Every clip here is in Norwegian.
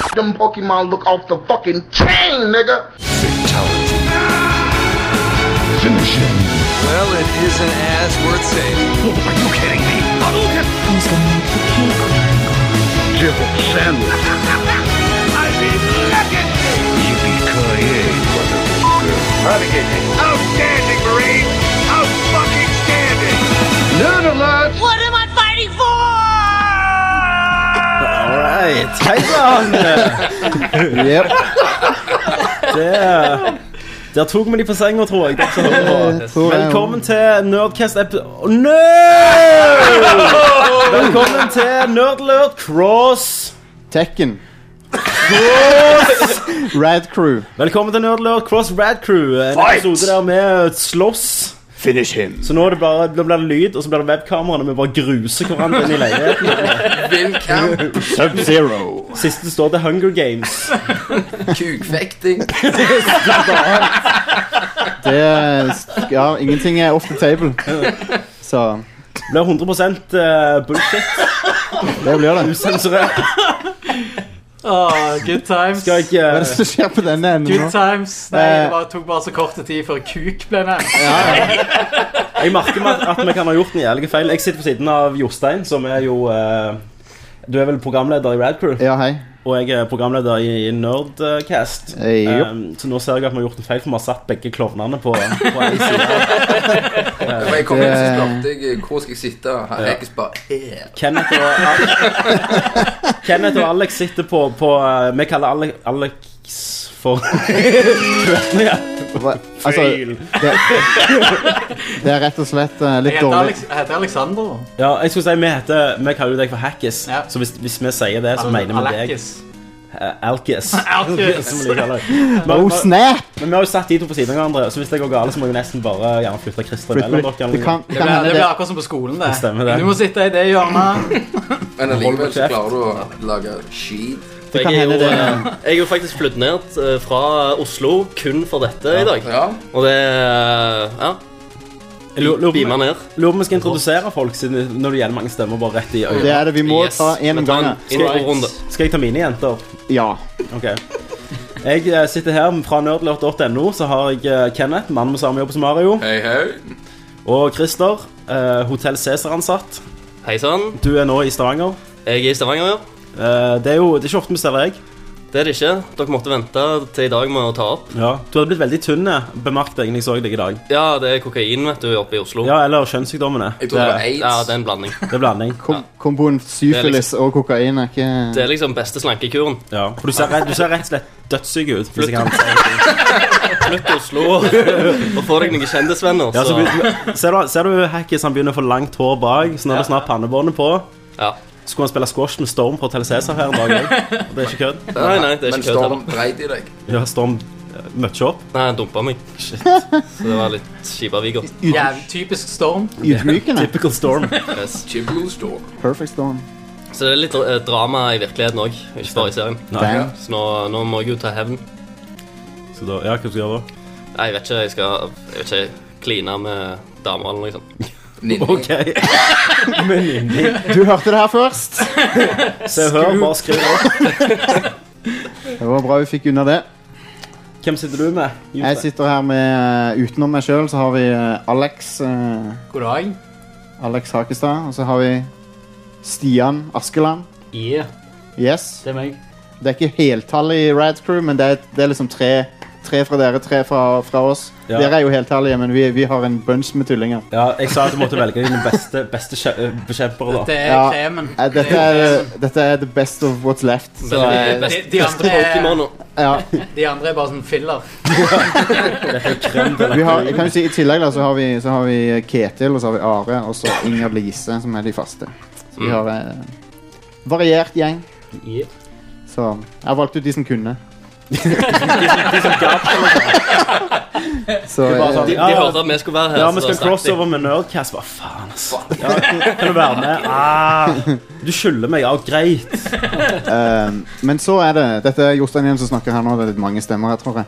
Pokemon look off the fucking chain, nigga. Fatality. Finish him. Well, it isn't as worth saving. Are you kidding me? Who's gonna make the cake? Jibble sandwich. I mean, look at me. Yippee-ki-yay, motherfucker. Outstanding, Marine. Out fucking standing. None alert. What am I fighting for? Alright. Hei sann! Jepp. Det Der tok vi de på senga, tror jeg. dere som hører på. Velkommen til Nerdcast episode Nerd! Velkommen til Nerdlurt Cross. Tekken. Rad Crew. Velkommen til Nerdlurt Cross Rad Crew. En Fight! episode der vi slåss. Finish him. Så nå er det bare, nå blir det lyd, og så blir det webkameraene. Vi bare gruser hverandre inn i leiligheten. Vinn kamp, Sub-Zero. Siste står det Hunger Games. kukfekting. Det er- Ja, ingenting er off the table. Så Det blir 100 bullshit. det blir det. Usensurert. Ah, good times. Skal jeg Hva er eh, det som skjer på denne enden Good nå? times. Nei, Eh, det bare, tok bare så kort tid før kuk ble nevnt. Jeg merker meg at vi kan ha gjort en jævlig feil. Jeg sitter på siden av Jostein, som er jo eh, Du er vel programleder i Radcrew, Ja, hei. og jeg er programleder i Nerdcast. Eh, jo. Um, så nå ser jeg at vi har gjort en feil, for vi har satt begge klovnene på, på en side. Når jeg kom inn, så spurte jeg hvor skal jeg sitte. Her er jeg bare her. Kenneth og, Al Kenneth og Alex sitter på, på eh, Vi kaller Ale Alex for ja, Hva- Altså, Feil. det, det er rett og slett eh, litt Jeg heter, dårlig. liksom- Alex, jeg heter Alexander. ja, jeg skulle si vi heter Vi kaller jo deg for Hackis, Ja. så hvis, hvis vi sier det, så Altså, mener vi deg Alekis. eh, Alkis. Alekis. Som vi kaller deg. Men- Oh, men- snap! Men vi har jo satt de to på siden av hverandre, så hvis det går galt, så må jeg jo nesten bare gjerne flytte Christer Det mellom dere. eller kan, noe. Det det kan blir, det hende det. blir akkurat som på skolen. det Stemmer det. Du må sitte i det hjørnet. Men allikevel så kjeft. klarer du å lage skit. Det kan Jeg er, hende jo, det. eh, jeg er jo faktisk flydd ned eh, fra Oslo kun for dette i dag. Ja. Og det eh, Ja. Jeg lurer- lurer på- Beamer ned. Lurer på om vi skal introdusere folk, siden når det gjelder mange stemmer, bare rett i Det øyet. er det. Vi må Yes, ta vi en om tar en gangen. introrunde. Skal jeg ta mine jenter? Ja. Ok. Jeg eh, sitter her fra nerdlurt.no, så har jeg eh, Kenneth, mann med samme jobb som Mario, Hei, hei. og Christer, eh, Hotell Cæsar-ansatt. Hei sann. Du er nå i Stavanger. Jeg er i Stavanger. ja. Eh, Det er jo det er ikke ofte vi ser deg. Det er det ikke. Dere måtte vente til i dag med å ta opp. Ja. Du hadde blitt veldig tynn, eh, bemerket jeg når jeg så deg i dag. Ja, det er kokain, vet du, oppe i Oslo. Ja, eller kjønnssykdommene. Jeg tror det var det, Ja, aids. det er en blanding. det er blanding. Kom, komboen syfilis og kokain er ikke Det er liksom beste slankekuren. Ja, for du ser, rett- du ser rett og slett dødssyk ut. Hvis jeg kan si det. Flytt til Oslo og få deg noen kjendisvenner. ja, så Så. be- ser, du, ser du Hackis han begynner å få langt hår bak, så nå er det snart pannebåndet på. Ja. Skulle han spille squash med Storm på Hotell Cæsar her en dag òg? Det er ikke kødd. Nei, nei, det Men er ikke kødd Storm heller. breit i deg. Ja, Storm eh, møtte opp. Nei, han dumpa meg. Shit. Så det var litt kjipa viger. Jævlig typisk storm. Ydmykende. Typical Storm. Yes. Jibble Storm. Perfect storm. Så det er litt eh, drama i virkeligheten òg, ikke bare i serien. Damn. Så nå, nå må jeg jo ta hevn. Så da, ja, hva skal du gjøre da? Nei, jeg vet ikke. Jeg skal jeg vet ikke, kline med damer eller noe sånt. Ninni. OK. Men inni Du hørte det her først. Se og hør, bare skriv opp. Det var bra vi fikk unna det. Hvem sitter du med? Jostein? Jeg sitter her med eh, Utenom meg sjøl så har vi eh, Alex eh, God dag. Alex Hakestad. Og så har vi Stian Askeland. Yeah, Yes. det er meg. Det er ikke heltallet i Rad Crew, men det er, det er liksom tre, tre fra dere, tre fra, fra oss. Ja. Dere er jo heltallige, men vi, vi har en bunch med tullinger. Ja, jeg sa at du måtte velge dine beste, beste kje- eh, bekjempere, da. Det er Ja. kremen. Eh, Dette er, dette er the best of what's left. Men det er eh, de- best, de beste andre er- Pokémon nå. Ja, De andre er bare sånn filler. vi har, jeg kan jo si I tillegg da, så har, vi, så har vi Ketil, og så har vi Are, og så Inger Lise, som er de faste. Så Mm. vi har eh, variert gjeng. Så jeg valgte ut de som kunne. Så, bare sånn, eh, De, de hørte at vi skulle være her. Ja, så vi da skal stakk crossover med Nerdcast. Hva faen, ass. Ja, kan du være med? Ah, du skylder meg. Ja, greit. Ehm, men så er det Dette er Jostein igjen som snakker her nå. Det er litt mange stemmer her, tror jeg.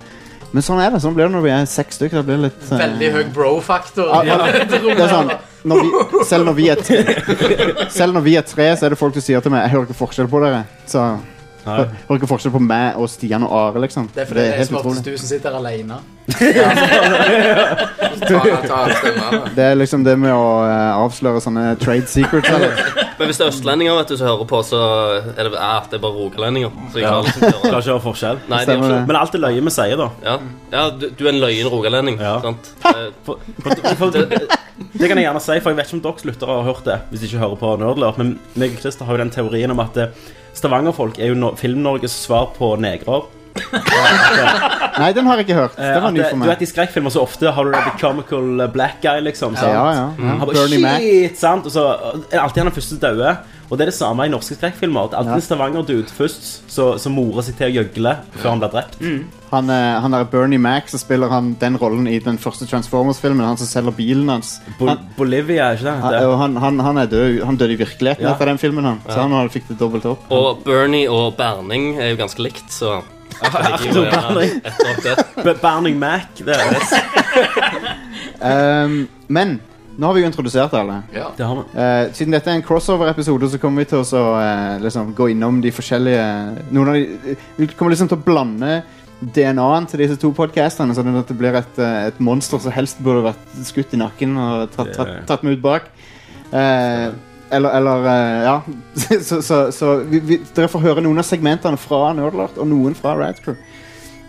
Men sånn er det. Sånn blir det når vi er seks stykker. Det blir litt eh, Veldig høy bro-faktor. Ja, ja. Det er sånn når vi, Selv når vi er tre Selv når vi er tre, så er det folk som sier til meg Jeg hører ikke forskjell på dere. Så Nei. Hører ikke forskjell på meg og Stian og Are, liksom. Det er fordi det er smartest du som sitter alene. Ta, ta stemmene. Det er liksom det med å eh, avsløre sånne trade secrets. Eller? Men hvis det er østlendinger vet du, som hører på, så er det, eh, det er bare rogalendinger. Så jeg Ja. kan liksom ikke Skal høre. ikke ha forskjell. Nei, det gjør Stemmer ikke det. det. Men alt er løye vi sier, da. Ja, ja du, du er en løyen rogalending. Ja. Sant? Eh, For, for, for, det kan jeg gjerne si, for jeg vet ikke om deres lyttere har hørt det. Hvis de ikke hører på Nerdlurt. Men meg og Christer har jo den teorien om at eh, stavangerfolk er jo no Film-Norges svar på negrer. Nei, den har jeg ikke hørt. Eh, Den var at ny det- for Du vet meg. I skrekkfilmer så ofte har du det the comical eh, black guy, liksom. Ja, Sant? ja, ja. Han bare, Bernie Mac. Shit, sant? Og så er alltid han den første døde. Og det er det samme i norske skrekkfilmer. Det er alltid Ja. en Stavanger-dude først som som morer seg til å gjøgle før han blir drept. Han, eh, han der Bernie Mac, så spiller han den rollen i den første Transformers-filmen. Han som selger bilen hans. Bo Han, Bolivia, er ikke det? han, det? og han, han, han er død. Han døde i virkeligheten Ja. etter den filmen, han. Så han, han fikk det dobbelt opp. Og Bernie og Berning er jo ganske likt, så jeg gir jo gjerne Berning. et opp der. B- Burning Mac. Det, er det. Ehm, men nå har vi jo introdusert alle. Ja. det har man. Eh, siden dette er en crossover-episode, så kommer vi til å så, eh, liksom, gå innom de forskjellige noen av de, Vi kommer liksom til å blande DNA-en til disse to podkastene, sånn at det blir et, eh, et monster som helst burde vært skutt i nakken og tatt, tatt, tatt med ut bak. Eh, eller eller eh, Ja. så så, så vi, vi, dere får høre noen av segmentene fra Nerdlart og noen fra Radcrew.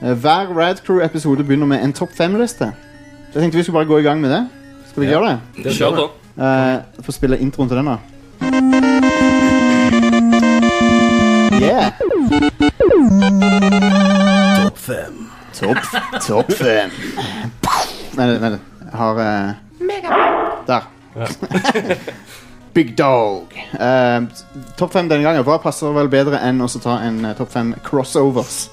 Eh, hver Radcrew-episode begynner med en topp fem-liste. Så jeg tenkte vi skulle bare gå i gang med det. Skal vi gjøre det? Kjør på. Uh, Få spille introen til den, da. Yeah! Topp fem. Topp top fem. Vent, vent. Jeg har eh, Der. Big Dog. Eh, topp fem denne gangen. Hva passer vel bedre enn å så ta en eh, topp fem crossovers?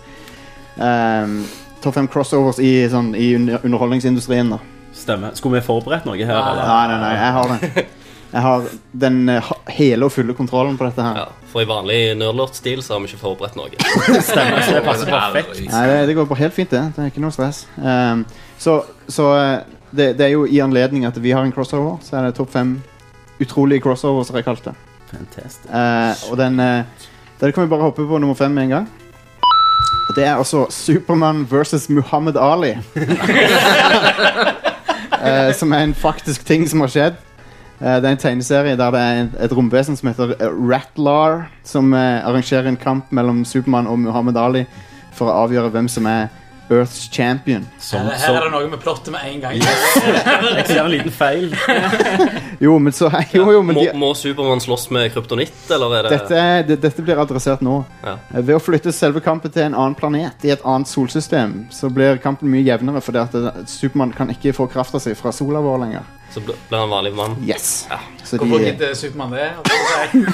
Eh, topp fem crossovers i, sånn, i under underholdningsindustrien, da. Stemmer. Skulle vi forberedt noe her, eller? Nei, nei, nei, jeg har det. Jeg har den eh, ha- hele og fulle kontrollen på dette her. Ja, for i vanlig nerdlort-stil så har vi ikke forberedt noe. Stemmer. Så det passer perfekt. Nei, det, det går bare helt fint, det. Det er ikke noe stress. Ehm, så så eh, det, det er jo i anledning at vi har en crossover, så er det topp fem utrolige crossovers, som jeg kalte det. Fantastisk. Eh, og den eh, Der kan vi bare hoppe på nummer fem med en gang. Og det er altså Supermann versus Muhammad Ali. Eh, som er en faktisk ting som har skjedd. Eh, det er en tegneserie der det er en, et romvesen som heter eh, Ratlar, som eh, arrangerer en kamp mellom Supermann og Muhammad Ali for å avgjøre hvem som er Earths champion. Som, Her, her er det som, noe med plottet med en gang. jeg ser en liten feil. Jo, men så Jo, jo, men Må, de, må Supermann slåss med kryptonitt, eller er det dette, er- det, dette blir adressert nå. Eh. Ja. Eh, Ved å flytte selve kampen til en annen planet i et annet solsystem, så blir kampen mye jevnere, fordi at eh, Supermann kan ikke få krafta si fra sola vår lenger. Så bl- blir han vanlig mann. Yes. Så de, Hvorfor gidder Supermann det?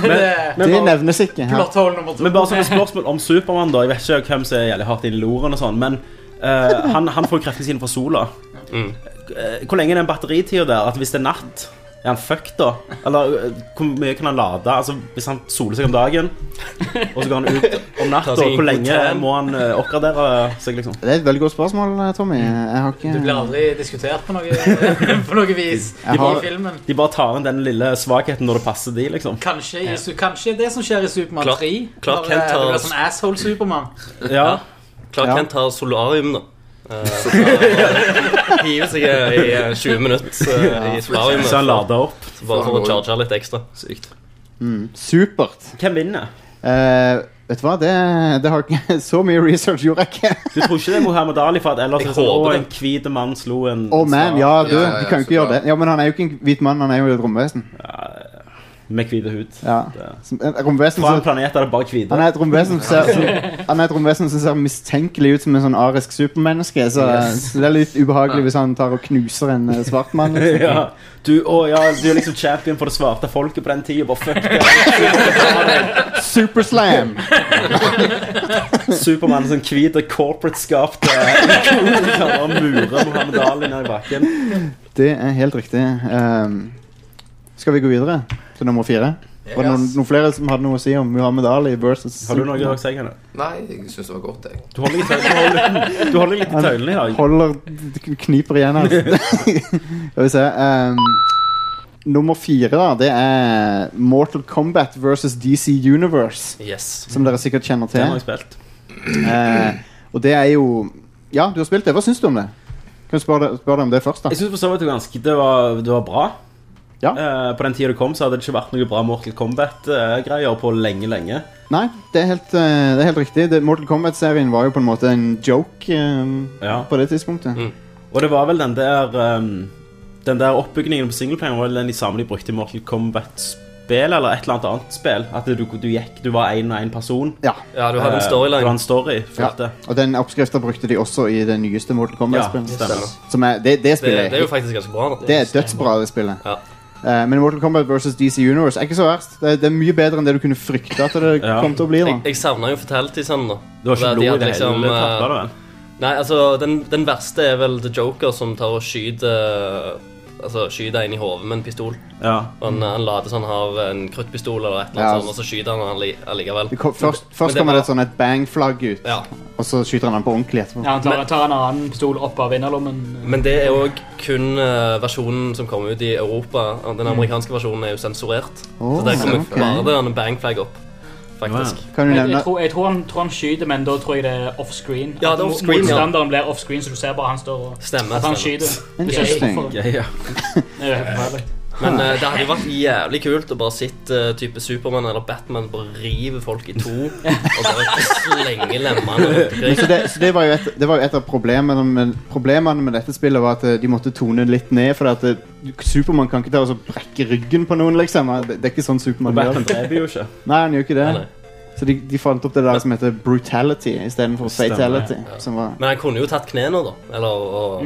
Det er det nevnes ikke her. plot hole nummer to. Men bare som et spørsmål om Supermann, da. Jeg vet ikke hvem som er jævlig hardt inn i loren og sånn, men eh, han, han får kreftene sine fra sola. Mm. Eh, Hvor lenge er den batteritida der? At hvis det er natt, er han fucked da? Eller eh, hvor mye kan han lade? Altså, hvis han soler seg om dagen, og så går han ut om natta, Ta seg en hvor lenge hotel. må han eh, oppgradere seg, liksom? Det er et veldig godt spørsmål, eh, Tommy. Jeg har Det blir ikke aldri diskutert på noe, på noe vis Jeg i har- filmen. De bare tar inn den lille svakheten når det passer de, liksom. Kanskje, i, su- kanskje det som skjer i Supermann Clark- 3 Clark når, Kent eh, har- Det blir sånn asshole-Supermann. Ja, Clark Ja. Kent har solarium, da. Eh, Så han hiver seg i eh, 20 minutter eh, i solarium. eh, Så han lader opp. Bare for å charge litt ekstra. Sykt. supert. Hvem vinner? Eh, vet du hva, det, det har ikke Så mye research gjorde jeg ikke. Du tror ikke det er Mohammed Ali, for at ellers Jeg er det sånn Å, håper det. en hvit mann slo en Oh man, ja, du, Ja, ja, ja, du kan jo så ikke gjøre bra. det. Ja, Men han er jo ikke en hvit mann, han er jo et romvesen. stav med hvit hud. Ja. Det- Som- En romvesen Fra en som planet er det bare hvite. han er et romvesen som ser, som, han er et romvesen som ser mistenkelig ut som en sånn arisk supermenneske. Så, så det er litt ubehagelig hvis han tar og knuser en eh, svart mann. Liksom. ja. Du, å, ja, du er liksom champion for det svarte folket på den tida. Bare fuck det. Superslam! Supermann som hvit og corporate-skapt og murer Mohammed Ali ned i bakken. Det er helt riktig. Ehm, skal vi gå videre til nummer fire? Var det noen, noen flere som hadde noe å si om Muhammed Ali versus Har du noe å si? Hanne? Nei, jeg syns det var godt, jeg. Du holder litt i tøylene- du holder litt i tøylene i dag. Holder kniper igjen her. skal vi se. ehm, nummer fire da, det er Mortal Kombat versus DC Universe. Yes. Som dere sikkert kjenner Den har til. jeg spilt. Eh, og det er jo Ja, du har spilt det. Hva syns du om det? Kan du spørre deg, spørre deg om det først, Jeg da? syns for så vidt det var ganske det var, det var bra. Ja. Eh, på den tida det kom, så hadde det ikke vært noe bra Mortal Kombat-greier på lenge, lenge. Nei, det er helt, eh, det er helt riktig. Det, Mortal Kombat-serien var jo på en måte en joke eh, Ja. på det Mm. tidspunktet. Og det var vel den der ehm, Den der oppbyggingen på singleplayeren var vel den de samme de brukte i Mortal Kombat-spill, eller et eller annet annet spill. At du, du gikk, du var én og én person. Ja. Ja, du hadde en Det var storyline. en story for ja. dette. Og den oppskrifta brukte de også i det nyeste Mortal Ja, Kombat-spillet. stemmer. Som er, det, det Det, spillet det er jo faktisk ganske bra. da Det er dødsbra, det spillet. Ja. Eh, men Mortal Kombat versus DC Universe er ikke så verst. Det er, det er mye bedre enn det du kunne frykte at det Ja. kom til å bli. Jeg, da jeg savna jo Fatality-sønnen, da. Det var ikke De blod i hadde det liksom, hele eh, tatt, var det vel? Nei, altså, den, den verste er vel The Joker som tar og skyter Altså, skyter en i hodet med en pistol. Ja. Og Han, han later som han har en kruttpistol eller et eller Ja. annet sånt, og så skyter han han li- allikevel. Det kom, først Men først det kommer var- det et sånn et bang-flagg ut, Ja. og så skyter han den på ordentlig etterpå. Ja, han tar, tar en annen pistol opp av innerlommen. Men det er òg kun eh, versjonen som kom ut i Europa. Den amerikanske versjonen er jo sensurert. Åh, så der kommer ok. bare det en bangflag opp, faktisk. Kan du Jeg, nevne jeg, tror, jeg tror, han, tror han skyter, men da tror jeg det er offscreen. Ja, det er At offscreen, ja. Motstanderen blir offscreen, så du ser bare han står og Stemmer. at han stemmer. skyter. Det er Interesting. ikke- Ja, Det ja. er jo helt forferdelig. Men eh, det hadde jo vært jævlig kult å bare sitte eh, type Supermann eller Batman bare rive folk i to og bare slenge lemmene rundt men så omkring. det, så det, var jo et, det var jo et av problemene med, problemene med dette spillet, var at eh, de måtte tone litt ned. For at eh, Supermann kan ikke ta og så brekke ryggen på noen, liksom. Det, det er ikke sånn Supermann gjør. Batman dreper jo ikke. Nei, han gjør ikke det. Nei, nei. Så de, de fant opp det der som heter brutality istedenfor Stemmer, fatality. Som var Men han kunne jo tatt knærne, da. Eller og,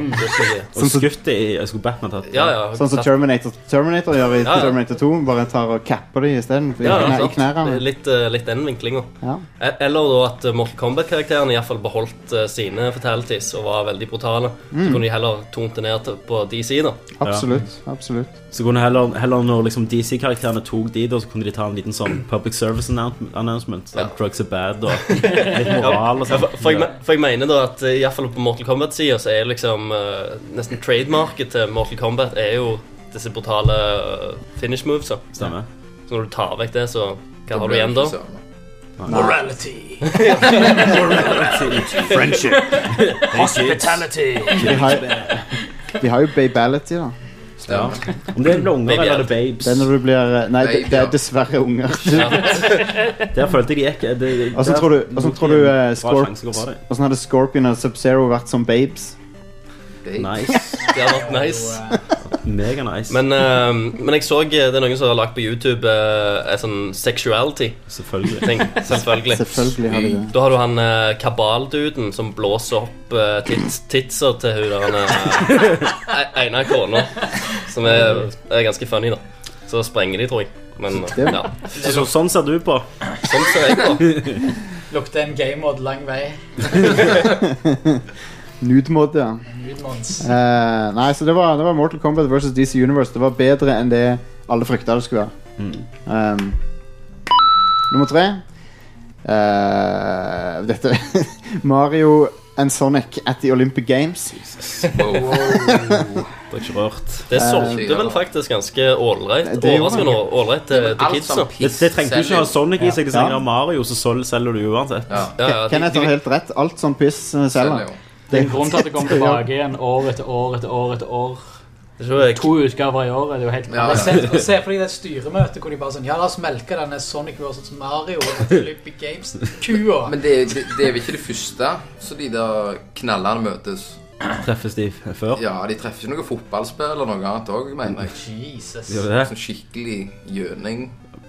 Og skutt i Jeg skulle Batman tatt Ja, ja. Mm. Sånn som tatt- Terminator, Terminator gjør i Ja, ja. Terminator 2. Bare tar og capper de isteden. I, ja, ja, knær- i sant. knærne. Litt, eh, litt den vinklinga. Ja. E- Eller da at eh, Mortal Kombat-karakterene i hvert fall beholdt eh, sine fatalities og var veldig brutale. Så kunne de heller tont det ned til- på DC, da. Absolutt. absolutt Så kunne heller, heller når liksom DC-karakterene tok de, da, så kunne de ta en liten sånn public service annou- announcement. Sånn, Drugs are bad og litt moral og Ja, sånn. for, for, jeg, me- for jeg mener da at eh, i hvert fall på Mortal Kombat-sida så er liksom eh, nesten trademarket til Mortal Kombat er jo disse brutale eh, finish moves. da. Stemmer. Så når du tar vekk det, så hva har du igjen da? Morality. Friendship. Hospitality. De har, de har jo babality, da. Ja. Om det er unger Baby, eller ja. er det babes. Det er når du blir eh, Nei, det, Baby, det ja. er dessverre unger. Der følte jeg de gikk. Det, det, Og så Altså, tror du, og så tror du eh, Scorp... Scorp Åssen hadde Scorpion og Sub-Zero vært som babes? Nice. Det hadde vært nice. eh, Mega nice. Men, eh, men jeg så eh, det er noen som har lagt på YouTube eh, en sånn sexuality-ting. Selvfølgelig. Selvfølgelig. Selvfølgelig har de det. Da har du han eh, kabalduden som blåser opp eh, tits, titser til hun der han eh, e- ene kona. Som er, er ganske funny, da. Så sprenger de, tror jeg. Men eh, ja. Så, så, sånn ser du på. Sånn ser jeg på. Lukter en gamemod lang vei. Nude-mode, ja. Nudemons. Eh, nei, så det var, det var Mortal Kombat versus DC Universe. Det var bedre enn det alle frykta det skulle være. Mm. Um, nummer tre Eh, Dette Mario and Sonic at the Olympic Games. Det er ikke rørt. Det solgte vel faktisk ganske ålreit. Det gjorde Overraskende ålreit til, til kidsa. Det, det trengte jo ikke å ha Sonic i seg. Det trenger Mario, så sol selger du uansett. Ja. Ja, ja, de, Kenneth har de, helt rett. Alt sånn piss eh, selger. Det er en grunn til at det kommer tilbake igjen år etter år etter år. etter år det er ikke- To utgaver i året. Det er jo helt Ja, Og ja. Se, og se for deg det styremøtet hvor de bare sånn Ja, la oss melke denne Sonic vs. Mario og Olympic Games-kua. Men det, er- det, det er vel ikke det første, så de der knallene møtes. Treffes de før? Ja, de treffer ikke noe fotballspill eller noe annet òg, mener jeg. Jesus. Gjør de det? Sånn skikkelig gjøning.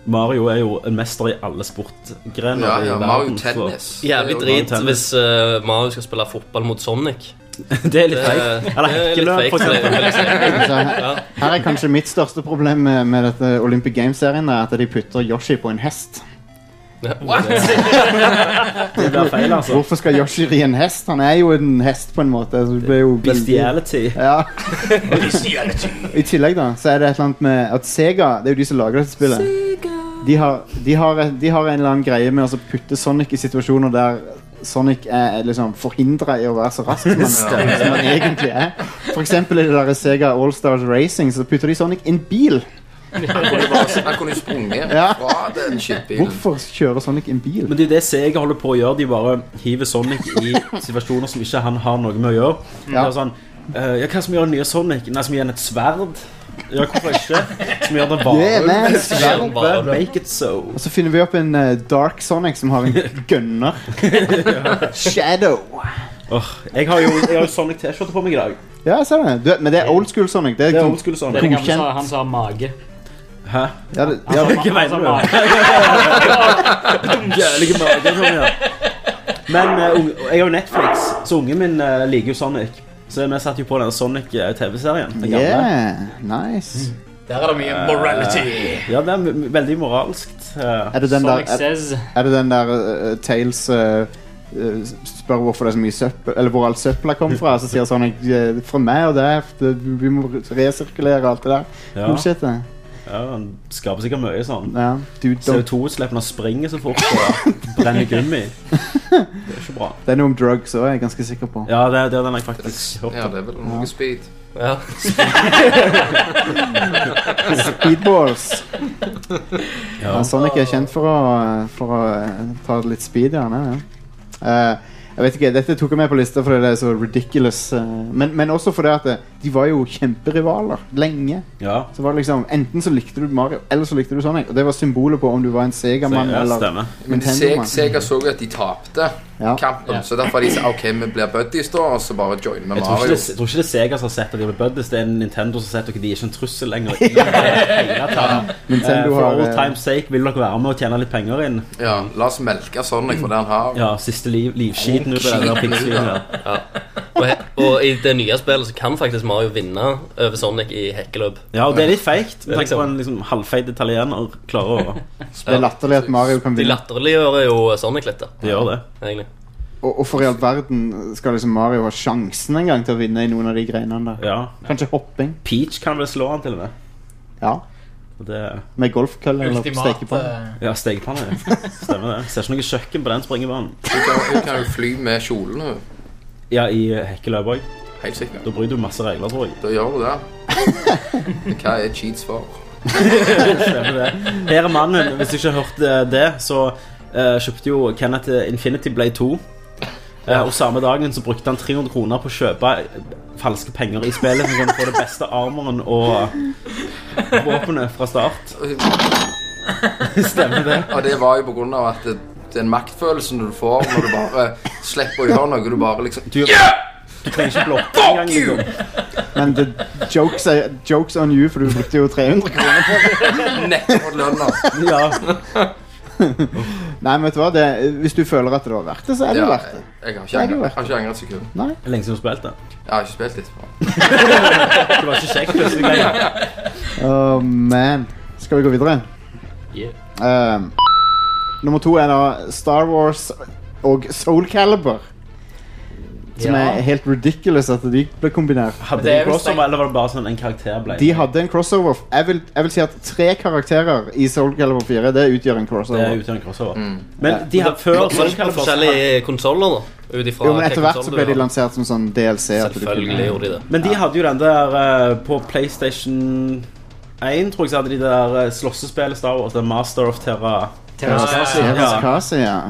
Mario er jo en mester i alle sportgrener. Ja, i ja, verden, Mario så- Tennis. Jævlig Det er jo- drit hvis eh, Mario skal spille fotball mot Sonic. Det er litt Det, feigt. det Eller er litt hekkeløp, fake. for eksempel. Så Altså, her, her er kanskje mitt største problem med, med dette Olympic Games-serien. er At de putter Yoshi på en hest. Det blir feil, altså. Hvorfor skal Yoshi ri en hest? Han er jo en hest, på en måte. Så det blir jo veldig- Bestiality. Ja. I tillegg da, så er det et eller annet med at Sega, det er jo de som lager dette spillet. De har, de, har, de har en eller annen greie med å så putte Sonic i situasjoner der Sonic er er liksom forhindra i å være så rask som han, som han egentlig er. For eksempel i det der Sega All Stars Racing så putter de Sonic i en bil. Han kunne jo sprunget Ja. fra den shitbilen. Hvorfor kjører Sonic en bil? Men det er det Sega holder på å gjøre. De bare hiver Sonic i situasjoner som ikke han har noe med å gjøre. Det er sånn, eh, ja, Hva som gjør den nye Sonic? Nei, Som gir den et sverd? Ja, hvorfor ikke? Som gjør den Yeah, varulv? man. Sverd. Varulv. Make it so. Og så finner vi opp en eh, Dark Sonic som har en gønner. Shadow. Åh, jeg har jo jeg har jo Sonic T-skjorte på meg i dag. Ja, jeg ser det. Du, men det er old school Sonic. Det er, Det er liksom- old school Det er Sonic. det gamle Godkjent. som- han som har mage. Hæ? ja, det, ja, det, Hva mener du? Jævlige mager sånn, ja. Men eh, unge- jeg har jo Netflix, så ungen min eh, liker jo Sonic. Så vi satte jo på den Sonic-TV-serien. den gamle. yeah, nice. Der er det mye morality. Ja, det er m- m- veldig moralskt. eh. Er det den der, Sonic er, says er det den der eh, Tails eh, eh, spør hvorfor det er så mye søppel, eller hvor all søpla kom fra, og så sier Sonic eh, fra meg og der, det- vi må resirkulere og alt det der. Ja, Bullshit, det. ja, han skaper sikkert mye sånn. Ja, du, dum- CO2-utslippene springer så fort og brenner gummi. Det er ikke bra. det er noe om drugs òg, er jeg ganske sikker på. Ja, det, det er den jeg Ja, faktisk hørte. det er vel noe speed. Ja. Speedballs. Ja. Ja, Sonic er kjent for å, for å eh, ta litt speed, gjerne. Ja. Eh, jeg vet ikke, Dette tok jeg med på lista fordi det er så ridiculous. eh, men, men også fordi at eh, de var jo kjemperivaler lenge. Ja, Så var det liksom, Enten så likte du Mario, eller så likte du Sonic. Og det var symbolet på om du var en Sega-mann ja eller stemmer. Men Seg- Nintendo-mann. Sega så jo at de tapte Ja. kampen, så derfor de sa OK, vi blir buddies, da, og så bare joiner vi Jeg tror, ikke Mario. det, jeg tror ikke det er Sega som har sett at de blir buddies, det er Nintendo som har sett at de er ikke en trussel lenger. i det hele tatt. Eh, Nintendo For har all eh, time's sake, vil dere være med og tjene litt penger inn? Ja, La oss melke Sonic for det han har. Ja, siste liv, livskiten ut av den der piggsvinen her. Og, he- og i det nye spillet så kan faktisk Mario vinne over Sonic i hekkeløp. Ja, og det er litt feigt. Med tanke Liksom. på en liksom, halvfeit italiener klarer å Det er latterlig at Mario kan De vinne. latterliggjør jo Sonic litt, da. de gjør det. Egentlig. Og, og for i all verden skal liksom Mario ha sjansen en gang til å vinne i noen av de greinene der. Ja. Kanskje hopping. Peach kan vel slå han til og med. Ja. Og Det, Med golfkølle eller stekepanne. Ultimate eh, ja, stekepanne. Stemmer det. Ser ikke noe kjøkken på den springebanen. Hun kan, hun kan jo fly med kjolen, hun. Ja, i hekkeløp òg. Helt sikkert. Da bryter du masse regler, tror jeg. Da gjør hun det. Men Hva er cheats for? Stemmer det. Her er mannen. Hvis du ikke har hørt eh, det, så eh, kjøpte jo Kenneth eh, Infinity Blade 2. Eh, og samme dagen så brukte han 300 kroner på å kjøpe eh, falske penger i spillet. Så han kan få det beste armoren og våpenet fra start. Stemmer det. Og det var jo på grunn av at det, den maktfølelsen du får når du bare slipper å gjøre noe, du bare liksom Du, du trenger ikke blokke engang. Liksom. Men the jokes, er, jokes on you, for du brukte jo 300 kroner. netter lønna. Ja. Nei, men vet du hva, det, hvis du føler at det var verdt det, så er det Ja, jo verdt det. jeg, jeg har ikke Nei, det angret- var- jeg har ikke angret et sekund. Lenge siden du spilte. Jeg har ikke spilt etterpå. Det var ikke kjekt plutselig lenger. Oh, man. Skal vi gå videre? Yeah. Ehm, nummer to er da Star Wars og Soul Calibur. Som Ja. er helt ridiculous at de ble kombinert. Hadde de Det er vel crossover, stengt. eller var det bare sånn en karakter ble? De hadde en crossover. Jeg vil, jeg vil si at tre karakterer i Soul Calibur 4 det utgjør en Det er crossover. uten en crossover. Men de hadde før Så det er forskjellige konsoller, da. Ut ifra Jo, men Etter hvilken hvert så konsoll ble de du har. lansert som sånn DLC. at du kunne- Selvfølgelig gjorde de det. Men de hadde jo den der eh, På PlayStation 1 tror jeg så hadde de det der eh, slåssespillet Star Wars, The Master of Terra. Ja, Ja. Kazi, ja.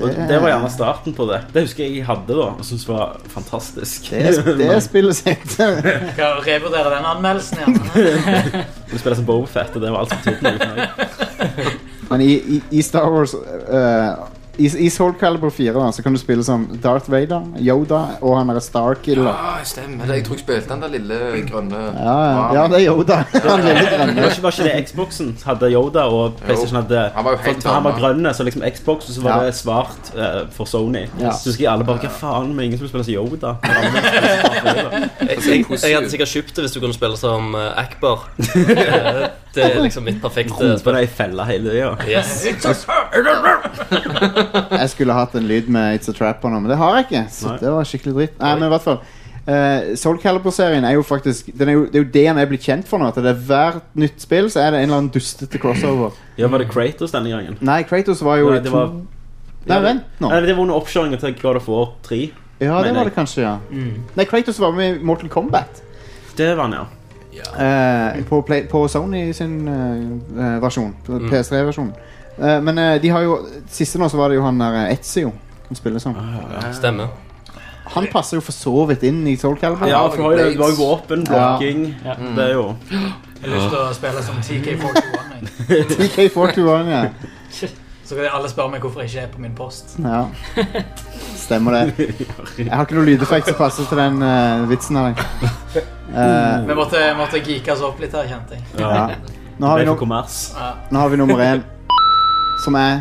Og det var gjerne starten på det. Det husker jeg jeg hadde da, og syntes var fantastisk. Det er, det er spillet sitt. Skal revurdere den anmeldelsen igjen. Du spiller som Boba Fett, og det var alt som betydde noe for meg. Men i, i, i Star Wars eh, i, I Soul Calibur 4 da, så kan du spille som Darth Vader, Yoda og han derre Starkiller. Ah, stemmer det. Jeg tror jeg spilte den der lille grønne Ja, ja. ja, det er Yoda. Han lille Det grønne. var ikke, var ikke det Xboxen hadde Yoda, og PlayStation hadde Han var jo helt for- for han var vanlig. grønne, så liksom Xbox, og så var Ja. det svart eh, for Sony. Ja. Så husker jeg alle bare Hva faen, men ingen som spiller som Yoda? Jeg, jeg, jeg hadde sikkert kjøpt det hvis du kunne spille som eh, Akbar. Eh, Det er liksom mitt perfekte Roper spill. deg i fella hele tida. Yes. Jeg skulle hatt en lyd med It's a Trap på nå, men det har jeg ikke. Så Nei. det var skikkelig dritt. Nei, men i hvert fall eh, Soul Calibur-serien er jo faktisk den er jo, Det er jo det han er blitt kjent for nå. At det er Hvert nytt spill så er det en eller annen dustete crossover. Ja, var det Kratos denne gangen? Nei, Kratos var jo Nei, i det to var Nei, vent nå. Nei, det var under oppkjøringen til God of War 3. Ja, det mener Mm. jeg. var det kanskje, ja. Nei, Kratos var med i Mortal Kombat. Det var han, ja. Eh, på, Play, på Sony sin eh, eh, versjon. Mm. PS3-versjonen. Eh, men eh, de har jo Siste nå så var det jo han der eh, Ezio. Han spiller som. Ah. Stemmer. Han passer jo for så vidt inn i Soul Calibur. Ja, har for det var jo- det var jo blades. våpen, blokking Det er jo Jeg har lyst til å spille som TK41. jeg. TK42-eren, ja. Så kan alle spørre meg hvorfor jeg ikke er på min post. ja. Stemmer det. Jeg har ikke noe lydeffekt som passer til den eh, vitsen her. Eh, Vi måtte, måtte geeke oss opp litt her, kjente jeg. ja. ja. Nå har Det er vi for nok kommers. Nå har vi nummer én, som er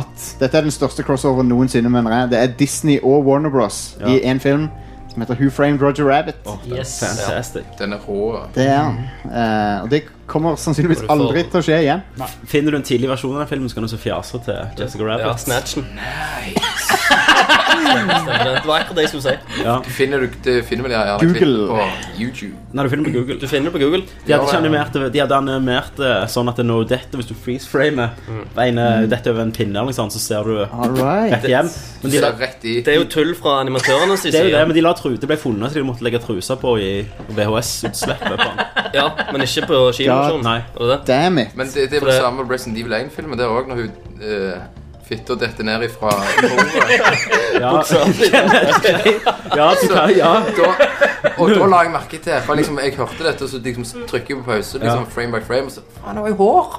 at dette er den største crossoveren noensinne. mener jeg. Det er Disney og Warner Bros. i én film som heter Who Framed Roger Rabbit. Yes. Fantastic. Den er rå. Det er han. Eh, og det kommer sannsynligvis Får du aldri for- til å skje igjen. Finner du en tidlig versjon av den filmen, så kan du så fjase til Jessica Ja, Rabbit. snatchen. Stemmer det. Det var akkurat det jeg skulle si. Ja. Finner du, det finner vel jeg gjerne Google. klipp på YouTube. Nei, du finner den på Google. Du finner det på Google. De hadde Ja, ikke ja. animert det, de hadde animert det sånn at det når dette, hvis du freeze-framer mm. dette over en pinne, eller noe sånt, så ser du All right. rett hjem. Men de, Ser la, rett i. Det er jo tull fra animatørenes det er jo det, side. men de la tru, det ble funnet, så de måtte legge trusa på i VHS-utslippet. på den. Ja, men ikke på Ja, kinoshowen. nei. Var det det? Damn it. Men det, det er For vel det- samme med Resident Evil 1-filmen. Det er òg når hun uh, fitta detter ned ifra bordet. Ja, ja, du kan, ja. Da, og da la jeg merke til For liksom, jeg hørte dette, og så liksom trykker jeg på pause. Liksom, Ja. Frame by frame. Og så Faen, det var jo hår!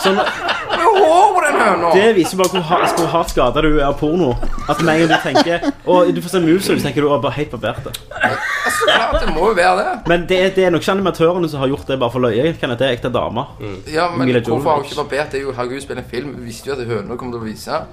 Sånn, Det var jo hår på den høna! det viser bare hvor, har- hvor hardt skada du er av porno. At med en gang du tenker Og du får se moves, og du tenker du er bare helt barbert. Så klart, det må jo være det. Men det, er- det er nok ikke animatørene som har gjort det bare for løye. Kan det er ekte damer. Ja, men Mila hvorfor har hun ikke Jovovich. barbert? Det er jo herregud, spiller en film. Vi visste jo at høna kom til å vise.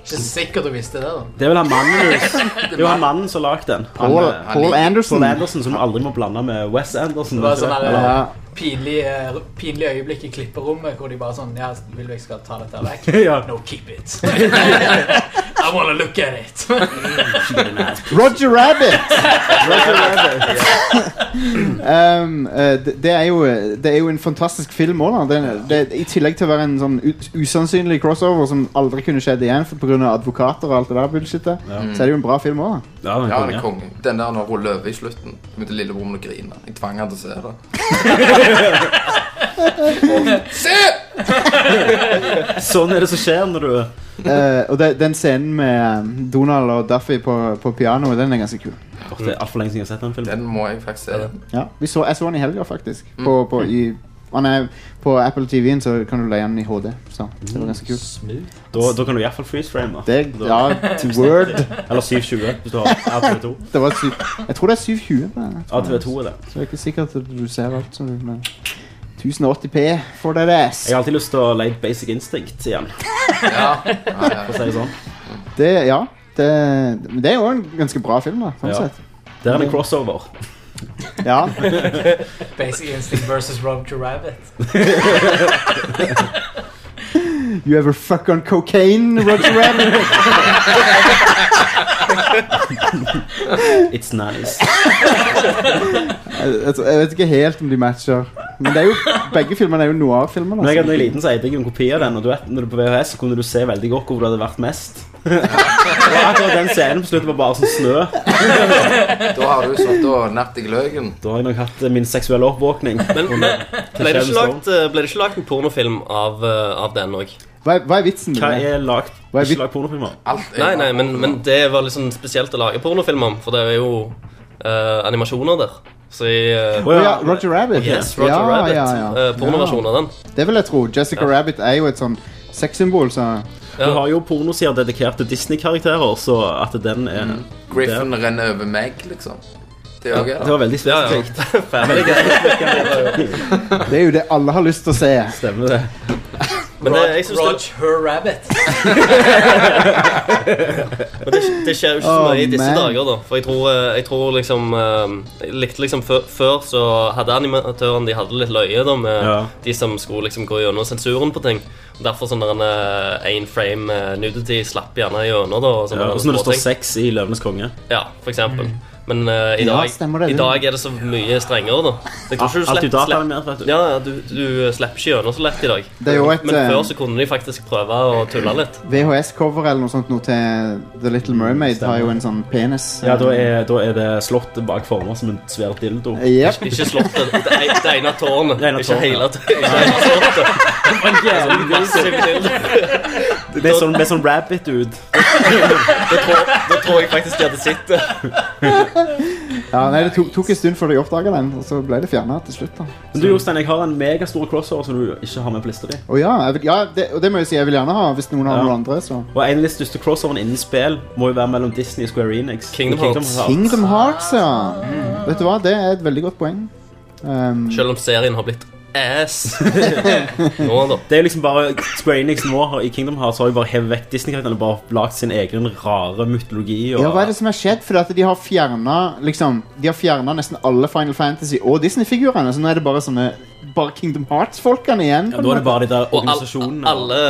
Ikke sikkert du visste det, da. Det er vel han mannen Det er jo han mannen som har lagd den. Han, Paul, eh, Paul liker- Anderson. Paul Anderson, som aldri må blande med Wes Anderson. Det var sånn ikke det? der, Ja. pinlig, eh, pinlig øyeblikk i klipperommet hvor de bare sånn Ja, vil du jeg skal ta dette vekk? Ja. No, keep it. I wanna look at it. Roger Rabbit! sånn um, eh, det, det, er jo, det er jo en fantastisk film òg. I tillegg til å være en sånn ut, usannsynlig crossover som aldri kunne skjedd igjen for- pga. advokater og alt det der bullshitet, så er det jo en bra film òg. Ja, men Ja, han er konge. konge. Den der når hun løver i slutten. Begynte lillebroren å grine. Jeg tvang han til å se det. Og, se! Sånn er det som skjer når du Eh, og det, den scenen med um, Donald og Duffy på, på pianoet, den er ganske kul. Åh, Det er altfor lenge siden jeg har sett den filmen. Den må jeg faktisk se. Ja, vi så, Jeg så den i helga, faktisk. På, på, i, han er, på Apple TV-en så kan du leie den i HD. Så det var ganske kult. Da, da kan du i hvert fall freeze-frame. da. Det, ja, word. Eller 720, hvis du har ATV2. Det var syv, jeg tror det er 720 på den. ATV2 er det. Så det er ikke sikkert at du ser alt som men 1080p for that ass. Jeg har alltid lyst til å leie Basic Instinct igjen. Ja. Ja, ja. for å si det sånn. Det, ja, det, men det er jo en ganske bra film, da. Sånn Ja. sett. Der er det en crossover. Ja. Basic Instinct versus Roger Rabbit. You ever fuck on cocaine, Roger Rabbit? It's nice. jeg, altså, jeg- jeg vet ikke helt om de matcher. Men det er jo, begge filmene er jo noir-filmer. da, Når jeg så- hadde var liten, så eide jeg en kopi av den, og du vet, når du er på VHS, så kunne du se veldig godt hvor det hadde vært mest. Og akkurat den scenen på slutten var bare sånn snø. Da har du satt og natt i gløggen. Da har jeg nok hatt eh, min seksuelle oppvåkning. Men ble det ikke lagt, eh, ble det ikke lagt en pornofilm av, eh, av den òg? Hva, er- hva er vitsen med Hva det? er lagt Hva er vi- Ikke lagt pornofilmer. Alt er Nei, nei, men, men det var liksom spesielt å lage pornofilm om, for det er jo eh, animasjoner der. Så i eh, Å Å ja, Roger Rabbit. Yes, Roger ja, Rabbit. Ja, ja. eh, pornoversjon av den. Det vil jeg tro. Jessica Rabbit er jo et sånn sexsymbol, så Du har jo pornosider dedikert til Disney-karakterer, så at den er Griffin renner over meg, liksom. Det òg er Det det. var veldig Ja, spesifikt. ja. Family Guy. det er jo det alle har lyst til å se. Stemmer det. Men det, jeg synes det, Roger Her Rabbit. men det, det skjer jo Å, ikke så mye i disse Oh, man. dager, da. For jeg tror, eh, jeg tror liksom eh, Jeg likte liksom før, før så hadde animatøren de hadde litt løye da med Ja. de som skulle liksom gå gjennom sensuren på ting. Og Derfor sånn der én frame eh, nudity slapp gjerne gjennom, da. Og Ja, sånne og så når det står småting. sex i Løvenes konge. Ja, for eksempel. Men eh, i, Ja, dag, stemmer det, i det. dag er det så mye strengere, da. Jeg tror Alt ikke du i slipper, slipper dataen vet Ah, du. ja, ja, du, du slipper ikke gjennom så lett i dag. Det er jo et, Men eh, før så kunne de faktisk prøve å tulle litt. VHS-cover eller noe sånt noe til The Little Mermaid har jo en sånn penis. Mm, Ja, da er, da er det slottet bak former som en svær dildo. Jep. Ikke slottet. Det, det ene tårnet. Det ene Ikke tårnet, hele ja. tårnet. Ikke hele slottet. Massiv dildo. Det er sånn, det er sånn rabbit ut. Da tror, da tror jeg faktisk de hadde sett det. Ja, nei, det tok, tok en stund før de oppdaga den, og så ble det fjerna til slutt. da Men du, Jostein, jeg har en megastor crossover som du ikke har med på lista di. Og ja, jeg vil, ja det, og det må jeg si jeg vil gjerne ha, hvis noen har Ja. noen andre. så Og en av de største crossoverne innen spill må jo være mellom Disney og Square Enix. Kingdom Og Hearts. Kingdom Hearts, ja. Vet du hva, det er et veldig godt poeng. Um, Selv om serien har blitt ass. Nå, da. Det er jo liksom bare Square Enix nå har, i Kingdom Hearts har jo bare hevet vekk Disney-karakterene og bare lagd sin egen rare mytologi. Og, ja, hva er det som har skjedd? Fordi at de har fjerna liksom, de har fjernet nesten alle Final Fantasy og Disney-figurene. Så nå er det bare sånne Bare Kingdom Hearts-folkene igjen. Ja, da er det bare de der Og, all, organisasjonene. alle,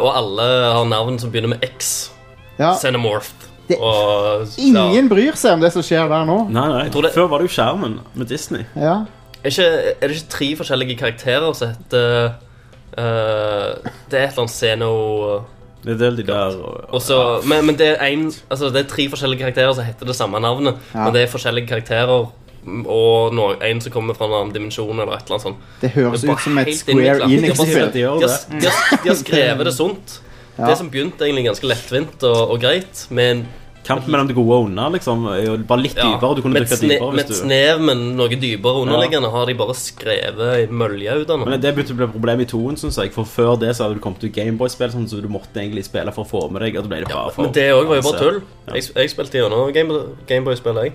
og alle har navn som begynner med X. Ja, Xenomorph. Det- Og ja. ingen bryr seg om det som skjer der nå. Nei, nei, tror det- Før var det jo skjermen med Disney. Ja. Er, ikke, er det ikke tre forskjellige karakterer som heter eh, Det er et eller annet Xeno... Det er del de der og, Og så- men, men det, er en, altså, det er tre forskjellige karakterer som heter det samme navnet. Ja. Men det er forskjellige karakterer, mm, og no, en som kommer fra en annen dimensjon. eller et eller annet sånt. Det høres Det er bare ut som et helt Square innviklet. Disney, Enix-spill. de gjør De det. har, de har, de har skrevet det sunt. Ja. Det som begynte egentlig ganske lettvint og, og greit, med en Kampen mellom det gode og onde, liksom. er jo Bare litt ja, dypere. Du kunne med et dykke sne, dypere med et hvis du snev, men noe dypere underliggende, har de bare skrevet i mølja ut av men noe. det begynte å bli et problem i toen, synes jeg. For før det så hadde du kommet til Gameboy-spill, sånn, så du måtte egentlig spille for å få med deg. Og da ble det bare for Men det òg var jo bare tull. Ja. Jeg, jeg spilte gjennom Game- Gameboy-spillet, jeg.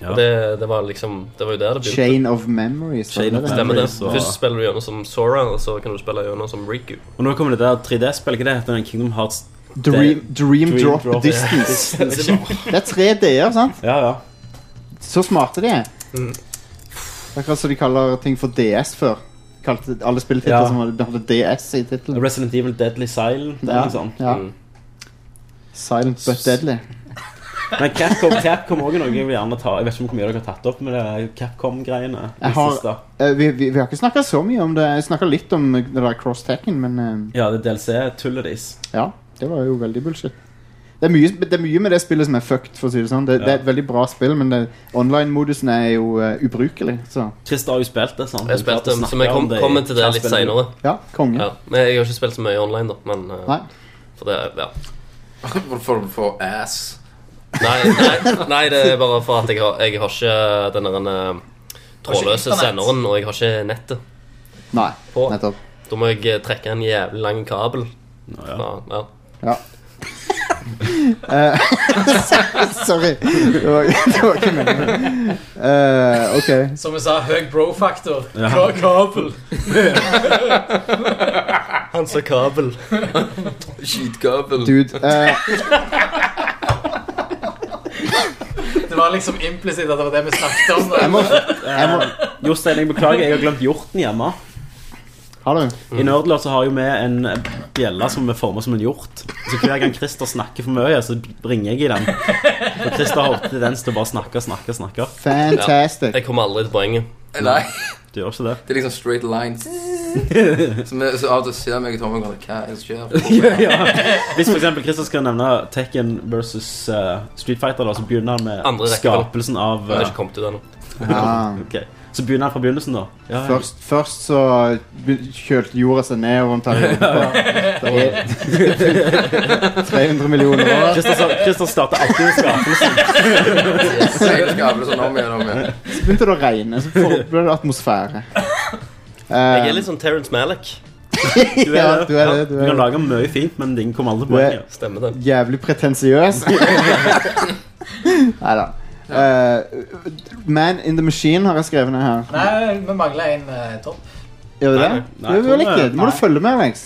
Ja. Og det, det var liksom Det var jo der det begynte. Chain of Memories. var Chain of det det? Stemmer det. Memories og- Først spiller du gjennom som Sora, og så kan du spille gjennom som Riku. Og nå kommer det der 3D-spillet, ikke det? heter den Kingdom Hearts Dream, dream Dream Drop Drop Distance. Distance. Det er tre D-er, sant? Ja, ja. Så smarte de er. Mm. Akkurat som de kaller ting for DS før. Kalte alle spilltitler Ja. som hadde hadde DS i tittelen. Resident Evil Deadly Silent. Ja, eller noe sånt. ja. Mm. Silent but deadly. Men Capcom, Capcom også er noe jeg vil gjerne ta Jeg vet ikke hvor mye dere har tatt opp med det Capcom-greiene. i Jeg har- siste. Eh, vi, vi, vi har ikke snakka så mye om det. Jeg snakka litt om eh, det der cross-tacken, men eh, Ja, det er DLC-tullet deres. ja. Det var jo veldig bullshit. Det er, mye, det er mye med det spillet som er fucked. for å si Det sånn Det, det Ja. er et veldig bra spill, men det- online-modusen er jo eh, ubrukelig. Så Christer har jo spilt det, sant? Jeg Du klarte spilte, å snakke så vi om kom, det i kommer til det litt Capcom-spillet. seinere. ja, konge. Ja. Men Jeg har ikke spilt så mye online, da. Men eh, Nei. For det, ja. For, for ass. nei, nei, nei, det er bare for at jeg har, jeg har ikke den der eh, trådløse internett. senderen, og jeg har ikke nettet. Nei. På. Nettopp. Da må jeg eh, trekke en jævlig lang kabel. Ja, ja. Ja. Eh, Sorry. Det var, det var ikke meningen. Eh, ok. Som jeg sa, høy bro-faktor. Klar kabel. Han sa kabel. Skytkabel. Dude. eh, Det var liksom implisitt at det var det vi snakket om. jeg må, jeg må Jostein, jeg beklager, jeg har glemt hjorten hjemme. Hallo. Mm. I Nerdlord så har jo vi en bjelle som er formet som en hjort. Så hver gang Christer snakker for mye, så bringer jeg i den. Og Christer har ofte tendens til å bare snakke, snakke, snakke. Fantastic. Jeg kommer aldri til poenget. Eh, Nei, Du gjør ikke det? det er liksom straight lines. Som er, så av og til ser meg og Tommy og går Hva er det som skjer? Hvis for eksempel Christer skal nevne Tekken versus eh, Street Fighter, da, så begynner han Andre med rekke, skapelsen av Jeg har eh, ikke kommet ut ennå. Ja. ok. Så begynner han fra begynnelsen, da. Ja, ja. Først, først så kjølte jorda seg ned over en periode på det var 300 millioner år. Christer, sa- Christer starter alltid med skapelsen. Seilskabel sånn om igjen om igjen. Så begynte det å regne. Så for- ble det atmosfære. Eh, Jeg Eh, er litt sånn Terence Malick. Du, er, Ja, du er det, du du, kan er det. lage mye fint, men ingen kommer aldri på Du er- poenget. Stemmer det. jævlig pretensiøs. Nei da. Eh, Man in the Machine har jeg skrevet ned her. Nei, vi mangler en eh, topp. Gjør du det? Nei, nei, Gjør vi vel jeg tror ikke? det- Du må du nei. følge med, Rex.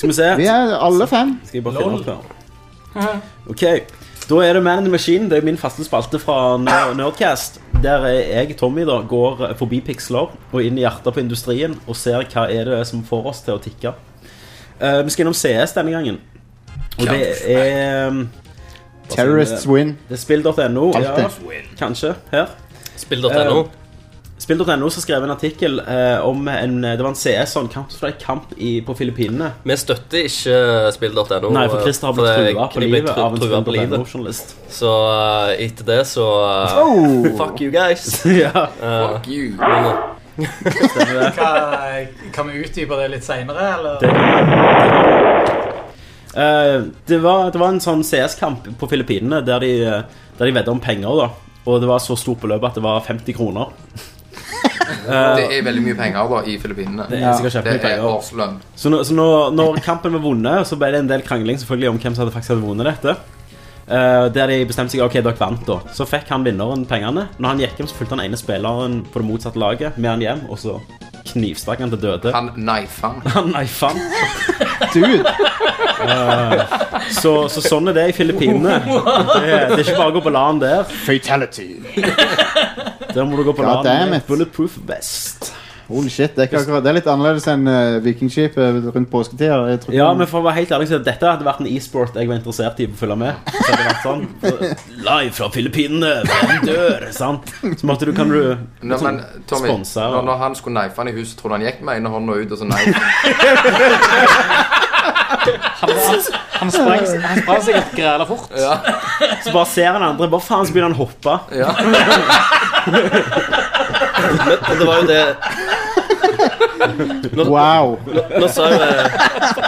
Skal vi se. Vi er alle fem. Skal jeg bare finne opp her. Ok, da er det Man in the Machine. Det er min faste spalte fra Ner- Nerdcast. Der er jeg, Tommy, da, går forbi piksler og inn i hjertet på industrien og ser hva er det som får oss til å tikke. Eh, vi skal innom CS denne gangen. Og det er Terrorists win. Det er spill.no. Ja, Alltid. kanskje. Her. Spill.no. Eh, Spill.no som skrev en artikkel eh, om en Det var en CS, sånn Counter-Strike-kamp i- på Filippinene. Vi støtter ikke eh, spill.no. Nei, for Christer har for blitt det- trua på de ble livet tru- av en trua på livet. Spill.no-journalist. Så eh, etter det så eh, Fuck you guys. ja. Fuck you. Men, eh, Hva, kan vi utdype det litt seinere, eller? Eh, det, var, det var en sånn CS-kamp på Filippinene der de, eh, der de vedda om penger. da Og det var så stort beløp at det var 50 kroner. Det er veldig mye penger da i Filippinene. Eh, Det er Det sikkert kjempemye er penger. årslønn. Så, når, så når, når kampen var vunnet, så ble det en del krangling selvfølgelig om hvem som hadde faktisk hadde vunnet dette. Eh, der de bestemte seg ok, dere vant, da. Så fikk han vinneren pengene. Når han gikk hjem, så fulgte han ene spilleren på det motsatte laget med han hjem, og så knivstakk han til døde. Han knifer han. Han knifa han. Dude! Så, så sånn er det i Filippinene. Det, det er ikke bare å gå på LAN der. Fatality. Der må du gå på LAN God damn med it. bulletproof vest. Holy shit, det er, ikke akkurat, det er litt annerledes enn eh, vikingskipet rundt påsketida. Jeg tror ikke- Ja, men for å være helt ærlig så dette hadde vært en e-sport jeg var interessert i å følge med. Så hadde det vært sånn for- Live fra Filippinene, hvem dør? Sant? Så måtte du, kan du Nå, men sånn, Tommy, sponsa når, og- når han skulle knife han i huset, trodde han gikk med ene hånda ut og så knife han. Han sprang, han sprang sikkert græla fort. Så bare ser han andre, bare faen, så begynner han å hoppe. Ja. men, men det var jo det Nå, Wow. nå sa jo eh,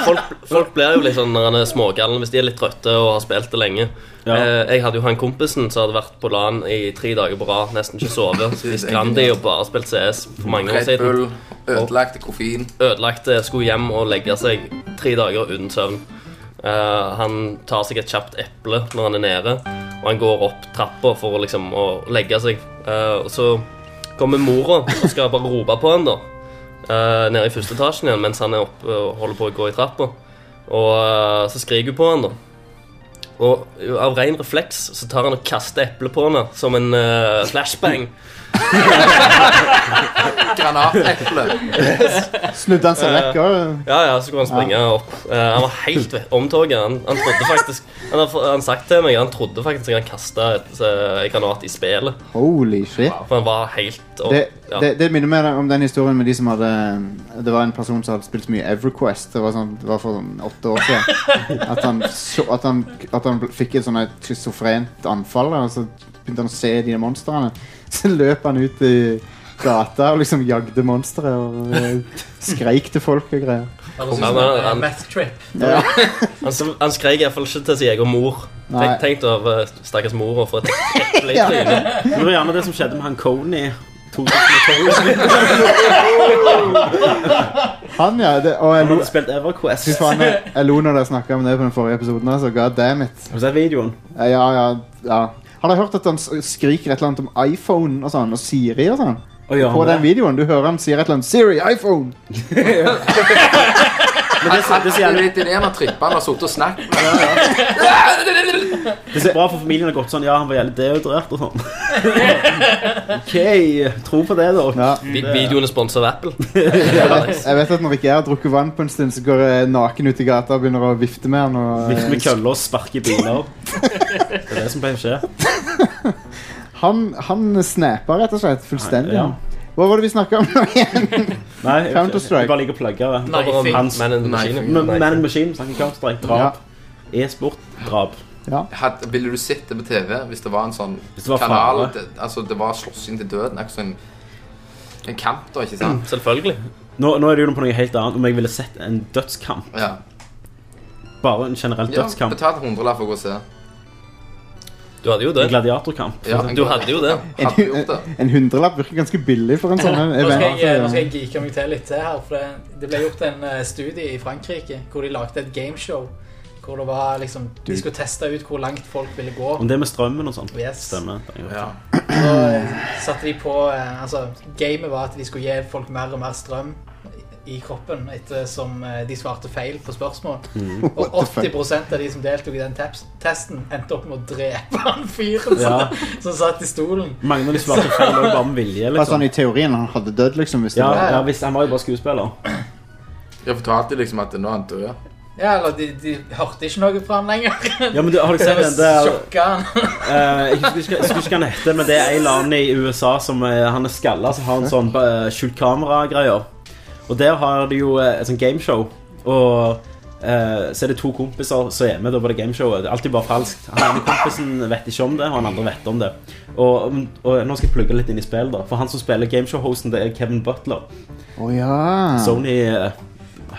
folk, folk blir jo litt sånn når han er smågallen hvis de er litt trøtte og har spilt det lenge. Ja. Eh, jeg hadde jo han kompisen som hadde vært på LAN i tre dager på rad, nesten ikke sovet. Spist Grandi og bare spilt CS for mange år Red siden. Bull, ødelagte koffein. Ødelagt det, skulle hjem og legge seg tre dager uten søvn. Eh, han tar seg et kjapt eple når han er nede, og han går opp trappa for å liksom å legge seg. Eh, og så kommer mora og skal bare rope på han da eh, nede i første etasjen igjen mens han er oppe og holder på å gå i trappa. Og eh, så skriker hun på han da. Og eh, av ren refleks så tar han og kaster eplet på henne som en eh, flashbang. Granateple. Snudde han seg vekk òg? Ja, ja, så kunne han springe opp. Eh, han var helt ved- omtoget. Han, han trodde faktisk han har, han sagt til meg Han trodde faktisk at han kasta en granat i spelet. Holy shit. For han var helt opp, Det, ja. det, det minner meg om den historien med de som hadde Det var en person som hadde spilt så mye Everquest. Det var, sånn, det var for sånn åtte år siden. At han, så, at han, at han bl- fikk et sånn et schizofrent anfall. da, Og så begynte han å se de monstrene. Så løp han ut i gata og liksom jagde monstre og eh, skreik til folk og greier. Eller Ja, sånn men eh, han- Meth Trip. Ja. Han, s- han skrek iallfall ikke til sin egen mor. Nei. Tenk, tenk deg av stakkars mora for et eple i trynet. Det var gjerne det som skjedde med han Coney. 2012. Han, ja. Det, Han og jeg lo, hadde spilt Everquest. fy faen, jeg, jeg lo når dere snakka om det på den forrige episoden. Altså, God damn it. Har du sett videoen? Ja, Eh, ja, ja. Har dere hørt at han s- skriker et eller annet om iPhone og sånn, og Siri og sånn? Å, gjør han På det? den videoen, Du hører han sier et eller annet 'Siri, iPhone'! Men det, det, det, det, Det er litt ideen av trippene har sittet og snakket med den. Det er så bra for familien har gått sånn Ja, han var jævlig deodorert og sånn Ok, tro på det da Ja. Vi, videoen er sponset av Apple. Jeg vet at når ikke jeg har drukket vann på en stund, så går jeg naken ut i gata og begynner å vifte med han. Og, Vift med køller og sparke i biler Det er det som pleier å skje han, han snapper rett og slett fullstendig. Nei, ja. han. Hva var det vi snakka om nå igjen? Nei, jeg, vet ikke. Counter-Strike. jeg bare liker å plugge det Nei, Bare om fint. Man in the Machine. Men- Man and Machine, snakker Counter-Strike, drap E-sport, drap Hadde, ville du sett det på TV hvis det var en sånn Hvis det var kanal fare. det, Altså det var slåssing til døden? Akkurat sånn en kamp, da, ikke sant? Selvfølgelig. nå, nå er det jo på noe helt annet Om jeg ville sett en dødskamp Ja. Bare en generell ja dødskamp Betal en hundrelapp for å gå og se. Du hadde jo En det. gladiatorkamp Ja, en Du hadde jo det. Hadde gjort det. En hundrelapp virker ganske billig for en sånn en Nå skal event. jeg, eh, nå skal jeg geeke meg til litt til her, for det, det ble gjort en eh, studie i Frankrike hvor de lagde et gameshow. Hvor det var liksom, De skulle teste ut hvor langt folk ville gå. Om det med strømmen og sånt Yes. Stemmer det er jo- Ja. Så eh, satte de på eh, altså, Gamet var at de skulle gi folk mer og mer strøm i kroppen ettersom eh, de svarte feil på spørsmål. Og What the fuck? 80 av de som deltok i den teps- testen, endte opp med å drepe han fyren Ja. som, som satt i stolen. Mange av de svarte feil og bare med vilje Bare sånn liksom i teorien, han hadde dødd, liksom. Hvis det ja, var. ja, hvis han var jo bare skuespiller Jeg fortalte liksom at nå er han død. Ja, eller de, de hørte ikke noe fra han lenger. Ja, men du, har du sett den der Sjokka han. eh, Jeg husker ikke- jeg husker ikke hva han heter, men det er en eller annen i USA som eh, han er skalla, som har en sånn eh, skjult kamera-greier. Og der har de jo eh, et sånt gameshow. Og eh, så er det to kompiser som er med da på det gameshowet. Det er alltid bare falskt. Han ene kompisen vet ikke om det, og han andre vet om det. Og, og nå skal jeg plugge litt inn i spillet, da. For han som spiller gameshow-hosten, det er Kevin Butler. Å ja. Sony eh,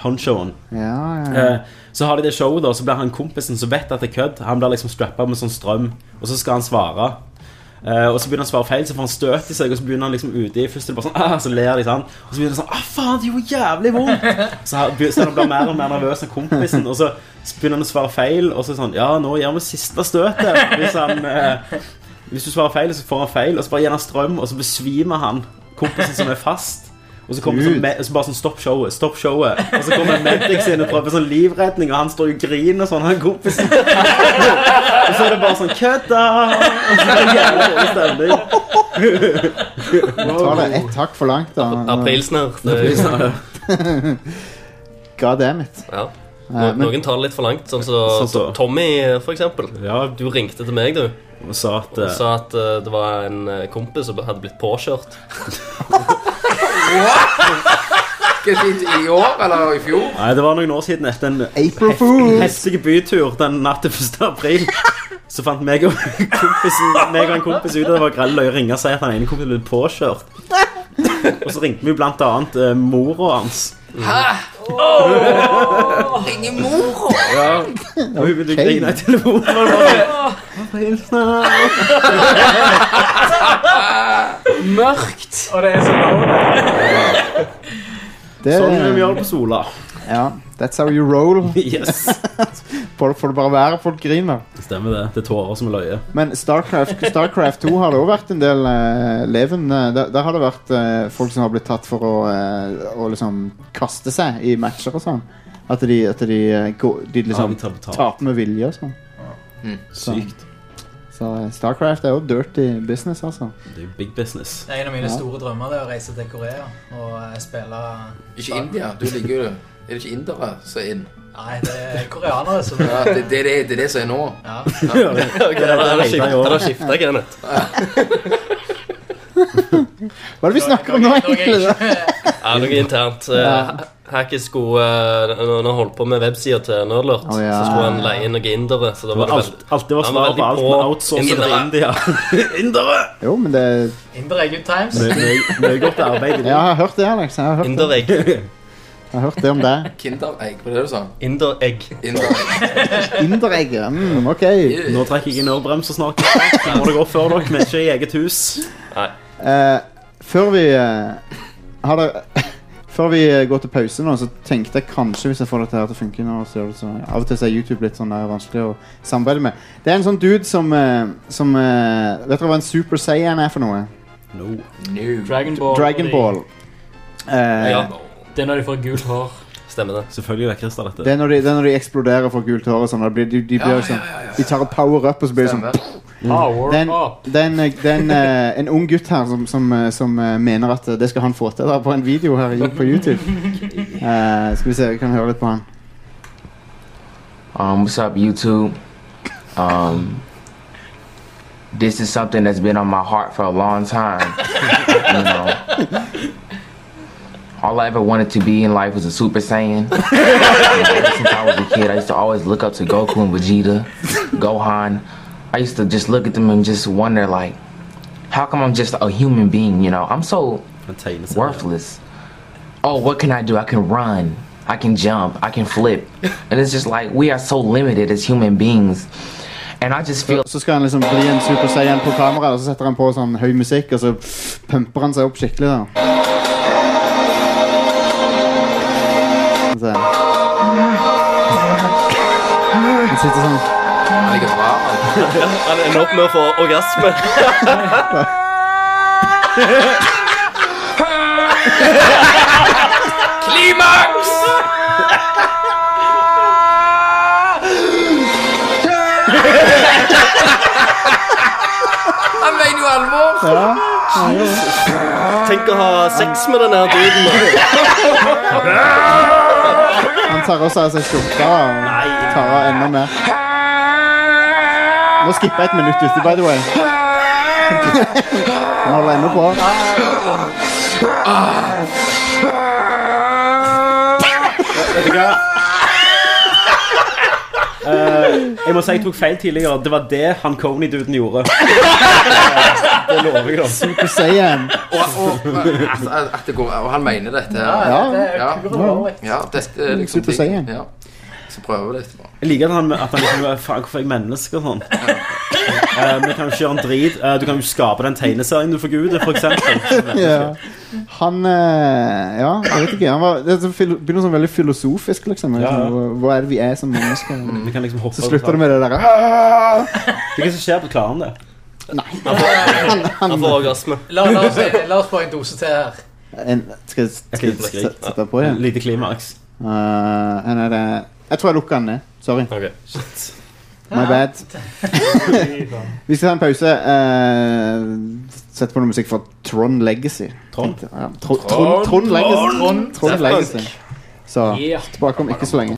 Honchoen. ja, ja, ja. Eh, Så har de det showet, da, så blir han kompisen som vet at det er kødd. Han blir liksom strappa med sånn strøm, og så skal han svare. Eh, og så begynner han å svare feil, så får han støt i seg, og så begynner han liksom ute i Først er det bare sånn, ah, så ler de sånn. Og så begynner han sånn ah, faen, det gjorde jævlig vondt! Så han be- så han blir mer og mer nervøs av kompisen, og så begynner han å svare feil, og så sånn Ja, nå gjør vi siste støtet. Hvis han eh, Hvis du svarer feil, så får han feil, og så bare gir han strøm, og så besvimer han kompisen som er fast. Og så kommer det sånn, Gud. me- så bare sånn Stopp showet, stopp showet. Og så kommer Medix inn og prøver sånn livredning, og han står jo og griner sånn, han kompisen. Og så er det bare sånn Kødda! Og så er det jævlig dårlig stemning. Ta det ett hakk for langt, da. Aprilsnarr. det er jo- God damn it. Ja. Eh, No- men- Noen tar det litt for langt, sånn som Sånn så- Tommy, for eksempel. Ja, Du ringte til meg, du, og sa at og eh, sa at eh, det var en eh, kompis som hadde blitt påkjørt. I år eller i fjor? Nei, det var noen år siden etter en April Fools! heftig bytur den natt til 1. april. Så fant meg og, kompisen, meg og en kompis ut at det var grell løye å ringe og si at han ene kompisen ble påkjørt. Og så ringte vi blant annet eh, mora hans. Ingen mor! Og hun ville grine i telefonen. Og det var sånn, «Hva for en snark?» Mørkt! Og det er så low. Det, Sånn vil vi gjøre det på Sola. ja, that's how you roll. Yes. Folk får det bare være, folk griner. Stemmer det. Det er tårer som er løye. Men Starcraft, Starcraft 2 har det òg vært en del eh, levende der, der har det vært eh, folk som har blitt tatt for å, eh, å liksom kaste seg i matcher og sånn. At de, at de, eh, går, de Ja, liksom vi tar betalt. taper med vilje og sånn. Sykt. Så eh, Starcraft er jo dirty business, altså. Det er jo big business. Det er en av mine Ja. store drømmer det er å reise til Korea og eh, spille Ikke India. Du liker jo det. Er det ikke indere som er inn? Nei, det er koreanere som Ja, det, det, det, det er det som er nå. ja. Okay, det det er har det jeg gjorde. skifta, Kenneth. Hva er det vi snakker om nå, Norge- Norge- egentlig? Ja, noe internt. Eh, Hacky skulle eh, Når han holdt på med websida til Nerdlurt, Å, ja. så skulle han leie inn noen indere. Så da var det Alt, veldig alt det var Han var svaret på veldig alt, på men outsourcet til India. Indere! Jo, men det Indre er good times. Mye- Mye mye godt arbeid i Ja, det. jeg har hørt det, Alex. Jeg har hørt, Inderegg. jeg har hørt det om deg. Kinderegg, var det det du sa? Inderegg. Inderegg. Inderegg, ja. Mm, OK. Nå trekker jeg i nødbremsa snart. Nå må det gå før dere, men ikke i eget hus. Eh, før vi eh, har det, Før vi eh, går til pause nå, så tenkte jeg kanskje hvis jeg får dette her til å funke nå, så gjør det sånn. Av og til så er YouTube litt sånn der, vanskelig å samarbeide med. Det er en sånn dude som, eh, som eh, Vet dere hva en Super Saiyan er for noe? No. New. Dragon Ball. Dragon Ball. Eh, Ja, Det er når de får gult hår. stemmer det. Selvfølgelig er Christer dette. det, er når de, det er når de eksploderer for gult hår og sånn. da blir De, de, blir sånn de tar og power up, og så blir det sånn Stemmer. Power Det er en- Ah, up. det er en, det er en, eh, en ung gutt her som, som, eh, som eh, mener at eh, det skal han få til da, på en video her i- på YouTube. Eh, skal vi se, vi kan høre litt på han. Um, what's up, YouTube? Um, this is something that's been on my heart for a long time. you know, all I ever wanted to be in life was a Super Saiyan. And ever since I was a kid, I used to always look up to Goku and Vegeta, Gohan. I used to just look at them and just wonder, like, how come I'm just a human being? You know, I'm so Han tegner seg. worthless. Oh, what can I do? I can run. I can jump. I can flip. And it's just like we are so limited as human beings. And I just feel Så skal han liksom bli en Super Saiyan på kamera, og så setter han på sånn høy musikk, og så pumper han seg opp skikkelig da. Så. Han sitter sånn Han ligger bra. Han ender opp med å få orgasme. Klimaks! Han mener jo alvor. Ja, Tenk å ha sex med den her duden. Han tar også av seg skjorta og tar av enda mer. Nå skipper jeg et minutt ute, by the way. Han holder ennå på. Vet du hva? Eh, jeg må si jeg tok feil tidligere. Det var det han Coney-duden gjorde. Eh, det lover jeg deg. Super Saiyan. Og, og, at, at det går, og han mener dette. her. Ja. Det er Ja. kul og rolig. Ja, dette er liksom Mm, Sitter og ting. sier. Ja. Så prøver vi litt. bare. Jeg liker at han, at han liksom er Faen, hvorfor er jeg menneske og sånn? Eh, men jeg kan jo ikke gjøre en drit. Eh, du kan jo skape den tegneserien du forguder, for eksempel. Ja. Han eh, Ja, jeg vet ikke. Han var, det er så fil- begynner sånn veldig filosofisk, liksom. Ja, ja. Hva- Hva er det vi er som mennesker? Vi kan liksom hoppe Så slutter det med det derre Det er Hva som skjer på klaren det? Han får orgasme. La, la, oss, la oss få en dose til her. En- Skal jeg skal jeg Ok, sette sette den på igjen? Lite klimaks. Eh, nei, nei, det- jeg tror jeg lukker den ned. Sorry. Ok. My bad. Vi skal ta en pause. eh, Sette på noe musikk fra Trond Legacy. Trond? Tenkte- Ja, Tro- Trond, Trond Legacy. Trond, Trond Legacy. Så Ja. tilbake om ikke så lenge.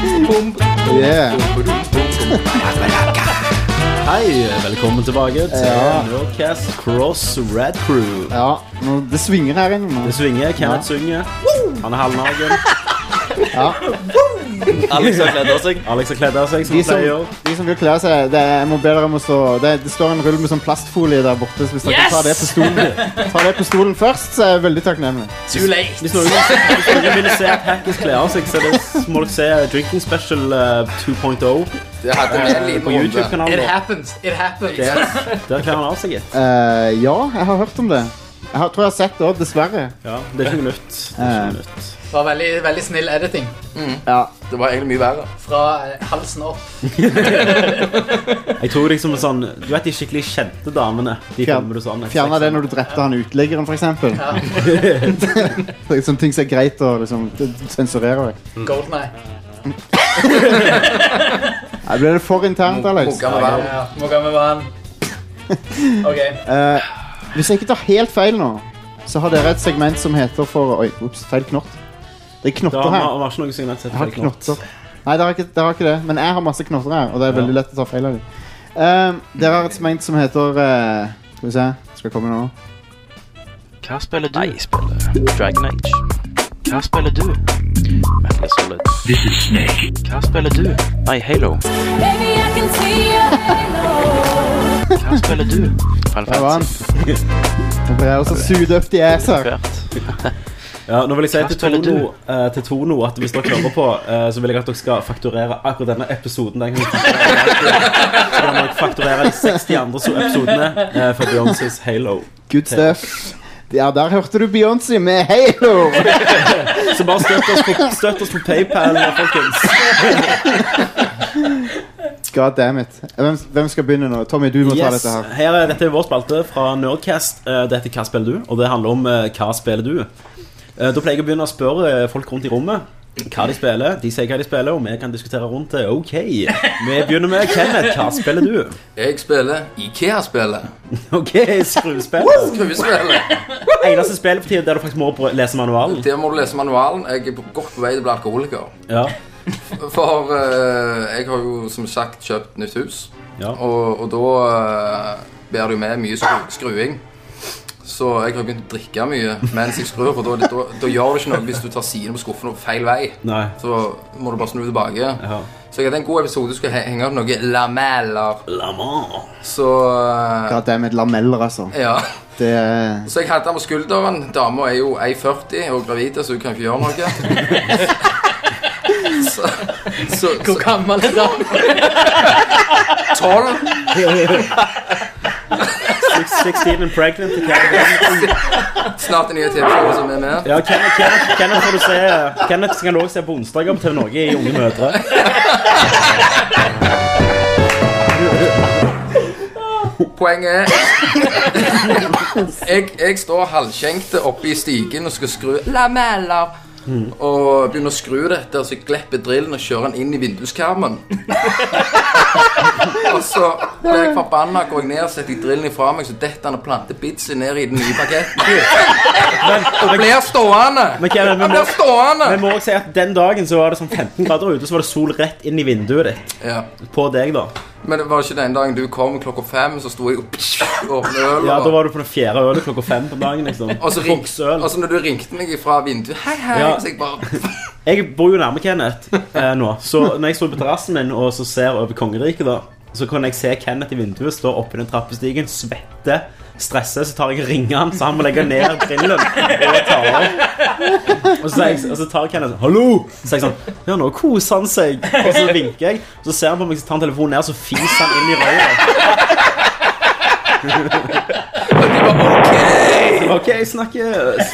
Yeah. Hei, velkommen tilbake til Nerdcast Cross Red Crew. Ja, nå, det svinger her inne. nå. Det svinger, Kenneth synger. Han er halvnaken. Alex har kledd av seg. Alex har kledd av seg, som De han som, pleier. de som vil kle seg, det, er- jeg må be dere om å stå det, det står en rull med sånn plastfolie der borte, så hvis dere tar det på stolen Tar det på stolen først, så er jeg veldig takknemlig. Too late. Hvis noen, hvis noen vil se at Hackers kler av seg, så er det- må dere se Drinking Special eh, 2.0 Det hadde vi en eh, på liten runde. YouTube-kanalen. It vår. happens. It happens. Der der kler han av seg. gitt. Eh, ja, jeg har hørt om det. Jeg har, tror jeg har sett det òg, dessverre. Ja, det er ikke noe nytt. Det er ikke noe nytt. Eh. Det var veldig, veldig snill editing. Ja. Det var egentlig mye verre. Fra eh, halsen opp. Jeg tror liksom sånn Du vet de skikkelig kjente damene? De Fjern- filmer du sånn. Fjerna det når du drepte han uteliggeren, f.eks. Ja. Sånne ting som er greit å liksom, sensurere. vekk. Golden eye. Nei, Ble det for internt, Alex? Munker med verden. Ja, må gå med vann. OK. Eh, hvis jeg ikke tar helt feil nå, så har dere et segment som heter for Oi, ups, feil knott. Det er Da knotter har her. vi- vi har ikke noe signal sett Jeg har feil knott. knotter. Nei, dere har, ikke, dere har ikke det. Men jeg har masse knotter her, og det er veldig lett å ta feil av dem. Eh, dere har et segment som heter eh, Skal vi se, skal jeg komme nå? Hva spiller du? Nei, jeg spiller Dragon Age. Hva spiller du? Metal Gear Solid. This is Snake. Hva spiller du? Nei, Halo. Hva spiller du? Final Der var han. Fantasy. Nå ble jeg også suget opp i ass her. Hvert. Ja, nå vil jeg si Hva til spiller Tono, eh, til Tono at hvis dere hører på, eh, så vil jeg at dere skal fakturere akkurat denne episoden. Den kan dere fakturere. så kan dere fakturere de 60 andre so- episodene eh, for Beyoncés Halo. Good stuff. Ja, der hørte du Beyoncé med Halo! Så bare støtt oss på, støtt oss på PayPal, folkens. God damn it. Hvem, hvem skal begynne nå? Tommy, du må ta Yes, dette her. er, dette er vår spalte fra Nerdcast. Eh, Det heter Hva spiller du? Og det handler om eh, hva spiller du? Eh, Da pleier jeg å begynne å spørre eh, folk rundt i rommet hva de spiller. De sier hva de spiller, og vi kan diskutere rundt det. Ok. Vi begynner med Kenneth. Hva spiller du? Jeg spiller Ikea-spillet. Ok, skruespill. Skruespillet. Eneste spillet for tiden der du faktisk må br- lese manualen. Der må du lese manualen. Jeg er på- godt på vei til å bli alkoholiker. Ja. For eh, jeg har jo som sagt kjøpt nytt hus. Ja. Og, og da eh, bærer det jo med mye skru skruing. Så jeg har begynt å drikke mye mens jeg skrur. Og da, da, da gjør det ikke noe hvis du tar siden på skuffen og feil vei. Nei. Så må du bare snu tilbake. Så jeg hadde en god episode. Du skulle he- henge opp noen lameller. Så eh, God damn it, lameller, altså. Ja. Det er Så jeg hadde han på skulderen. Dama er jo 1,40 og gravid, så hun kan ikke gjøre noe. så, så, Hvor gammel er dama? Tolv. 16 and pregnant. Snart en ny TV-show som er med. Ja, Kenneth, Kenneth, Kenneth, får du se, Kenneth skal også se på onsdager på TV Norge i Unge mødre. Poenget er jeg, jeg står halvskjenkte oppe i stigen og skal skru lameller. Og begynner å skru dette, og så glipper drillen og kjører den inn i vinduskarmen. og så blir jeg forbanna, går jeg ned og setter drillen ifra meg, så detter han og planter bitsen ned i den nye paketten. og blir stående. Men Kenneth, vi Han må, blir stående. vi må også si at den dagen så var det sånn 15 grader ute, så var det sol rett inn i vinduet ditt. Ja. På deg, da. Men det var ikke den dagen du kom klokka fem, så sto jeg og åpnet øl. Ja, og- Da var du på den fjerde ølet klokka fem på dagen. liksom Og så, Altså, ring, og så når du ringte meg fra vinduet Hei, hei, Ja. så jeg bare Jeg bor jo nærme Kenneth eh, nå, så når jeg står på terrassen min og så ser over kongeriket, da så kan jeg se Kenneth i vinduet stå oppe i den trappestigen, svette, stresse, så tar jeg og ringer han, så han må legge ned grillen. Og jeg tar opp. Og så, er jeg, og så tar Kenneth sånn, 'hallo', så er jeg sånn 'ja, nå koser han seg', og så vinker jeg, så ser han på meg, så tar han telefonen ned, og så fiser han inn i røret. OK, snakkes.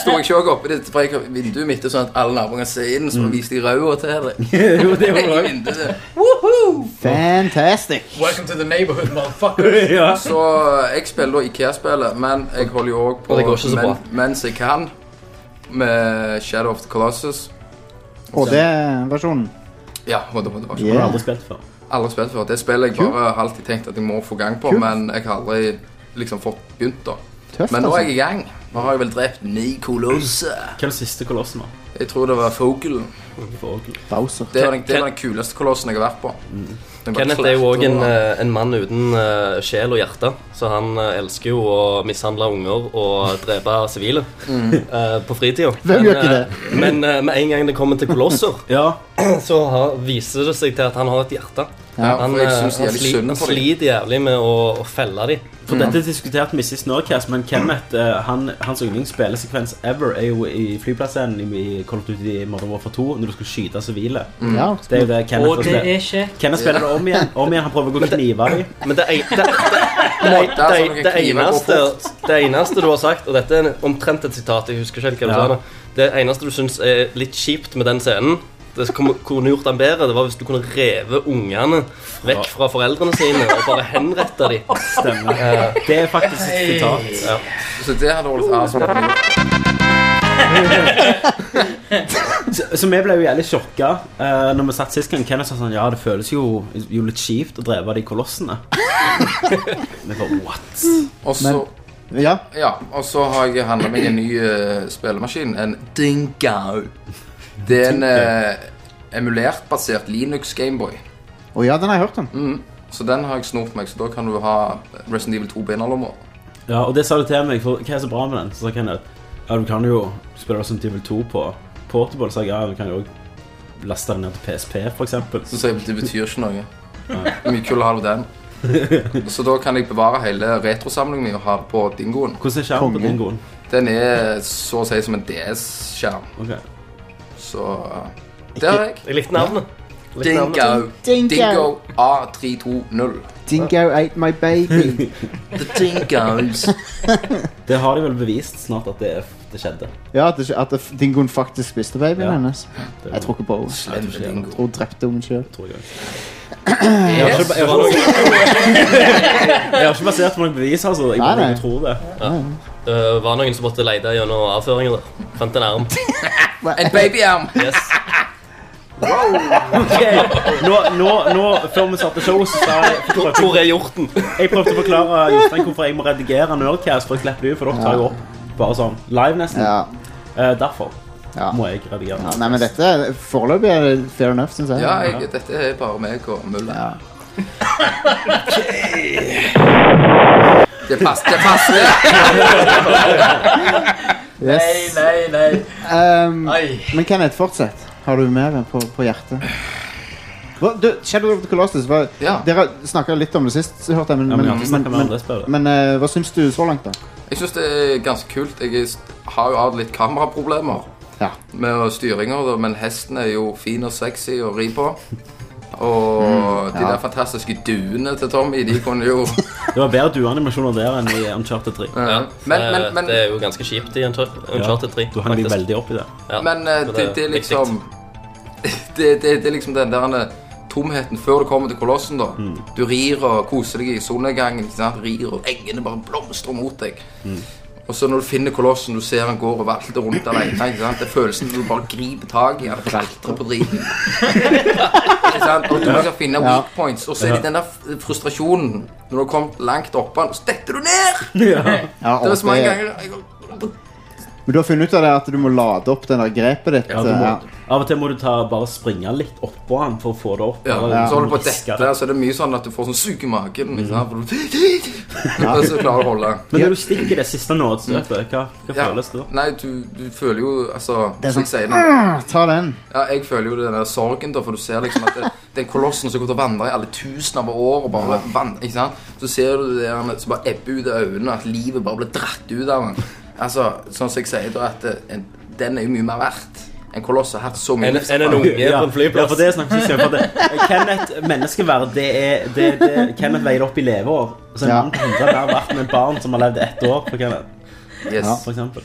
Sto jeg ikke også oppe i det fra jeg- vinduet mitt, sånn at alle naboene kan se inn, så Mm. viste de røda til deg? Jo, det gjorde I vinduet. fantastic. Welcome to the neighborhood, motherfucker. Så jeg spiller da Ikea-spillet, men jeg holder jo òg på Og det går ikke så bra. men, mens jeg kan, med Shadow of the Colossus. Og det er versjonen. Ja, og det, det var ikke Yeah. Har du aldri spilt før? Aldri spilt før. Det spiller jeg bare har alltid tenkt at jeg må få gang på, men jeg har aldri liksom fått begynt, da. Tøft, men nå er altså. jeg i gang. Nå har jeg vel drept ni kolosser. Hva er den siste kolossen, da? Jeg tror det var Fogelen. Bowser. Det var den, det var den kuleste kolossen jeg har vært på. Den bare Mm. Kenneth er jo òg klatrer en, og- eh, en mann uten eh, sjel og hjerte, så han eh, elsker jo å mishandle unger og drepe sivile Mm. eh, på fritida. Hvem Men, gjør ikke det? eh, Men eh, med en gang det kommer til kolosser, så har, viser det seg til at han har et hjerte. Ja, han for jeg eh, synes han jævlig sli- synd han på de. sliter jævlig med å, å felle dem. For dette diskuterte vi sist Nordcast, men Kenneth, eh, han, hans yndlingsspillesekvens ever er jo i flyplassen i Call of Duty Modern Warfare 2, når du skal skyte sivile. altså. Mm. Ja. Det er jo det Kenneth Og det spiller. er kjekt. Kenneth spiller det om igjen, om igjen, han prøver å gå kniver i. Men det, en- det, det, Måtte, det, altså, det, noen det, kniver går eneste, det eneste du har sagt, og dette er en- omtrent et sitat Jeg husker ikke helt hva du Ja. sa. nå. Det eneste du syns er litt kjipt med den scenen, det som kom- kunne gjort den bedre, det var hvis du kunne reve ungene vekk fra foreldrene sine og bare henrette dem. Stemmer. Det er faktisk et sitat. Ja. Så det hadde vært avspennende. Så, så vi ble jo jævlig sjokka uh, Når vi satt sist gang Kenneth sa sånn Ja, det føles jo, jo litt kjipt å dreve de kolossene Vi bare, what? Og så Ja. og så har jeg handla meg en ny eh, spillemaskin. En Dingao. Det er en eh, emulert-basert Linux Gameboy. Å ja, den har jeg hørt om. Mm. Så den har jeg snort meg, så da kan du ha Resident Evil 2 på innerlomma. Ja, og det sa du til meg For hva er så bra med den? Så sa Kenneth Ja, du kan jo spille Resident Evil 2 på Portable Så sa jeg, ja, du kan jo også Laste den ned til PSP for eksempel Så sier jeg, det betyr ikke noe. Mye kult å ha den. Så da kan jeg bevare hele retrosamlingen min og ha det på dingoen. Hvordan er skjermen på Konge. dingoen? Den er så å si som en DS-skjerm. Så Det har jeg. Jeg likte navnet. Likte Dingo. navnet. Dingo. Dingo A320. Dingo ate my baby. The dingoes. Det har de vel bevist snart at det, er- det skjedde. Ja, at, det, at det- dingoen faktisk spiste babyen hennes. Jeg tror ikke på henne. Slem Jeg tror dingo. ikke- Hun drepte ungen sjøl. Jeg har ikke, jeg har ikke, jeg har ikke basert på noen bevis, altså. Jeg Nei, bare nei. tror det. Ja. Det Eh, var noen som måtte lete gjennom avføringer der. Fant en arm. En babyarm. Yes. Nå, nå, nå, før vi satte show, så sa jeg Hvor er hjorten? Jeg prøvde å forklare Jostein hvorfor jeg må redigere Nerdcast for å klippe det ut, for dere tar jo opp bare sånn live, nesten. Eh, derfor må jeg redigere. Ja, nei, men dette Foreløpig er det fair enough, syns jeg. Ja, jeg, dette er bare meg og mulla. Det passer. Det passer. Yes. Nei, nei, nei. Ehm, Ai. men Kenneth, fortsett. Har du mer på, på hjertet? Hva- Du, Shadow of the Colossus var, Dere snakka litt om det sist, hørte jeg. Men, Ja, Mm, men jeg har men, ikke men, snakket med andre, spør du. men, eh, hva syns du så langt, da? Jeg syns det er ganske kult. Jeg er- har jo hatt litt kameraproblemer Ja. med styringer, da, men hesten er jo fin og sexy å ri på. Og Mm, de ja. der fantastiske duene til Tommy, de kunne jo Det var bedre dueanimasjoner der enn i Uncharted 3. Men- men- men- Eh, Det er jo ganske kjipt i Unchar- Uncharted 3. Du hang de faktisk. veldig opp i det. Ja, Men eh, men det, det er viktig. liksom det, det, det er liksom den der eh, tomheten før du kommer til kolossen, da. Du rir og koser deg i solnedgangen. ikke sant? Rir, og engene bare blomstrer mot deg. Og så når du finner kolossen, du ser han går og valter rundt alene. Ikke sant? Det er følelsen du bare griper tak i han og klatrer på driten. Ikke sant? Og du Ja. skal Ja. finne weak points, og så er det Ja. den der f- frustrasjonen når du har kommet langt oppe, så detter du ned! Ja, det var så mange og det- ganger jeg- Men du har funnet ut av det at du må lade opp den der grepet ditt? Ja, du eh, må, ja. Av og til må du ta, bare springe litt oppå han for å få det opp. Ja, Bare Så holder du på å riske dette, så er det mye sånn at du får sånn sug i Mm. magen. Ikke sant? For du- Og så klarer du å holde. Men når du stikker det siste nådestøtet, hva, hva Mm. Ja. føles det da? Nei, du, du føler jo Altså, Det er som jeg sier nå sånn Ta den. ja, Jeg føler jo den der sorgen, da, for du ser liksom at det, den kolossen som går til å vandre i alle tusen av år og bare vandre, ikke sant? Så ser du det der som bare ebber ut av øynene, at livet bare blir dratt ut av den. Altså, sånn som jeg sier da, at eh, en, den er jo mye mer verdt. En koloss har hatt så mye Enn- enn en unge på en flyplass. Ja, for det snakker vi ikke om. for det- Kenneth, menneskeverd, det er det, det, Kenneth veier det opp i leveår. Så en Ja. mann på 100 er mer verdt enn et barn som har levd ett år på Kenneth. Yes. Ja, for eksempel.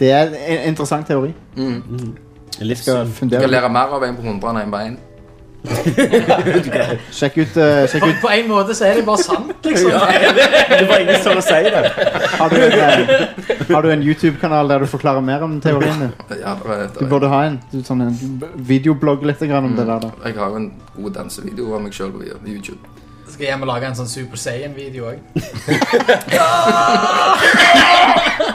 Det er en interessant teori. Mm. Jeg skal Du fundere kan lære mer av en på 100 enn en på en. Sjekk ut, eh, sjekk På, ut på en måte så er det bare sant, liksom. Det var ingen som sa det. Har du en, eh, har du en YouTube-kanal der du forklarer mer om teorien din? Ja, det er- Du burde ha en, du, sånn en videoblogg litt grann om det der. da Jeg har jo en god dansevideo av meg sjøl på YouTube. Skal hjem og lage en sånn Super Saiyan-video òg.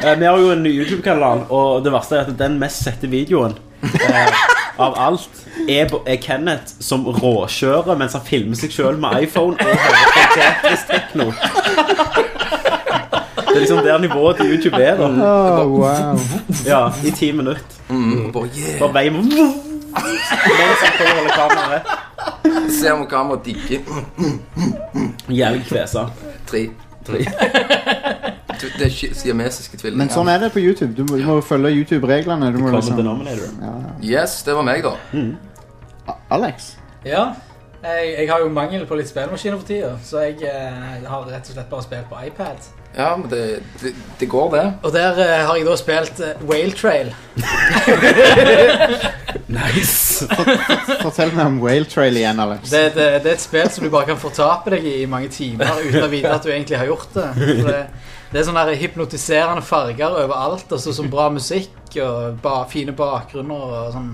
Eh, Vi har jo en ny YouTube-kanal, og det verste er at den mest sette videoen eh, av alt er, på- er Kenneth som råkjører mens han filmer seg sjøl med iPhone og hører på Tetris Techno. Det er liksom der nivået til YouTube er. da Åh, wow. Ja, I ti minutter. Bare, yeah. Bare veien Mens han holder kameraet. Ser om kameraet digger. Jævlig kvesa. Tre. Tre. Du, Det er ki- siamesiske tvillinger. Men sånn er det på YouTube. Du må, du må følge YouTube-reglene. Du må Common liksom denominator. ja. Yes, det var meg, da. Alex? Ja. Jeg, jeg har jo mangel på litt spillmaskiner for tida, så jeg eh, har rett og slett bare spilt på iPad. Ja, men det, det, det går, det. Og der eh, har jeg da spilt eh, Whale Trail. Nice. Fortell meg om Whale Trail igjen, Alex. Det, det, det er et spill som du bare kan fortape deg i i mange timer uten å vite at du egentlig har gjort det. For det, det er sånne her hypnotiserende farger overalt, og så sånn bra musikk og ba, fine bakgrunner og sånn.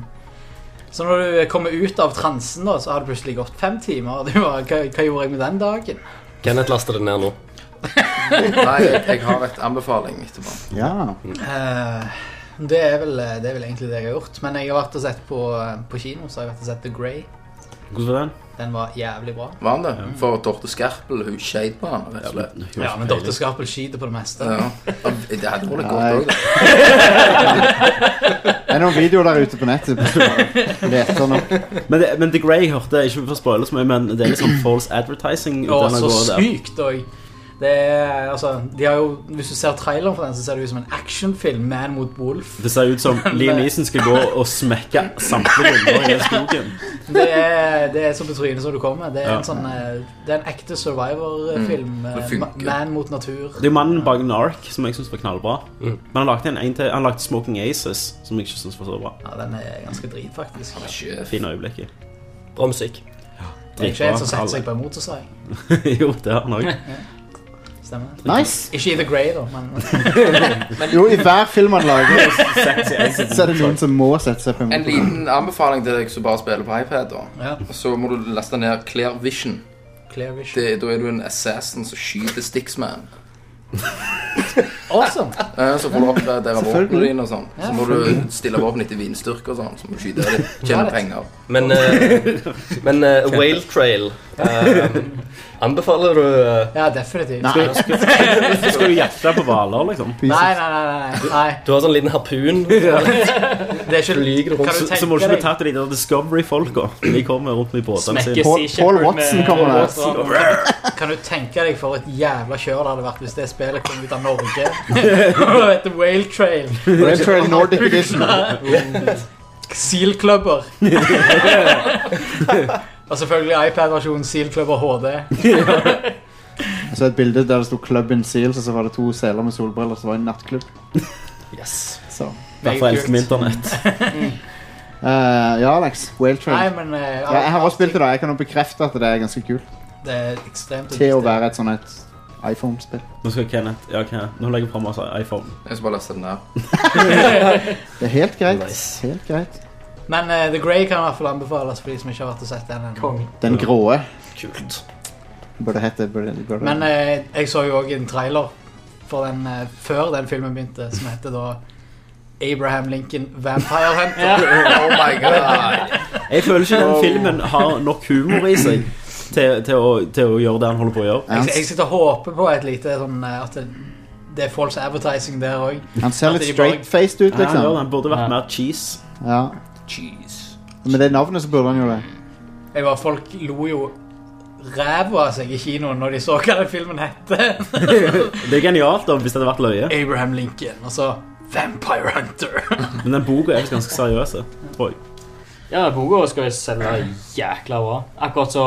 Så når du kommer ut av transen, da, så har det plutselig gått fem timer. og Du bare, hva, hva gjorde jeg med den dagen? Kenneth laster det ned nå. Nei, jeg, jeg har et anbefaling etterpå. Ja. Eh, det, er vel, eh, det er vel egentlig det jeg har gjort. Men jeg har vært og sett på, eh, på kino, så har jeg vært og sett The Grey. Hvordan var den? Den var jævlig bra. Var han det? For Dorte Skerpel, hun skeit på han, rett og slett. Ja, men Dr. Skarpel skyter på det meste. Ja. Det hadde vært godt Nei. òg, da. Det er noen videoer der ute på nettet. hvis du bare Leter nok. Men, det, men The Grey hørte jeg ikke for å spoile så mye, men det er liksom false advertising. Og uten å så gå der. sykt òg. Det er, altså, de har jo, hvis du ser traileren for den, så ser det ut som en actionfilm. Man mot wolf. Det ser ut som eh, Liam Neeson skal gå og smekke samtlige runder i hele skogen. Det er, det er så betryggende som du kommer. Det er, Ja. en, sånn, eh, det er en ekte survivor-film. Mm. Det eh, ma- funker. Man mot natur. Det er jo mannen bak Nark, som jeg syns var knallbra. Men han lagde en, en til. Han lagde Smoking Aces, som jeg ikke syns var så bra. Ja, den er ganske drit, faktisk. Fin øyeblikk i. Bra musikk. Det er ikke en som setter seg på en motorsag. jo, det har han òg. Stemmer. Nice. Ikke i The Grey, da, men Jo, i hver film han lager, Sexy. så er det noen som må sette seg på en En motorsag. liten anbefaling til deg som bare spiller på iPad. da Så må du laste ned Clear Vision. Clear Vision. Det, da er du en assassin som skyter Sticksman. Awesome! Eh, Så får du oppgradere våpnene Selvfølgelig. dine og sånn. Ja, Så må du selvfølgelig. stille våpen etter vinstyrke og sånn. Så må du skyte dem. Tjene penger. Men, eh, men eh, Whale Trail eh, Anbefaler du eh, Ja, definitivt. Skal- Nei. skal du jakte på hvaler, liksom? Nei, nei, nei. nei, nei. Du har sånn liten harpun. Det er ikke Flyger rundt. Så, så må du ikke bli tatt av de der Discovery-folka. De kommer rundt med båtene sine. Smekker Paul- Sea Paul Shepherd Watson med- kommer der. Watson. Kan du tenke deg for et jævla kjør det hadde vært hvis det spillet kom ut av Norge? Og heter Whale Trail. Whale Trail Nordic Edition. Nei. Seal Clubber. Og selvfølgelig iPad-versjonen Seal Clubber HD. Jeg så et bilde der det sto 'Club in Seals', og så var det to seler med solbriller som var det en nattklubb. Yes. Så. Derfor elsker vi internett. Eh, ja, Alex. Whale Trail. Nei, men, eh, ja, jeg har også spilt det. da Jeg kan jo bekrefte at det er ganske kult. Det er ekstremt Til å være et sånn et iPhone-spill. Nå skal Kenneth Ja, Kenneth. Nå legger jeg fram altså iPhone. Jeg skal bare laste den ned. Det er helt greit. Helt greit. Men eh, The Grey kan i hvert fall anbefales for de som ikke har vært og sett den ennå. Den gråe. Kult. Mm. Burde hete burde, burde. Men eh, jeg så jo òg en trailer for den, eh, før den filmen begynte, som heter da Abraham Lincoln Vampire Hunter. Oh my god. Jeg føler ikke den Oh. filmen har nok humor i seg til, til, å, til å gjøre det han holder på å gjøre. Jeg, jeg sitter og håper på et lite sånn eh, at det, det er false advertising der òg. Han ser litt straight-faced ut, Ja, han liksom. gjør det. Han burde vært mer cheese. Ja. Cheese. Med det navnet så burde han jo det. Jeg var, folk lo jo ræva av seg i kinoen når de så hva den filmen het. Det er genialt da, hvis det hadde vært løye. Abraham Lincoln, og så Vampire Hunter. Men den boka er visst ganske seriøs, tror jeg. Ja, boka skal jeg selge jækla bra. Akkurat så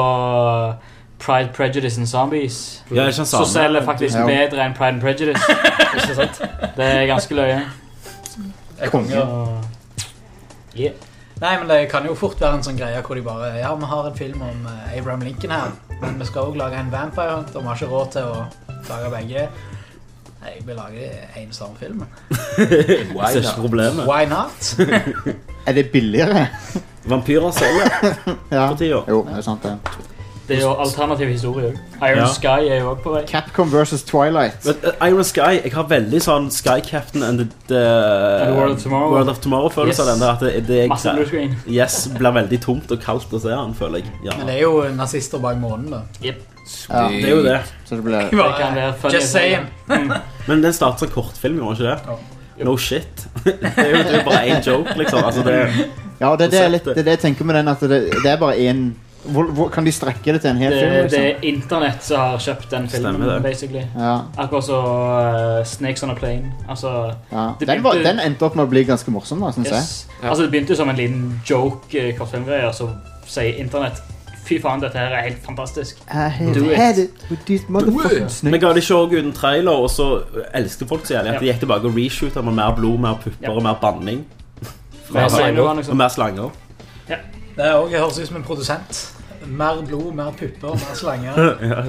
Pride, Prejudice and Zombies Ja, ikke sant, Så samme. selger faktisk Ja. bedre enn Pride and Prejudice. ikke sant? Det er ganske løye. Yeah. Nei, men det kan jo fort være en sånn greie hvor de bare Ja, vi har en film om eh, Abraham Lincoln her, men vi skal òg lage en Vampire Hunter. Vi har ikke råd til å lage begge. Nei, jeg vil lage én samme sånn film. Why Ser ikke not? problemet. Why not? Er det billigere? Vampyrer selger ja. for tida. Jo, det er sant, det. Det er jo alternativ historie òg. Iron Ja. Sky er jo òg på vei. Capcom versus Twilight. Men, eh, Iron Sky Jeg har veldig sånn Sky Captain and the, the And the World of Tomorrow. World of Tomorrow-følelse av Yes. den der. At det, det jeg, Masse blue screen. Yes, blir veldig tomt og kaldt å se den, føler jeg. Ja. Men det er jo nazister bak månen, da. Ja, det er jo det. Så det Bare- Just saying. Men den starter som kortfilm, gjorde den ikke det? No shit. det er jo, det er jo bare én joke, liksom. Altså, det er Ja, og det, er det, jeg litt, det er det jeg tenker med den, at det, det er bare én hvor, hvor, Kan de strekke det til en hel Det, film? det er Liksom? internett som har kjøpt den filmen, Stemmer det. basically. Ja. Akkurat så eh, Snakes on a Plane. Altså, Ja. det Den, var, begynte- den endte opp med å bli ganske morsom, da, syns Yes. jeg. Altså Det begynte jo som en liten joke, eh, kortfilmgreier, så sier internett Fy faen, dette her er helt fantastisk. I have Do it. had it with these motherfucking Men ga de ikke også ut en trailer, og så elsket folk så jævlig at de Ja. gikk tilbake og reshoota med mer blod, mer pupper og mer banning. Mer slanger, liksom. Og mer slanger. Det er også, jeg høres ut som en produsent. Mer blod, mer pupper, mer Ja, slanger.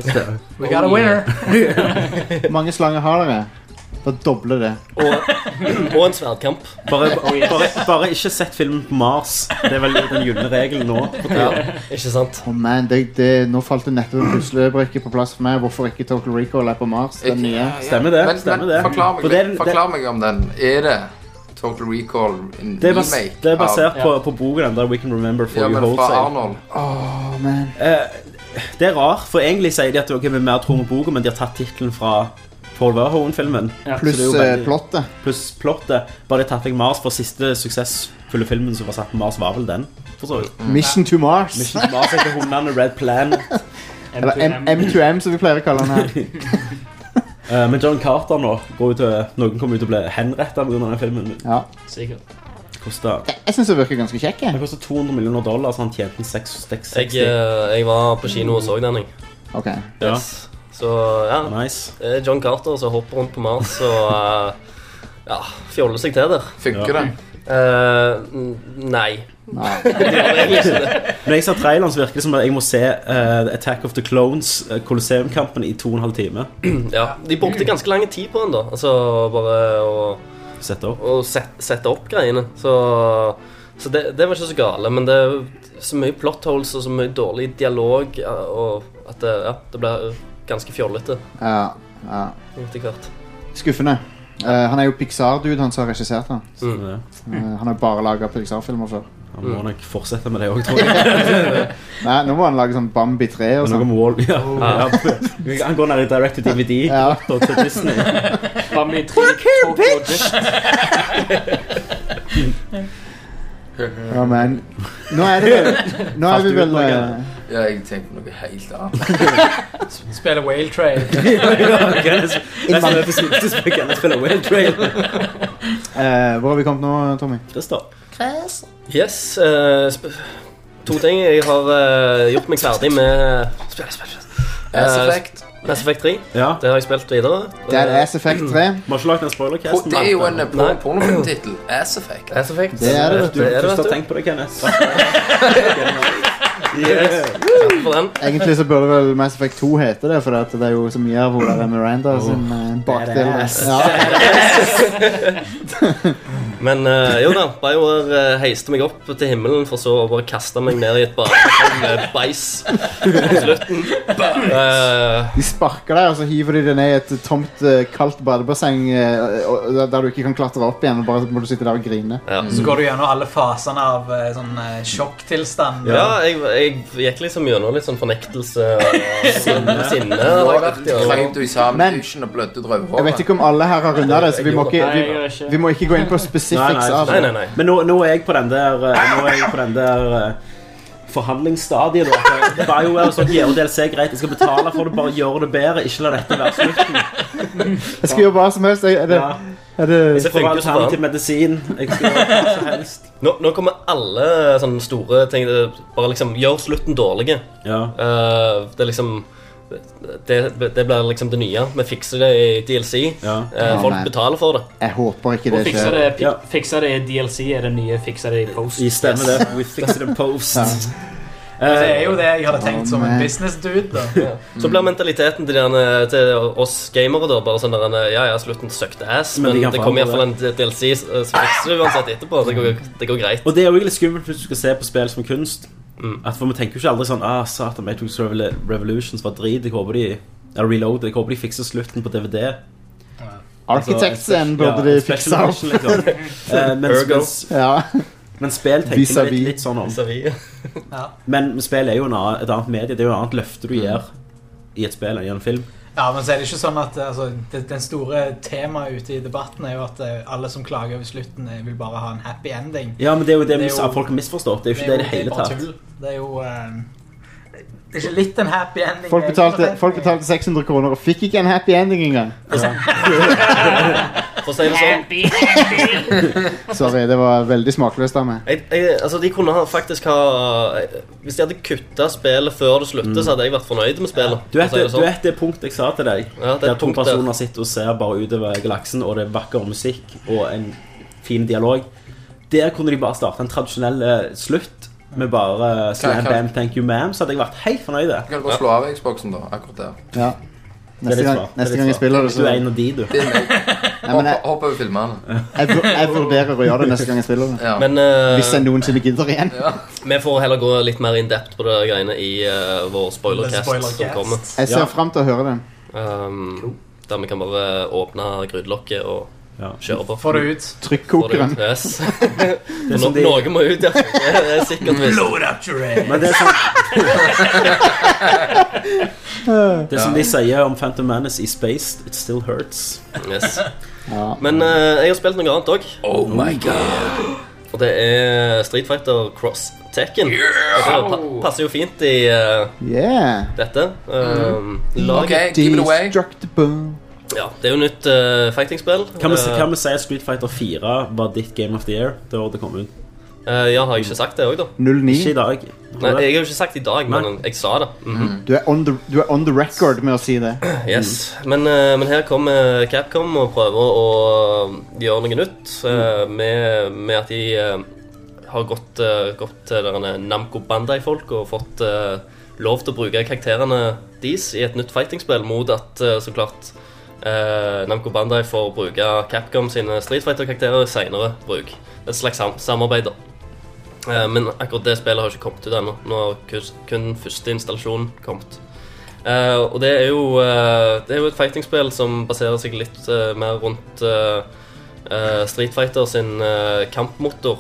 så- We got a winner. Hvor mange slanger har dere? Da dobler det. Og en sverdkamp. Bare, Oh, bare, bare ikke sett filmen på Mars. Det er vel den gylne regelen nå. for tiden. Ikke sant? Å, man, det, det, nå falt det nettopp en puslebrikke på plass for meg. Hvorfor ikke Total Recall er på Mars? Den nye. Ja, ja. Men, men, Forklar meg, For det er- litt- forklar meg om den. Er det Total Recall en Det er, bas remake? det er basert av- på, på boken den der We Can Remember For Ja, You men Hold fra Sale. Arnold. Åh, man. Eh, det er rart, for egentlig sier de at ok, vi er mer tro med boka, men de har tatt tittelen fra Paul Verhoeven-filmen. Ja. Så det er jo Pluss, eh, veldig- plottet. Pluss plottet. Bare de har tatt vekk Mars, for siste suksessfulle filmen som var satt på Mars, var vel den. For så vidt. Mission to Mars. Mission to Mars heter hundene Red Planet. Eller M- M2M, som vi pleier å kalle den her. Eh, men John Carter nå går ut til, Noen kommer ut og blir henrettet på grunn av den filmen. Ja. Sikkert. Koster, Jeg syns det virker ganske kjekk. det koster 200 millioner dollar, så han tjente 660. Jeg, eh, jeg var på kino og så den, jeg. Ok. Ja. Yes. Så ja. Nice. det er John Carter som hopper rundt på Mars og eh, ja, fjoller seg til der. Funker Ja. det? Eh, n- nei. Det gjør egentlig ikke det. Når jeg ser traileren, så virker det som at jeg må se eh, The Attack of the Clones, uh, Colosseum-kampen, i to og en halv time. Ja, de brukte ganske lang tid på den, da. Altså bare å Sette opp. å set, sette opp greiene. Så, så det, det var ikke så gale. Men det er så mye plot holes og så mye dårlig dialog ja, og at det, ja, det blir ganske fjollete Ja, ja. etter hvert. Skuffende. Eh, han er jo Pixar-dude, han som har regissert den. Mm. Eh, han har bare laga Pixar-filmer før. Han må nok fortsette med det òg, tror jeg. Nei, nå må han lage sånn Bambi 3 og altså. Men noe sånn. med Wall ja. ja. Han går ned i direct to DVD og til Disney. Bambi 3, Tokyo Ja, men Nå er det vel Nå er vi vel eh, Ja, jeg tenkte på noe helt annet. Spiller Whale Trail. eh, Hvor har vi kommet nå, Tommy? Christer. Yes. eh, sp to ting. Jeg har eh, gjort meg ferdig med Spill, spill, spill. Mass Eh, Effect. Mass Effect 3. Ja. Det har jeg spilt videre. Det Eh. er Ass Effect Vi 3. har ikke lagt en spoilercast. Det er jo en eh, Nei. porno- pornofilmtittel. Ass Effect. Ass Eh, Effect. Det er det, vet du. er Først vet har du. tenkt på det, Kenneth. Yes. Takk for den. Egentlig så burde vel Mass Effect 2 hete det, for at det er jo så mye av hun der Miranda sin eh, bakdel. Badass. Men eh, jo da, Bioware eh, heiste meg opp til himmelen for så å bare kaste meg ned i et badekar med beis på slutten. Eh, De sparker deg, og så hiver de deg ned i et tomt, eh, kaldt badebasseng eh, og- og- der du ikke kan klatre opp igjen, og bare må du sitte der og grine. Så går du gjennom alle fasene av eh, sånn eh, sjokktilstand. ja, jeg, jeg gikk liksom gjennom litt sånn fornektelse og sinne. Du sinne har og alt, vært ja. klemt i sammen og blødde Jeg drøvhåret. vet ikke om alle her har runda det, så vi må ikke, Nei, jeg gjør vi, ikke. vi må ikke gå inn på specifics av Nei, det. nei, nei. Men nå, nå er jeg på den der eh, Nå er jeg på den der eh, forhandlingsstadiet. da. For BioWare og sånn gjør DLC greit. Jeg skal betale for det, bare gjør det bedre. Ikke la dette være slutten. Jeg skal gjøre hva som helst. jeg- Er det, er Det det For funker så bra. alternativ medisin. Jeg skal gjøre hva som helst. Nå, nå kommer alle sånne store ting det- Bare liksom gjør slutten dårlig. Ja. Eh, det er liksom det, det blir liksom det nye. Vi fikser det i DLC. Eh, Ja, folk nei. betaler for det. Jeg håper ikke det Fiksa skjer. det, pi- fiksa det i DLC er det nye fiksa det i post. Vi stemmer det. We fixed it in post. Eh, Det er jo det jeg hadde tenkt som en man. business dude. da. Mm. Så blir mentaliteten til, derne, til oss gamere da bare sånn der Ja, ja, slutten søkte ass, Men men, de kan det kommer forandre iallfall en DLC, s- så fikser du uansett etterpå. Det går, det går greit. Mm. Og det er jo egentlig skummelt hvis du skal se på spill som kunst. At for Vi tenker jo ikke aldri sånn ah, Satan, Matrix Revol- Revolutions var drit. Jeg håper de eller Reload, jeg håper de fikser slutten på DVD. Altså, Architects-en burde Altså, ja, de special fikse opp. edition, liksom. Eh, mens, Ergo. mens, Ja. men spill tenker vi Vis-a-vis. litt, litt sånn om. Vis-a-vis. Men spill er jo en annen, et annet medie. Det er jo et annet løfte du gir i et spill enn i en film. Ja, men så er det ikke sånn at eh, altså, det, Den store temaet ute i debatten er jo at eh, alle som klager over slutten, eh, vil bare ha en happy ending. Ja, men det er jo det, Det er jo- som folk har misforstått. Det er jo ikke det i det hele bare tatt. tull. Det er jo eh, Det er ikke litt en happy ending. Folk det er betalte, ikke sånn- folk betalte 600 kroner og fikk ikke en happy ending engang. For å si det sånn. Sorry, det var veldig smakløst av meg. Jeg, jeg, altså, de kunne ha, faktisk ha eh, Hvis de hadde kutta spillet før det slutter, så hadde jeg vært fornøyd med spillet. Mm. Du vet, det, for å si det du sånn. vet det punktet jeg sa til deg? Ja, det er der et to punkt der. personer sitter og ser bare utover galaksen, og det er vakker musikk og en fin dialog. Der kunne de bare starte en tradisjonell eh, slutt med bare eh, Kan- slam kan- bam, thank you ma'am, så hadde jeg vært helt fornøyd. Du kan bare slå av Xboxen, da. Akkurat der. Ja. Det er Neste litt gang, smart. Det er neste litt gang jeg smart. spiller det, Du er en så av de, du. Det er meg. men jeg- Hopp- Hopp over filmene. jeg, vur- jeg vurderer å gjøre det neste gang jeg spiller det. Ja. Men eh, Hvis jeg noensinne gidder igjen. vi får heller gå litt mer in depth på de greiene i eh, vår spoilercast spoilercast. som kommer. Jeg ser fram til å høre det. Um, Der vi kan bare åpne grytelokket og kjøre på. Få det ut. Trykkokeren. Få det ut, Yes. er For som no de- Noe må ut, ja. Det er sikkert visst. Blow it up your ass. Men det er sånn Det som de sier om Phantom Menace i Space, it still hurts. Yes. Men eh, jeg har spilt noe annet òg. Oh my god. Og det er Street Fighter Cross Tekken. Og Det pa passer jo fint i eh, Yeah. dette. Um, Mm. lag- Ok, give it away. Destructible. Ja, det er jo nytt eh, fighting-spill. Kan vi, Eh, kan vi si at Street Fighter 4 var ditt Game of the Year det året det kom ut? eh, ja, har jeg ikke sagt det òg, da? 09. Ikke i dag. Nei, jeg har jo ikke sagt i dag, men jeg sa det. Mhm. Du er, on the, du er on the record med å si det. Yes, men, eh, men her kommer Capcom og prøver å gjøre noe nytt eh, med, med at de eh, har gått, eh, gått til derne Namco Bandai-folk og fått eh, lov til å bruke karakterene deres i et nytt fighting-spill mot at eh, så klart eh, Namco Bandai får bruke Capcom sine Street Fighter-karakterer senere bruk. Et slags sam samarbeid, da. Eh, Men akkurat det spillet har ikke kommet ut ennå. Nå har kus- kun første installasjon kommet. Eh, og det er jo, eh, det er jo et fightingspill som baserer seg litt eh, mer rundt eh, eh, Street Fighter sin eh, kampmotor.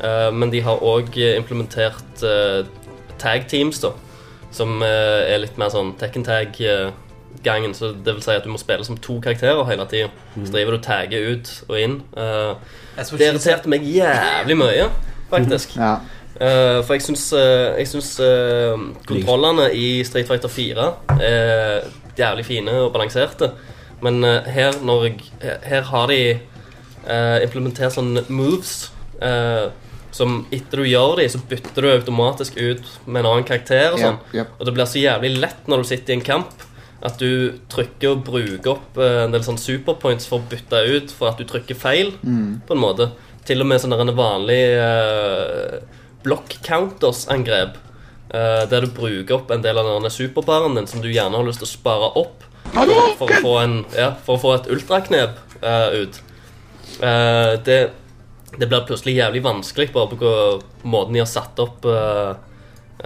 Eh, men de har òg implementert eh, tag teams, da. Som eh, er litt mer sånn tekken tag-gangen. Så det vil si at du må spille som to karakterer hele tida. Mm. Så driver du og tagger ut og inn. Eh, Jeg så det ikke- irriterte meg jævlig mye, faktisk. Ja. Eh, for jeg syns, eh, jeg syns eh, kontrollene i Street Fighter 4 er jævlig fine og balanserte. Men eh, her, når jeg, her- her har de eh, implementert sånne moves eh, som etter du gjør de, så bytter du automatisk ut med en annen karakter. Og sånn. Yep, yep. Og det blir så jævlig lett når du sitter i en kamp at du trykker og bruker opp eh, en del sånn superpoints for å bytte ut for at du trykker feil, Mm. på en måte. Til og med sånne der vanlige eh, block counters-angrep. eh, der du bruker opp en del av denne superbaren din som du gjerne har lyst til å spare opp for, for, å, få en, ja, for å få et ultraknep eh, ut. Eh, det, det blir plutselig jævlig vanskelig bare på hva- måten de har satt opp eh,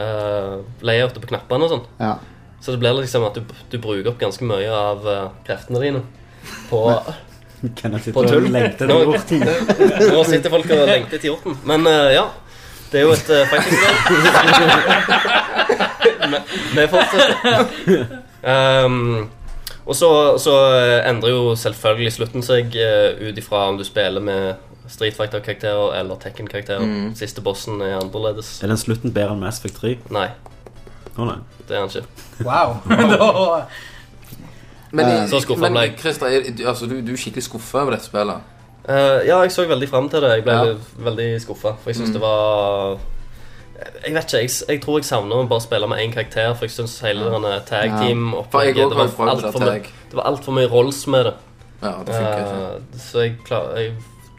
eh, layoutet på knappene og sånn. Ja. Så det blir liksom at du, du bruker opp ganske mye av eh, kreftene dine på, Kan jeg sitte på og tull. lengte Nå- til Morten? Nå sitter folk og lengter til hjorten. Men eh, ja, det er jo et uh, Vi fortsetter. Um, altså. og så, så endrer jo selvfølgelig slutten seg uh, ut ifra om du spiller med Street Fighter-karakterer eller Tekken-karakterer. Mm. Siste bossen er annerledes. Er den slutten bedre enn Mass Effect 3? Nei, Å nei. det er han ikke. Wow. Da- Men, Eh, så skuffet men ble jeg. Christer, er, du- altså, du, du er skikkelig skuffa over dette spillet. Eh, ja, jeg så veldig fram til det. Jeg ble Ja. veldig skuffa. For jeg syns Mm. det var Jeg vet ikke. Jeg, s- jeg tror jeg savner å bare spille med én karakter. For jeg syns hele Ja. denne tag Ja. For jeg team-opplegget også Det var var jo prøvd altfor det mye, tag. det var alt for mye rolls med det. Ja, det funker ikke. Eh, så jeg klarer jeg,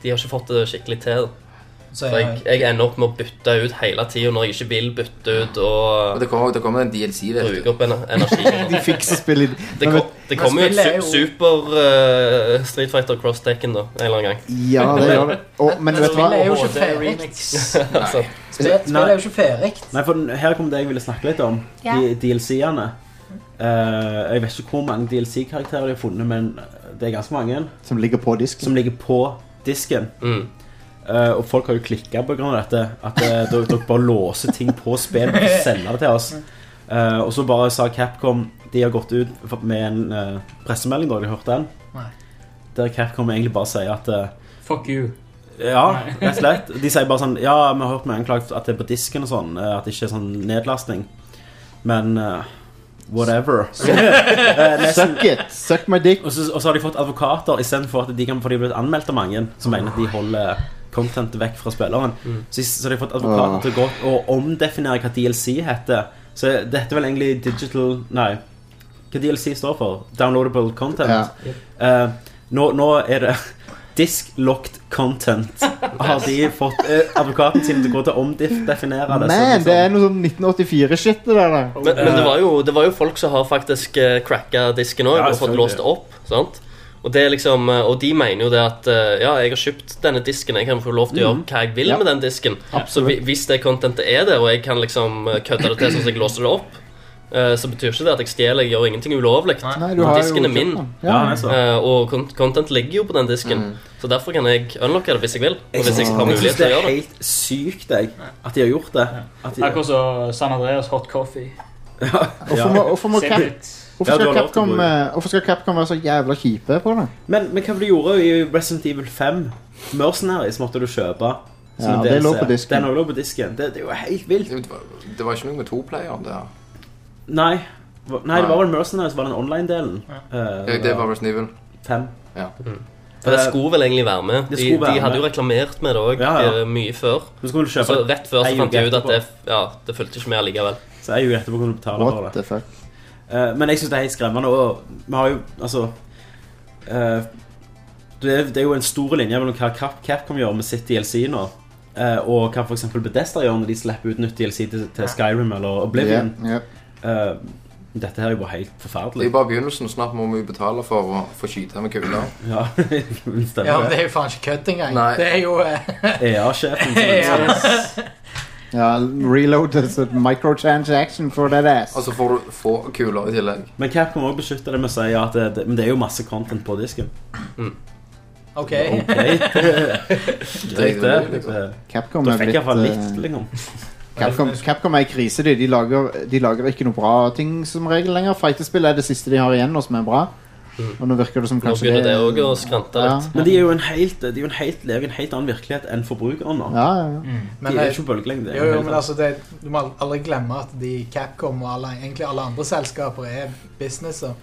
De har ikke fått det skikkelig til. Så eh, Så jeg, jeg ender opp med å bytte ut hele tida når jeg ikke vil bytte ut. Og, det kommer en DLC, vet Bruke opp ener- energi. De fikser spillet i- Det, Men kom, vet- det kommer jo et Men spillet su er jo- super eh, Street Fighter Cross Tekken, da. En eller annen gang. Ja, det gjør det. Og- men vet du hva? Spillet er jo ikke HD ferdig. remix. Spillet spillet er jo ikke ferdig. Nei, for den- her kom det jeg ville snakke litt om. Ja. De DLC-ene. Eh, jeg vet ikke hvor mange DLC-karakterer de har funnet, men det er ganske mange. Som ligger på disken. Som ligger på disken. Mm. Eh, og folk har jo klikka pga. dette. At eh, dere dere bare låser ting på spill og sender det til oss. Eh, og så bare sa Capcom De har gått ut med en eh, pressemelding, da har dere hørt den? Nei. Der Capcom egentlig bare sier at eh, Fuck you. ja, Nei. rett og slett. De sier bare sånn Ja, vi har hørt med anklagt at det er på disken og sånn, eh, at det ikke er sånn nedlastning. Men eh, whatever. Eh, nesten- Suck it! Suck my dick. Og så, og så har de fått advokater istedenfor at de kan få de blitt anmeldt av mange som mener at de holder content vekk fra spilleren. Så, så har de fått advokater Åh. til å gå og omdefinere hva DLC heter. Så dette er vel egentlig digital Nei, hva DLC står for? Downloadable content. Ja. Eh, nå, nå er det Disk locked content. Har de fått eh, advokaten sin til å gå til å omdefinere det? så Man, liksom- det er noe sånn 1984-shit, det der. da. Men, men det, var jo, det var jo folk som har faktisk eh, cracka disken òg eh, Ja, og fått selvfølgelig. låst det opp. Sant? Og, det er liksom, eh, og de mener jo det at eh, ja, jeg har kjøpt denne disken, jeg kan få lov til å gjøre Mhm. hva jeg vil Ja. med den disken. Så Absolutt. hvi- hvis det contentet er der, og jeg kan liksom eh, kødde det til sånn at jeg låser det opp, eh, så betyr ikke det at jeg stjeler, jeg gjør ingenting ulovlig. Nei, du har jo Disken er kjøpt min, den. Ja, det er så. eh, og con- content ligger jo på den disken. Mm. Så derfor kan jeg unlocke det hvis jeg vil, og hvis jeg har mulighet til å gjøre det. Jeg synes det er helt sykt jeg, at de har gjort det. At de, Akkurat som San Andreas Hot Coffee. Ja. Hvorfor må- hvorfor må Se Cap- litt. Hvorfor Ja, skal du har lov til å Capcom, bruke eh, hvorfor skal Capcom være så jævla kjipe på det? Men, men hva var det du gjorde i Resident Evil 5? Mercenaries måtte du kjøpe. som Ja, en det lå DLC. på disken. Den også lå på disken. Det, det er jo helt vilt. Det var ikke noe med to player om det her. Nei. Nei, det var vel Mercenaries, var den online-delen. Eh, Ja, det var Resident Evil. Fem. Ja. For det skulle vel egentlig være med. Det De, skulle være de hadde jo med. reklamert med det òg Ja, ja. mye før. Du skulle kjøpe så Altså, rett før så en fant uke de ut at etterpå. det, ja, det fulgte ikke med allikevel. Så jeg er jo etterpå kunne betale What for det. the fuck? Eh, men jeg syns det er helt skremmende, og vi har jo altså eh, det, er, det er jo en stor linje mellom hva Cap Capcom gjør med sitt DLC nå, eh, og hva f.eks. Bedesta gjør når de slipper ut nytt DLC til, til Skyrim eller Oblivion. Ja, Eh, dette her er jo bare helt forferdelig. Det er bare begynnelsen. Snart må vi betale for å få skyte med kuler. Ja, stemmer E Ja, men det er jo faen ikke kødd engang. Nei. Det er jo eh, EA-sjefen. Yes. Ja, reload is a microtransaction for that ass. Altså, Og så får du få kuler i tillegg. Men Capcom også beskytter det med å si at det, det, men det er jo masse content på disken. Ok. OK. Greit, det. liksom. Capcom Da er fikk jeg blitt, iallfall litt, eh, liksom. Capcom, Capcom er i krise, de. De lager, de lager ikke noe bra ting som regel lenger. Fightespill er det siste de har igjen nå som er bra. Og nå virker det som kanskje Mm. begynner det også å skrante litt. Men de er jo en helt, de er jo en helt, lever i en helt annen virkelighet enn forbrukerne nå. Ja, ja, ja. Mm. De eh, er jo ikke på bølgelengde. i det Jo, jo, hele men tatt. altså, det, du må aldri glemme at de Capcom og alle, egentlig alle andre selskaper er businesser.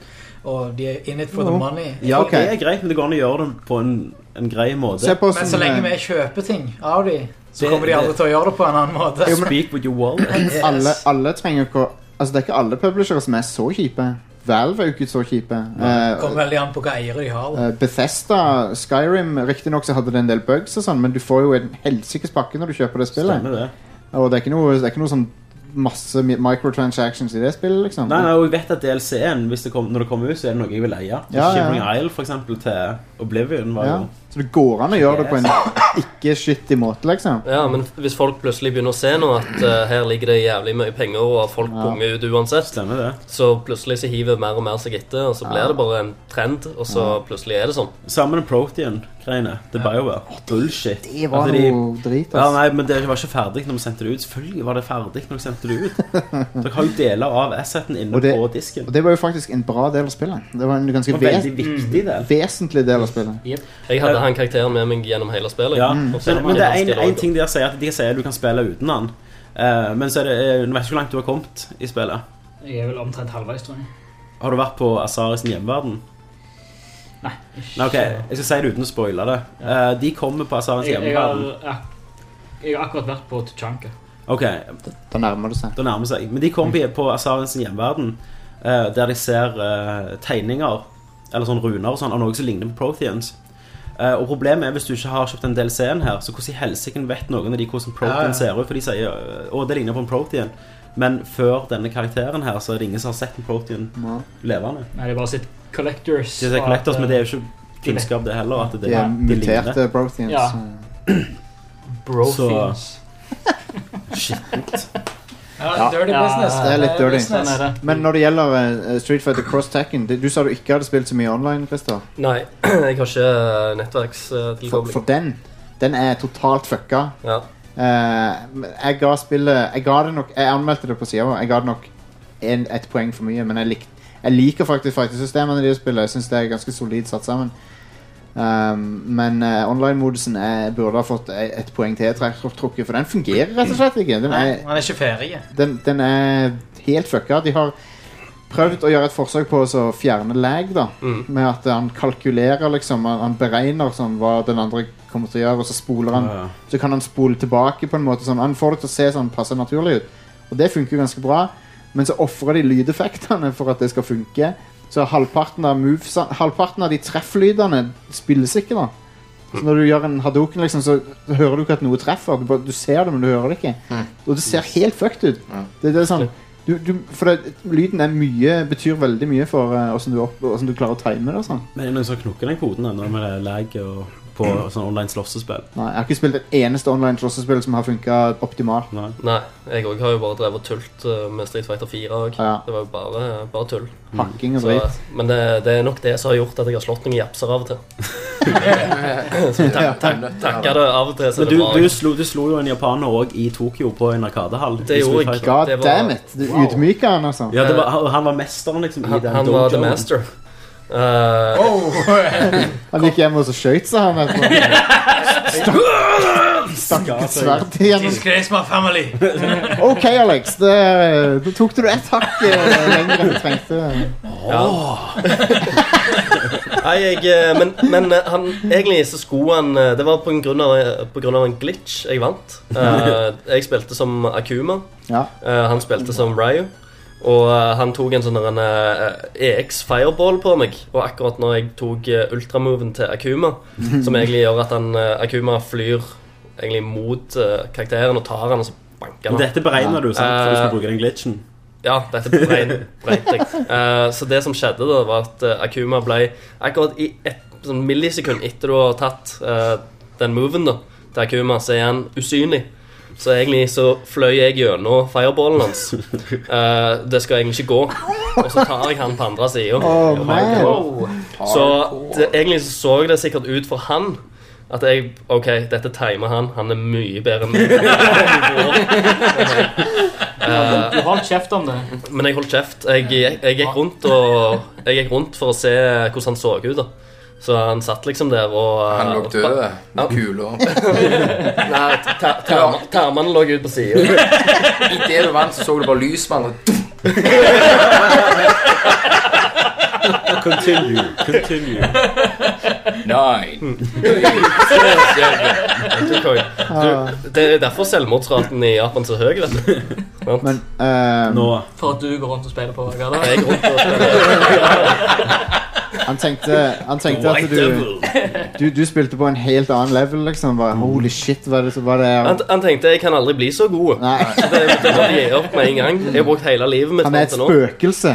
Og de er in it for the money. Ja, ok, det er greit, men det går an å gjøre det på en, en grei måte. Men så eh, lenge vi kjøper ting av de, så Det- kommer de aldri det- til å gjøre det på en annen måte. Jo, men- Speak with your wallet. Yes. alle, alle trenger ikke å Altså, det er ikke alle publishere som er så kjipe. Valve er jo ikke så kjipe. Eh, kommer veldig an på hva eiere de har. da. eh, Bethesda, Skyrim Riktignok så hadde det en del bugs, og sånn men du får jo en helsikes pakke når du kjøper det spillet. Stemmer det. Og det er ikke noe, det er ikke noe sånn masse mi- microtransactions i det spillet, liksom. Nei, nei, og jeg vet at DLC-en, hvis det kom, når det kommer ut, så er det noe jeg vil eie. ja, ja. Shivering Isle, for eksempel, til Oblivion var ja. jo... Så det går an å gjøre det på en ikke skittig måte, liksom. Ja, men hvis folk plutselig begynner å se nå at eh, her ligger det jævlig mye penger, og folk Ja. punger ut uansett, så plutselig så hiver mer og mer seg etter, og så blir Ja. det bare en trend, og så plutselig er det sånn. Sammen med Protean-greiene til BioWare. Bullshit. det var At noe drit, ass. Ja, nei, men det var ikke ferdig når vi sendte det ut. Selvfølgelig var det ferdig når vi sendte det ut. Dere har jo deler av asseten inne Og det, på disken. og det var jo faktisk en bra del av spillet. Det var en ganske Og veldig viktig del. vesentlig del av spillet. Jeg hadde han karakteren med meg gjennom hele spillet. Ja, og så Mm. men, men det er en, en ting de har sier, at de sier at du kan spille uten han. Eh, men så er det, eh, nå vet jeg ikke hvor langt du har kommet i spillet. Jeg er vel omtrent halvveis, tror jeg. Har du vært på Azaris hjemmeverden? Nei. Nei, ok, Jeg skal si det uten å spoile det. Eh, de kommer på Azaris Jeg, jeg, har, hjemmeverden. ak jeg har akkurat vært på Tuchanka. Ok, Da nærmer det seg. Da nærmer det seg. Men de kommer Mm. på Asarens hjemverden, eh, der de ser eh, tegninger, eller sånn runer og sånn, av noe som ligner på Protheans. Eh, og problemet er hvis du ikke har kjøpt den DLC-en her, så hvordan i helsike vet noen av de hvordan Ja, ja. Prothean ser ut? For de sier eh, å, det ligner på en Prothean. Men før denne karakteren her, så er det ingen som har sett en Prothean levende. Nei, det er bare sitt collectors. De sier og collectors, at, men det er jo ikke kunnskap, det heller. At det, De er de ligner. muterte Protheans. eh. Ja. Protheans. eh, Brothians. Skittent. Ja, dirty business. Det er litt dirty. sånn Business. Men når det gjelder eh, Street Fighter Cross Tekken det- Du sa du ikke hadde spilt så mye online, Christer. Nei, jeg har ikke eh, For, nettverkstilkobling. for den Den er totalt fucka. Ja. Eh, men jeg ga spillet Jeg ga det nok Jeg anmeldte det på sida vår. Jeg ga det nok en, ett poeng for mye, men jeg, lik, jeg liker faktisk fighting-systemene de spiller. Jeg syns det er ganske solid satt sammen. Um, men eh, online-modusen jeg burde ha fått eh, ett poeng til trukket, for den fungerer rett og slett ikke. Den Nei, er, han er ikke ferdig. den, den er helt fucka. De har prøvd å gjøre et forsøk på å så fjerne lag, da. mm. Med at han kalkulerer, liksom. Han, han beregner sånn, hva den andre kommer til å gjøre, og så spoler han. Ja, ja. Så kan han spole tilbake på en måte. Sånn. Han får det til å se sånn passe naturlig ut. Og det funker jo ganske bra. Men så ofrer de lydeffektene for at det skal funke. Så halvparten av, moves, halvparten av de trefflydene spilles ikke, da. Så når du gjør en hadoken, liksom, så hører du ikke at noe treffer. Du, bare, du ser det, men du hører det ikke. Og det ser helt fucked ut. Det, det er sånn du, du, For det, lyden er mye betyr veldig mye for eh, hvordan du, opp, hvordan du klarer å time det. og Sånn. Men er det noen som knukker den koden ennå med det lag og på Mm. sånn online slåssespill? Nei, Jeg har ikke spilt et eneste online slåssespill som har funka optimalt. Nei, jeg òg har jo bare drevet og tult eh, med Street Fighter 4 òg. Ja. Det var jo bare, bare tull. Hakking og Så, drit. Men det, det er nok det som har gjort at jeg har slått noen japser av og til. Så jeg tak, tak, takker det av og til. Så Men er det du, bra. du, slo, du slo jo en japaner òg i Tokyo på en arkadehall. i Det gjorde Street jeg. Fighter. God Det var- damn it. Du utmyker han, altså. Ja, det var, han- han var mesteren, liksom. I han, den han var the dojoen. master. Eh, Han gikk hjem og så skøyt seg, han. etterpå. Stakk- stakk et sverd gjennom Disgrace my family. OK, Alex. Det, da tok du ett hakk eh, lenger enn du trengte. Nei, jeg, eh, men, men eh, han, egentlig så skulle han eh, Det var på grunn av, på grunn av en glitch jeg vant. Eh, jeg spilte som Akuma. Ja. Eh, han spilte som Ryu. Og eh, han tok en sånn der en eh, EX fireball på meg. Og akkurat når jeg tok eh, ultramoven til Akuma, som egentlig gjør at han, eh, Akuma flyr egentlig mot eh, karakteren og tar han og så banker han. Dette beregner du, sant? For du Eh, skal bruke den glitchen. Ja, dette beregn- beregnet jeg. Eh, så det som skjedde, da, var at eh, Akuma ble Akkurat i et sånn millisekund etter du har tatt eh, den moven da, til Akuma, så er han usynlig. Så egentlig så fløy jeg gjennom fireballen hans. Eh, det skal egentlig ikke gå. Og så tar jeg han på andre sida. Oh, man. så det, egentlig så, så det sikkert ut for han at jeg OK, dette timer han. Han er mye bedre enn meg. Ja, Du holdt kjeft om det. Men jeg holdt kjeft. Jeg, jeg, jeg, gikk rundt og, jeg gikk rundt for å se hvordan han så ut. da Så han satt liksom der og Han lå død, med kuler. Nei, ta- ta- tarm- tarmene lå ut på sida. Idet du vant, så så du bare lys med andre. Continue. Continue. Nine. Du, det er derfor selvmordsraten i Japan er så høy, vet du. Men eh, Nå. For at du går rundt og spiller på hva da? Jeg går rundt og Han tenkte, han tenkte at White du, du Du spilte på en helt annen level, liksom. Bare, Holy shit, hva er det, hva er det Han, han tenkte jeg kan aldri bli så god. Så det, det må jeg gi opp med en gang. Jeg har brukt hele livet mitt Han er fram et til nå. spøkelse.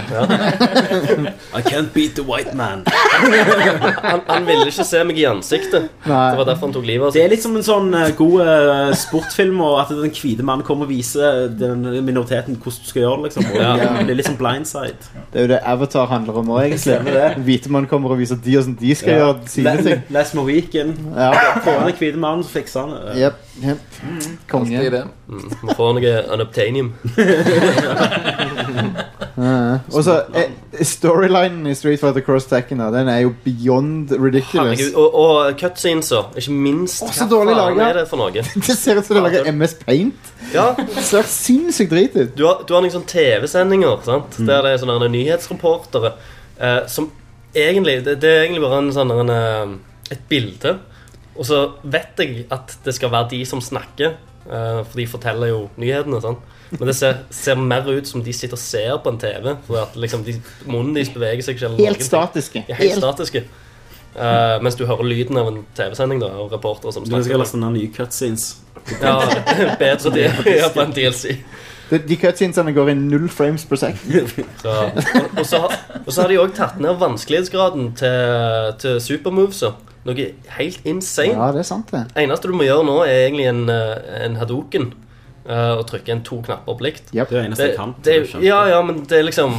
I can't beat the white man. han, han ville ikke se meg i ansiktet. Det var derfor han tok livet av seg. Det er litt som en sånn eh, god eh, sportfilm, og at den hvite mannen kommer og viser den minoriteten hvordan du skal gjøre det. liksom og, Ja. det er litt som blindside. Det er jo det Avatar handler om òg, Stemmer det. egentlig. Hvite mann kommer og viser de hvordan de skal Ja. gjøre sine Les- ting. Les Morrigan. Ja. Få den hvite mannen, så fikser han det. Jep, jep. Konge. Mm, Må få noe unobtainium. Ja, ja. Og så eh, storylinen i Street Fighter Cross Tekken da, Den er jo beyond ridiculous. Herregud, og, og cutsceneser, ikke minst. så dårlig faen laget. er det for noe? Det ser ut som det lager MS Paint. Ja, Det ser sinnssykt drit ut. du har, du har noen sånne TV-sendinger sant? Mm. der det er sånne her nyhetsreportere eh, som egentlig det, det er egentlig bare en sånn her en, eh, et bilde. Og så vet jeg at det skal være de som snakker, eh, for de forteller jo nyhetene. Sant? Men det ser, ser mer ut som de sitter og ser på en TV. For at liksom de, munnen deres beveger seg ikke. eller noen Helt ting. statiske. Ja, helt Helt- statiske. Eh, mens du hører lyden av en TV-sending da, og reportere som Du skal snakker. laste ned nye cutscenes. Ja, bedre det ja, på en DLC. De, de cutscenesene går i null frames per second. Så, og, og, så, har- og så har de òg tatt ned vanskelighetsgraden til, til supermoveser. Noe helt insane. Ja, det er sant, det. Eneste du må gjøre nå, er egentlig en, eh, en hadoken. eh, og trykke en to knapper på likt. Det er det eneste jeg kan. Det, er- ja, ja, men det er liksom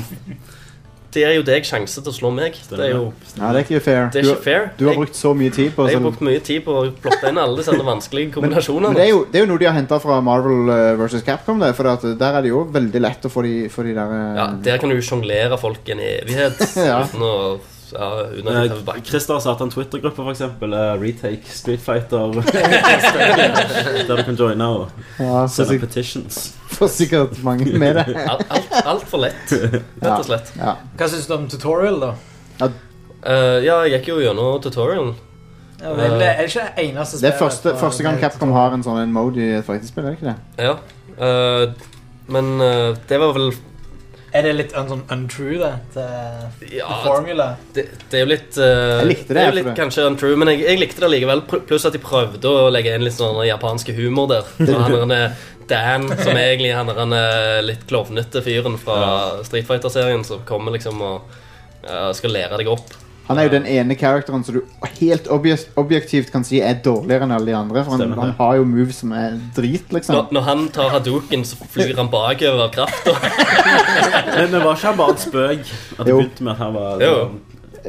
Det gir jo deg sjanse til å slå meg. Det er jo Nei, det er ikke fair. Det er Du- ikke fair. Du har brukt så mye tid på Jeg har så- brukt mye tid på å plotte inn alle disse vanskelige kombinasjonene. Men det er, jo, det er jo noe de har henta fra Marvel eh, versus Capcom. Det, for at der er det jo veldig lett å få de, få de der eh, Ja, Der kan du sjonglere folk i en evighet Ja. uten å ja, uten å Eh, Christer satte en Twitter-gruppe, for eksempel eh, Retake Street Fighter. der du kan joine og Ja, så sende sikkert- petitions. Får sikkert mange med det. Alt, alt, alt for lett, rett og slett. Ja. Hva syns du om tutorial, da? Eh, ja, jeg gikk jo gjennom tutorialen. Ja, vel, er det ikke det Eh. eneste Det er spillet første, fra- første gang Capcom har en sånn en mode i et fighting-spill, er det ikke det? Ja. eh, men eh, det var vel Er det litt un sånn untrue, det? Til Ja, formula? Det, det er jo litt eh, Jeg likte det, er jo for litt det. kanskje untrue, men jeg, jeg likte det likevel. pl- Pluss at de prøvde å legge inn litt sånn japanske humor der. Så han er en, eh, Dan, som er egentlig han er en eh, litt klovnete fyren fra Street Fighter-serien, som kommer liksom og eh, skal lære deg opp. Han er jo den ene karakteren som du helt objek objektivt kan si er dårligere enn alle de andre. For han, Stemmer det. han har jo moves som er drit, liksom. Når, Sånn. når han tar hadoken, så flyr han bakover av krafta. Men det var ikke han bare et spøk? At det Jo. begynte med at han var Jo.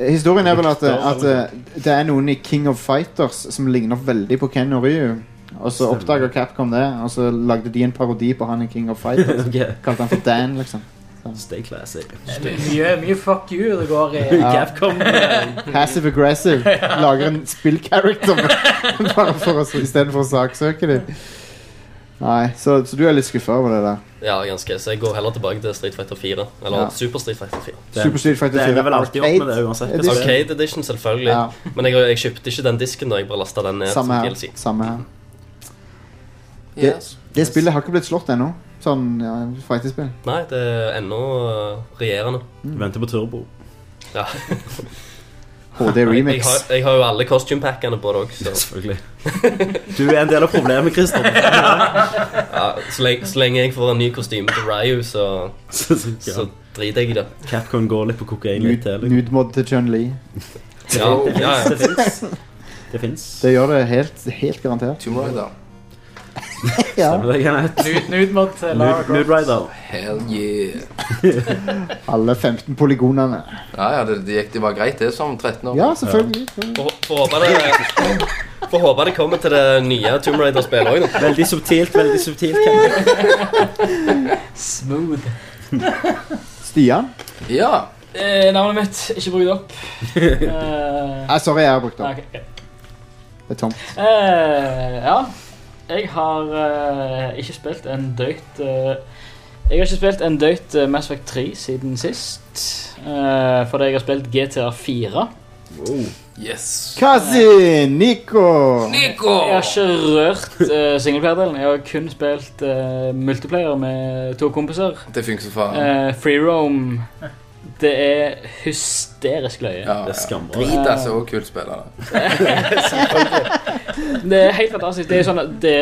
Historien er vel at, at altså. eh, det er noen i King of Fighters som ligner veldig på Ken og Ryu. Og så Stemmer. oppdager Capcom det, og så lagde de en parodi på han i King of Fighters. Ok. Kalte han for Dan, liksom. Stay classic. Mye, mye fuck you det går i. Capcom. Passive aggressive. Lager en spillcharacter bare for å, istedenfor å saksøke dem. Nei, så, så du er litt skuffa over det der? Ja, ganske. Så jeg går heller tilbake til Street Fighter 4. Eller Ja. Super Street Fighter 4. Super Street Fighter Det 4 ender vel alltid opp med det uansett. Arcade Edition. Arcade Edition, selvfølgelig. Ja. Men jeg, jeg kjøpte ikke den disken da jeg bare lasta den ned Samme som her. DLC. Samme her. Det, det spillet har ikke blitt slått ennå. Sånn ja, fighting-spill. Nei, det er ennå eh, regjerende. Venter på turbo. Ja. HD Jeg- remix. Jeg har, jeg har jo alle costume packene på det òg. Selvfølgelig. Du er en del av problemet, Christer. Ja, så, lenge, så lenge jeg får en ny kostyme til Ryu, så, så, driter jeg i det. Capcom går litt på kokain litt til. liksom. Nudemod til Chun Li. Ja, ja, ja. Det fins. Det fins. Det gjør det helt, helt garantert. Tomb Raider. Ja. Stemmer det, Kenneth? Nude- nude mod til Lara Nude- nude Rider. Hell yeah. Alle 15 polygonene. Ja, ja, det, det gikk det var greit, det, som 13-åring. Ja, selvfølgelig. Får får håpe det Får håpe det kommer til det nye Tomb Raider-spillet òg, da. Veldig subtilt, veldig subtilt. Kenneth. Smooth. Stian? Ja. Eh, navnet mitt, ikke bruk det opp. Eh, Nei, sorry, jeg har brukt opp. ok, ok. Det er tomt. Eh, ja. Jeg har eh, ikke spilt en døyt eh, Jeg har ikke spilt en døyt eh, Mass Effect 3 siden sist. eh, fordi jeg har spilt GTA 4. Yes. Kazi! Nico! Jeg har ikke rørt uh, singleplayer-delen. Jeg har kun spilt eh, multiplayer med to kompiser. Det funker som faen. Eh, free roam Det er hysterisk løye. Ja, Det er ja. skambra. Drit, altså. Og kult spiller. Det er helt fantastisk. Det er sånn at det,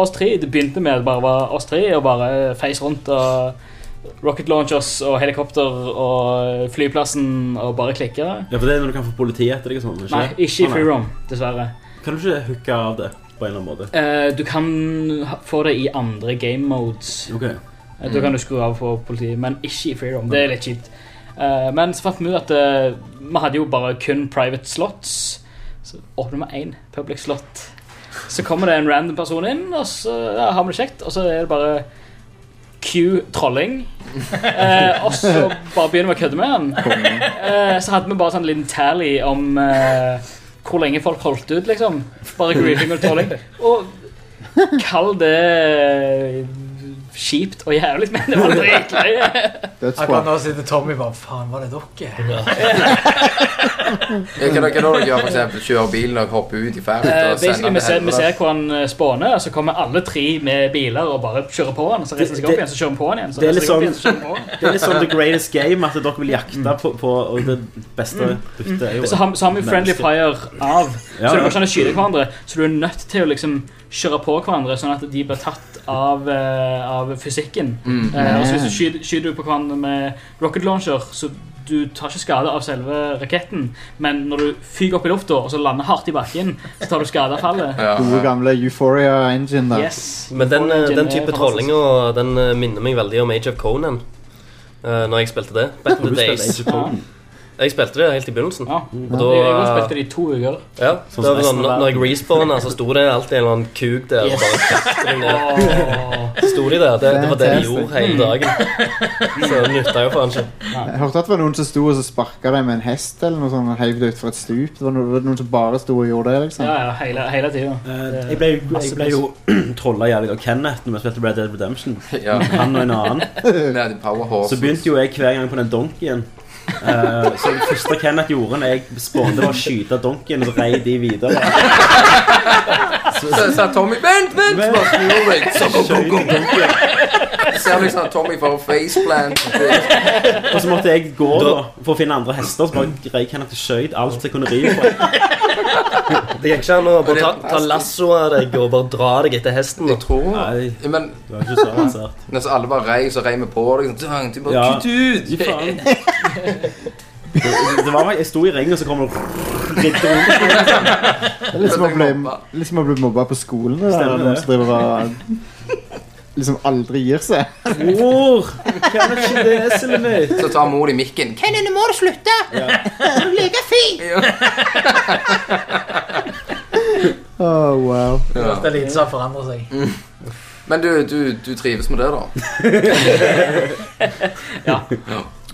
oss tre, det begynte med at det bare var oss tre og bare feis rundt og rocket launchers og helikopter og flyplassen og bare klikke. Ja, for det er når du kan få politiet etter deg og sånn. ikke Nei, det? ikke i Å, nei. free roam, dessverre. Kan du ikke hooke av det på en eller annen måte? Eh, du kan ha- få det i andre game modes. Ok. Eh, Da kan du skru av for politiet, men ikke i free roam. Det er litt kjipt. Eh, men så fant vi ut at eh, vi hadde jo bare kun private slots. Så åpner vi én public slot. Så kommer det en random person inn, og så ja, har vi det kjekt, og så er det bare Q trolling. Eh, og så bare begynner vi å kødde med han. Eh, så hadde vi bare sånn liten tally om eh, hvor lenge folk holdt ut, liksom. Bare griefing og trolling. Og kall det eh, kjipt og jævlig, men det var dritløye. Dødsbra. Akkurat nå sitter Tommy bare Faen, var det dere? Ja, Hva er det hva er det dere gjør? For eksempel kjører bilen og hopper ut i ferden? Eh, og sender basically, vi den ser, til vi ser helvete? hvor han eh, spåner, og så kommer alle tre med biler og bare kjører på han, og så reiser han seg Det- opp igjen, så kjører han på han igjen, så det er reiser han seg opp litt igjen, så kjører han på han. Det er litt sånn The Greatest Game, at dere vil jakte på, på Og det beste byttet er jo Mm. Så har, så har vi friendly fire av. Ja, ja. så det går ikke an å skyte hverandre. Så du er nødt til å liksom kjøre på hverandre, sånn at de blir tatt av, eh, av fysikken. Mm. Eh, og så hvis du skyter, skyter du på hverandre med rocket launcher, så du tar ikke skade av selve raketten, men når du fyker opp i lufta og så lander hardt i bakken, så tar du skade av fallet. Ja, Gode gamle Euphoria-engine der. Yes. Men den, eh, Origin den er type fantastisk. trollinger den eh, minner meg veldig om Age of Conan. eh, når jeg spilte det. Back Har in the du spilt days. Age of Conan? Jeg spilte det helt i begynnelsen. Ja. Og da, Jeg jeg har spilt det i to uker. ja, Sånn som da, resten av når, når jeg respawna, så sto det alltid en eller annen kuk der. Og bare kastet meg ned. Åh. Så sto de der. Det, det var det de gjorde hele dagen. Mm. Så det nytta jo faen ikke. Jeg hørte at det var noen som sto og sparka deg med en hest eller noe sånt, og heiv deg utfor et stup. Det var noen, det var noen som bare sto og gjorde det, liksom. Ja, ja, hele, hele tida. Eh, Jeg ble, jeg ble jo trolla jævlig av Kenneth når vi spilte Red Dead Redemption. Ja. Han og en annen. Ned i Power Horse. Så begynte jo jeg hver gang på den donkeyen. Eh, så det første Kenneth gjorde når jeg spånde, var å skyte donkeyen, og så rei de videre. Så sa Tommy Vent, vent! Så bare snur jeg. Så go, go, go. Ser liksom Tommy får faceplant. Og så måtte jeg gå da for å finne andre hester, så bare rei Kenneth og skjøt alt jeg kunne ri på. Det gikk ikke an å bare ta, ta lasso av deg og bare dra deg etter hesten. Jeg tror Nei, Men det var ikke så avansert. når så alle bare rei, så rei vi på deg. Sånn, dang, du bare Ja. kutt ut! Fy faen. Det, det var, jeg sto i ring, og så kom det ridde rundt. Det er litt som å bli, litt som å bli mobba på skolen. Det der, Stemmer noen det. som driver og liksom aldri gir seg. Bror! Kan ikke det, Silvi? Så tar mor i mikken. Kenny, nå må du slutte! Du leker fint! Ja. Oh, wow. sånn Mm. Det er lite som har forandret seg. Men du, du, du trives med det, da? Ja.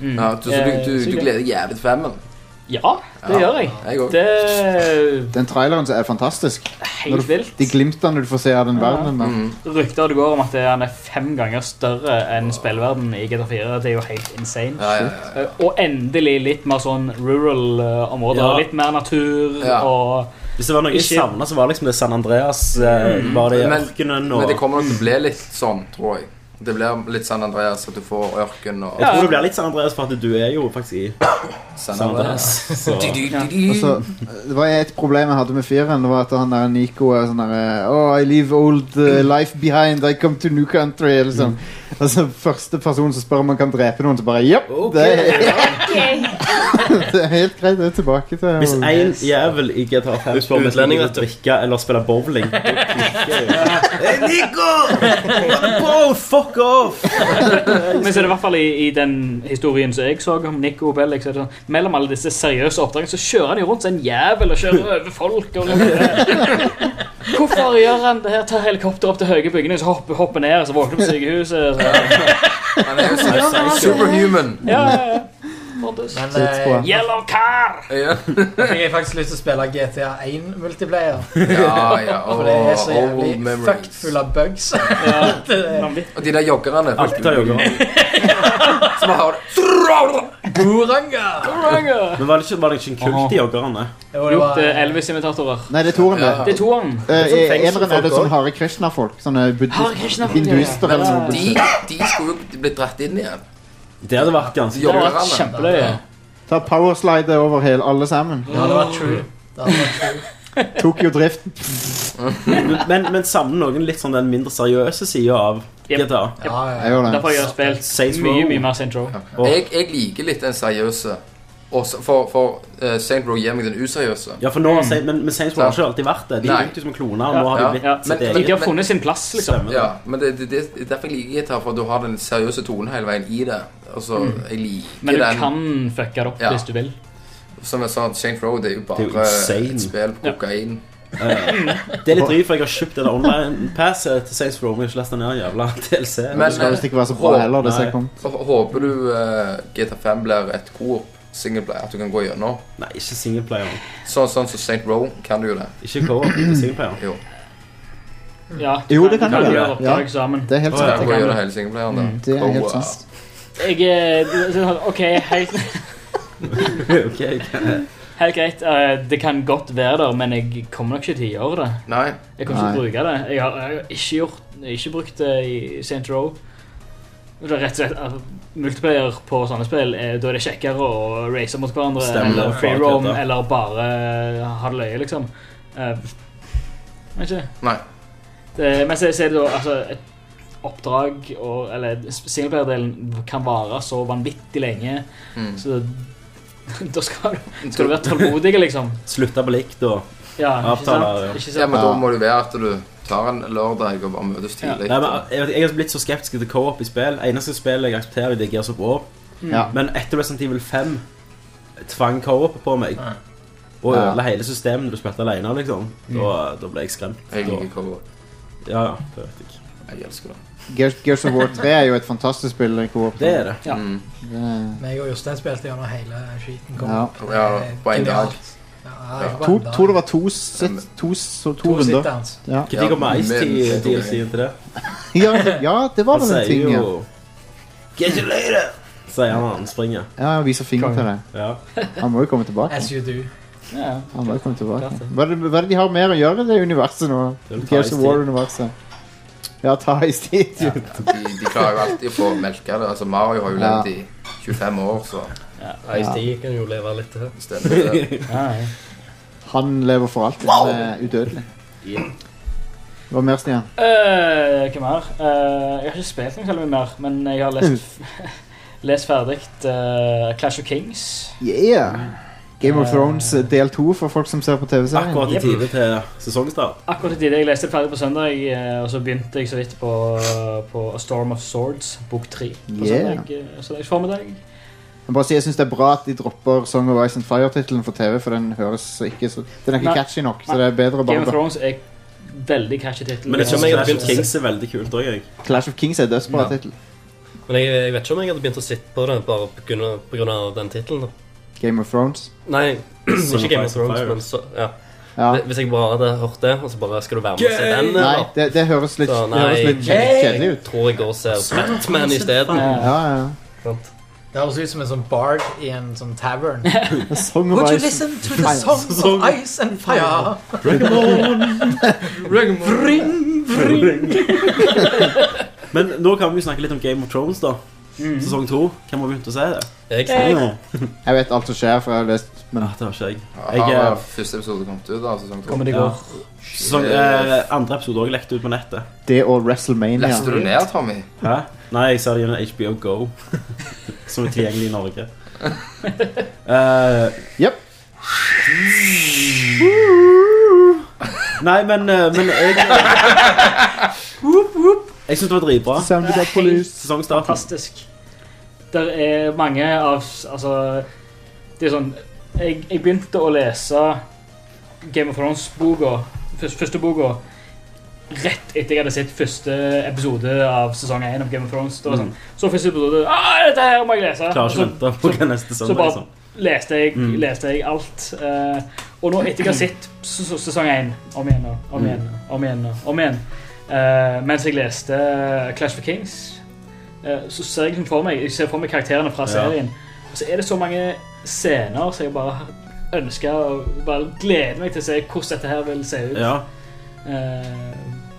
Mm. ja du, så du, du, Eh, så du gøy. gleder deg jævlig til femmen? Ja, det gjør jeg. Jeg òg. Det Den traileren som er fantastisk. Helt Når du- vilt. De glimtene du får se av den verdenen. da. Rykter det går om at han er fem ganger større enn spillverden i GTA4. Det er jo helt insane. ja, Eh, Og endelig litt mer sånn rural eh, områder. Ja. Litt mer natur Ja. og Hvis det var noe jeg Ikke- savna, så var liksom det San Andreas. eh, Var det i Men- ørkenen og Men det kommer nok til å bli litt sånn, tror jeg. Det blir litt San Andreas, at du får ørken og Jeg tror det blir litt San Andreas, for at du er jo faktisk i San San Andreas. Andreas. Så. Og så, Altså, det var et problem jeg hadde med fireren. Det var at han der Nico er sånn der Oh, I leave old eh, life behind. I come to new country. Eller sånn. Altså, første person som spør om han kan drepe noen, så bare Jepp. Det, er- det er helt greit. Det er tilbake til Hvis en jævel i GTA 5 spør om jeg Utlending, liker å drikke eller spille bowling Hey, Nico! Wow, fuck off! Men så er det i hvert fall i, i den historien som jeg så om Nico og Bellic, så er det sånn, mellom alle disse seriøse oppdragene, så kjører han jo rundt som en jævel og kjører over folk. Og Hvorfor gjør han det her? Tar helikopter opp til høye bygninger, så hopper, hopper ned, og så våkner han på sykehuset. Så. Han er jo sånn superhuman. Ja, ja, ja. Mordes. Men, eh, Yellow car! Ja, Jeg har faktisk lyst til å spille GTA 1 multiplayer. ja. ja. For det er så Åh, old jævlig memories. fucked full av bugs. Og de der joggerne. Alt tar jogger. Som har Goranga! Men var det ikke, var det ikke en kult i joggerne? Jo, det Jo, var- det er Elvis-imitatorer. Nei, det er toeren, det. eh, Det er toeren. Eh, Det er sånn i eneren er det fengselsfolk sånn også. Hare Krishna-folk. Sånne Hare buddhister, Krishna-folk, ja, ja. hinduister eller noe. De, bullshit. de skulle jo blitt dratt inn igjen. Det hadde vært ganske Det Joggerne. var kjempeløye. Ta powerslide over hele, alle sammen. Ja, det var true. Det hadde vært true. Tokyo Drift. Men, men, men savner noen litt sånn den mindre seriøse sida av Yep. GTA? Ja, ja. Jeg gjør det. Derfor har jeg spilt Saints mye, Row. mye mer Saint Row. Og- Jeg, jeg liker litt den seriøse. Også for for eh, Saint Row gir meg den useriøse. Ja, for nå har Saints- men, men Saints Row har ikke alltid vært det. De Nei. begynte jo som kloner, og nå har de Ja. blitt Ja, sitt men, eget. de har funnet sin plass, liksom. Stemmer det. Ja, men det, det, det derfor jeg liker gitar, for du har den seriøse tonen hele veien i det. Altså, jeg liker Men du den kan fucke det opp Ja. hvis du vil. Som jeg sa, Saint Row det er jo bare Det er jo insane. et spill på kokain. Det er litt drygt, for jeg har kjøpt det der online passet til Saints Row. Men jeg har ikke lest den her jævla DLC. Men, Det skal visst ikke være så bra heller, det som Nei. jeg kom. H- Håper du eh, GTA5 blir et coop singleplayer, at du kan gå gjennom? Nei, ikke singleplayer. Sånn som så Saint Row kan du jo det. Ikke co-op, men singleplayer. Jo. Ja, Jo, det kan du du gjøre, gjøre oppdrag ja. sammen. Det er helt Å, ja. Kan du gå sant. jeg kan Mm. gjennom det. hele singleplayeren der? Det er helt Wow. sant. Jeg eh, er OK, helt, Ok, ok. helt greit. Eh, Det kan godt være der, men jeg kommer nok ikke til å gjøre det. Nei. Jeg kommer ikke til Nei. å bruke det. Jeg har, jeg har ikke, gjort, jeg har ikke brukt det i Saint Row. Det er rett og slett eh, Multiplayer på sånne spill, eh, da er det kjekkere å race mot hverandre Stemmer. eller free roam Fatheter. eller bare ha det løye, liksom. Eh, Vet ikke. Nei. Det, men så, så er det da altså, et oppdrag og, Eller singleplayer-delen kan vare så vanvittig lenge. Mm. Så da skal du, skal du være tålmodig, liksom. Slutta på likt og Ja, ikke Avtaler, ja. sant? Ikke Ja, sant? men da må det være at du tar en lørdag og bare møtes tidlig. Nei, men jeg, jeg har blitt så skeptisk til co-op i spill. Eneste spill jeg aksepterer, det er Gears of War. Ja. Men etter Resident Evil 5 tvang co-op på meg. Og Ja. ødela hele systemet når du spilte alene, liksom. Da, da ble jeg skremt. Jeg Da, liker cover. ja, ja, det vet jeg. Jeg elsker det. Gears, Gears of War 3 er jo et fantastisk spill. i Coop. Det er det. Ja. Mm. Det- Meg og Jostein spilte gjennom hele skiten. kom Ja. opp. Det er Ja, på en dag. genialt. Ja, jeg Ja. var To, en dag. tror det var to, sit, to, så, to To runder. sit-downs. Ja. Når kommer Ja, men- Ice-DLC-en til det? Ja, ja, det var Han vel sier en ting. Ja, jo Get you later! Sier han når han springer. ja jeg viser finger til deg. Ja. Han må jo komme tilbake. As you do. Ja. Han må jo komme tilbake. Hva er, det, hva er det de har mer å gjøre i det universet nå? Det er vel Gears of Ice-T. War-universet. Ja, ta i tid. jo. De, de klarer jo alltid å få melke det. Altså, Mario har jo Ja. levd i 25 år, så Ice-T kan jo leve litt til. stemmer det. Ja, ja. Han lever for alltid. Han er udødelig. Hva mer, Stian? Eh, Hvem mer? Eh, jeg har ikke spilt noe særlig mye mer, men jeg har lest, lest ferdig eh, Clash of Kings. Yeah! Game of Thrones eh, del to for folk som ser på TV-serien. Akkurat i tide til sesongstart. Akkurat i tide jeg leste det ferdig på søndag, eh, og så begynte jeg så vidt på, på A Storm of Swords, bok tre, på Yeah. søndag, eh, søndags formiddag. Jeg, bare sier, jeg syns det er bra at de dropper Song of Ice and Fire-tittelen for TV, for den høres ikke så Den er ikke Nei. catchy nok, så det er bedre å Game bare of Thrones er veldig catchy tittel. Men jeg tror jeg hadde begynt Kings er veldig kult òg, jeg. Clash of Kings er dødsbra Ja. tittel. Men jeg, jeg vet ikke om jeg hadde begynt å sitte på det bare på grunn av, på grunn av den tittelen. da. Game of Thrones. Nei, Song ikke of Game of Ice and Thrones, Fire. men så, ja. Ja. Hvis- Hvis jeg bare hadde hørt det, og så bare Skal du være med og se den? eller? Nei, det, det høres litt, Så, det høres litt jeg kjedelig ut. tror jeg går og ser altså, Batman isteden. Ja, ja. Det høres ut som en sånn bard i en sånn tavern. A Song Would of you Ice listen and to the Fire. songs of ice and fire? Vring, vring. Men nå kan vi jo snakke litt om Game of Thrones, da. Mm. Sesong to. Hvem har begynt å se det? Ja. Jeg vet alt som skjer, for jeg har lest men... Det har ikke jeg. Har jeg eh, eh, første episode kommet ut av sesong to? Kommer det i går? Sesong, eh, andre episode òg lekte ut på nettet. Det og WrestleMania. Leste du ned, Tommy? Hæ? Nei, jeg ser det gjennom HBO Go, som er tilgjengelig i Norge. Eh, Jepp. Nei, men, eh, men jeg eh, Jeg syns det var dritbra. Sounded like police. Sesongstarten. Fantastisk. Der er mange av Altså, det er sånn Jeg, jeg begynte å lese Game of Thrones-boka, først- første boka, rett etter jeg hadde sett første episode av sesong 1 av Game of Thrones. Det var sånn, Mm. Så første episode «Ah, Dette her må jeg lese! Klarer ikke å Og så- vente på hva neste så søndag bare er. Sånn. leste, jeg, Mm. leste jeg alt. eh, og nå etter jeg har sett s- s- sesong én om igjen og om igjen Mm. og om igjen, og om igjen eh, Mens jeg leste eh, Clash of Kings, eh, så ser jeg liksom for meg Jeg ser for meg karakterene fra Ja. serien. Og så er det så mange scener som jeg bare ønsker og bare gleder meg til å se hvordan dette her vil se ut Ja. eh,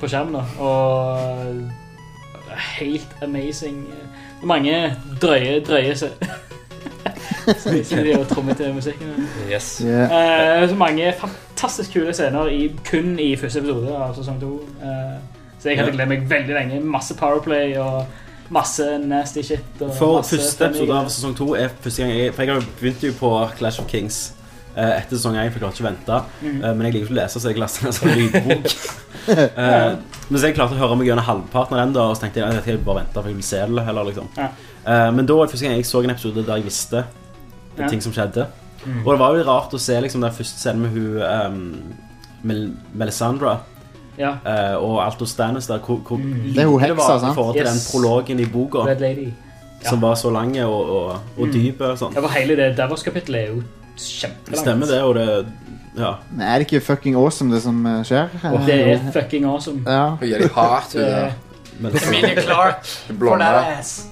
på skjermen. da. Og helt amazing. Det er mange drøye, drøye se- se- som de har trommet til musikken. da. Yes. Eh, så mange fantastisk kule scener i, kun i første episode av sesong to. Eh, så jeg hadde Ja. gledet meg veldig lenge. Masse Powerplay og masse nasty shit. Og For masse første funny- episode av sesong to er første gang jeg For jeg har jo begynt jo på Clash of Kings eh, etter sesong én, for jeg klarte ikke å vente. Mhm. Eh, men jeg liker ikke å lese, så jeg leste den som lydbok. Eh, men så jeg klarte å høre meg gjennom halvparten av den, da, og så tenkte jeg at jeg bare vente, for jeg vil se det heller. liksom Ja. Eh, Men da var det første gang jeg så en episode der jeg visste Ja. ting som skjedde. Mhm. Og det var jo rart å se liksom den første scenen med hun ehm, Mel Melisandre. Ja. eh, og alt hos Stannis der. Hvor, hvor Mhm. lite Det er hun heksa, var i sant? forhold til Yes. den prologen i boka. Red Lady. Som var så lange og, og, og Mm. dype og sånn. Det var hele det Davos-kapittelet er jo kjempelangt. Stemmer det, og det Ja. Men er det ikke fucking awesome, det som eh, skjer? Det er fucking awesome. eh, Ja. Hun gir deg hardt, hun Det- der. Emilie Clark for Blonde. that ass.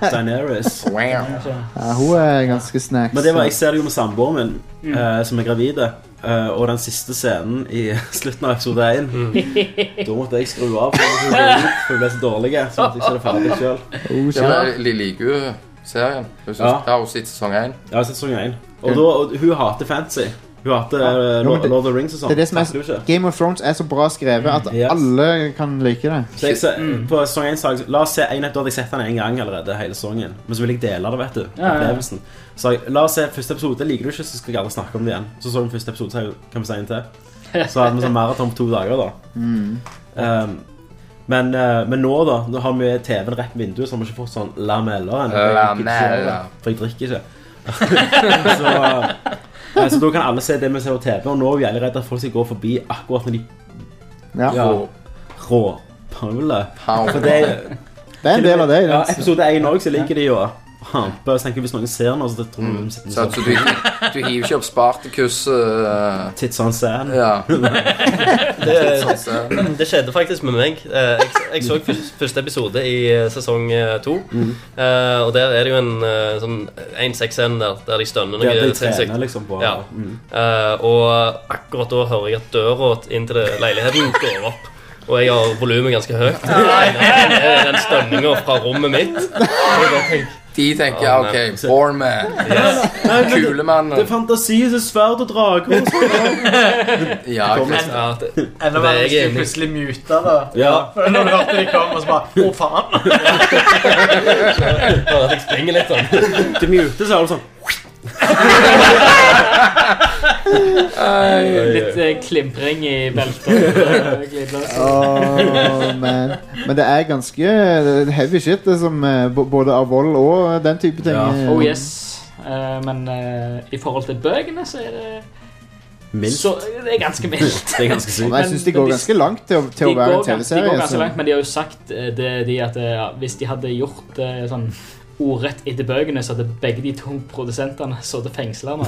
Daenerys. Ja, hun er ganske snacks. Men det var, jeg ser det jo med samboeren min, Mm. eh, som er gravid. eh, og den siste scenen i slutten av episode 1 Da måtte jeg skru av, for hun ble, for hun ble så dårlig. Så måtte jeg se det ferdig sjøl. Oh, Det var Lille Igu-serien. Hun syns- Ja. Ja, hun sitter i sesong én. Ja, sesong 1. Og, da, og hun hater fancy. Hun hater eh, Jo, men Lord, det- Lord of the Rings og sånn. det er det som Takler hun er, ikke. Game of Thrones er så bra skrevet at Mm, yes. alle kan like det. Så jeg, ser- Mm. på sesong 1 sa jeg La oss se en etter at jeg sett den en gang allerede hele sesongen. Men så vil jeg dele det, vet du. Ja, ja, ja. Opplevelsen. Så jeg, la oss se første episode. Liker du ikke, så skal jeg aldri snakke om det igjen. Så så vi første episode, så jeg, kan vi si en til. Så hadde vi sånn maraton på to dager, da. Mm. Um, men, eh, men nå, da. Nå har vi TV-en rett vinduet, så har vi ikke fått sånn lameller ennå. for jeg liker ikke å se det, Lameller. For jeg drikker ikke. så, eh, så da kan alle se det vi ser på TV, og nå er vi allerede at folk skal gå forbi akkurat når de Ja. Rå- Råpaule. Paule. For det er- Det er en del av det. Ja, episode 1 òg, så liker de jo å hampe. Så tenker jeg hvis noen ser noe, så det tror jeg vi sitter Så, så du, du hiver ikke opp Spartacus uh, Tits on sand. Ja. Det, det skjedde faktisk med meg. Eh, Jeg, jeg så fyr- første episode i eh, sesong eh, to. Mhm. Eh, Og der er det jo en eh, sånn 1-6-en der, der de stønner noe Der de sinnssykt. trener liksom på- Ja. mhm. Eh, Og akkurat da hører jeg at døra inn til det- leiligheten går opp. Og jeg har volumet ganske høyt. Det er Den stønninga fra rommet mitt. De tenker ja, OK, born man. Nei, men det- Det er Kulemannen. fantasi som sverd og drager. og sånn. Ja, Kommer- Chris. Ja, det, Enda det er verre hvis du jeg enig i. plutselig muter det. Ja. For når du hørte de kom, og så bare Å, faen! Bare at jeg springer litt sånn. Det mute, så er det sånn Litt eh, klimpring i beltet. eh, glidelås. Åh, man. Men det er ganske det er heavy shit, det som eh, bo- både av vold og den type ting. Ja. eh, Oh yes. Eh, men eh, i forhold til bøkene så er det Mildt. Så det er ganske mildt. Det er ganske sykt. Men jeg synes de Men går hvis- ganske langt til å, til å de være går en gans- De går teleserie. ganske Så. langt, men de har jo sagt eh, det, de at eh, ja, hvis de hadde gjort eh, sånn ordrett etter bøkene, så hadde begge de to produsentene sittet fengsla nå.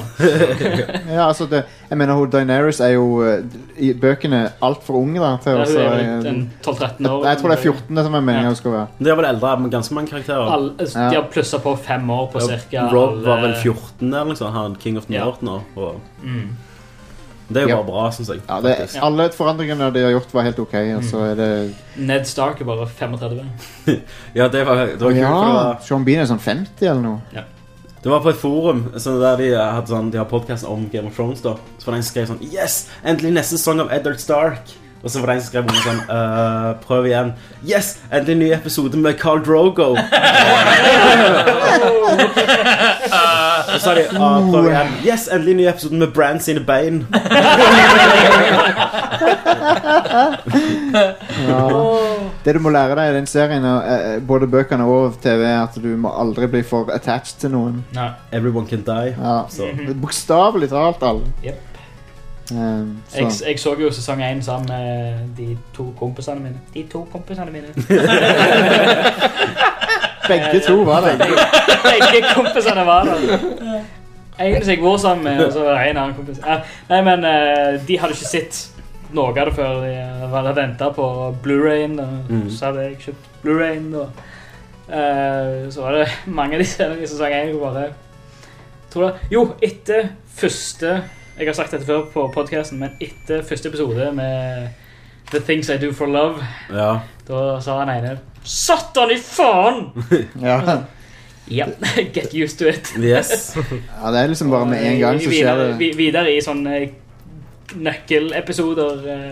ja, altså det, jeg mener, hun Daenerys er jo eh, i bøkene altfor ung da, til å Ja, hun er så, vel eh, en 12-13 år. jeg, jeg tror det er 14 det som er meningen hun skal være. Det er vel eldre men ganske mange karakterer. Alle- altså, de har plussa på fem år på Ja, cirka Rob var alle- vel 14 eller noe sånt. Han King of North nå. Og Mm. det er jo Ja. bare bra, syns jeg. Ja, det, faktisk. alle forandringene de har gjort, var helt OK. Og så er det Ned Stark er bare 35. ja, det var, det var kult. Ja, for Det, var, Sean Bean er sånn 50 eller noe. det var på et forum så der de hadde sånn, de har podkasten om Game of Thrones. da Så var det en som skrev sånn Yes! Endelig neste sesong av Edward Stark. Og så var det en som skrev under sånn «Øh, Prøv igjen. Yes! Endelig ny episode med Carl Drogo. Og så sa de «Ah, prøv igjen. Yes, endelig ny episode med Brand sine bein. Ja. Det du må lære deg i den serien, og, eh, eh, både bøkene og TV, er at du må aldri bli for attached til noen. Nei. Everyone can die. Ja. Så. Mhm. Bokstavelig talt alle. Yep. Um, så. Jeg, jeg så jo sesong 1 sammen med de to kompisene mine. De to kompisene mine. Begge to var der. Begge, begge kompisene var der. En som jeg var sammen med, og så var det en annen kompis. Eh, Nei, men eh, de hadde ikke sett noe av det før de eh, hadde venta på Blu-rayen. og Mm. Så hadde jeg kjøpt Blu-rayen, og eh, så var det mange av de scenene i sesong 1 bare tror det. Jo, etter første Jeg har sagt dette før på podcasten men etter første episode med The Things I Do For Love, Ja. da sa han ene Satan i faen! Ja. Ja, get used to it. Yes. ja, det er liksom bare med en gang så skjer videre, det. vi- videre i sånne eh, nøkkelepisoder. eh,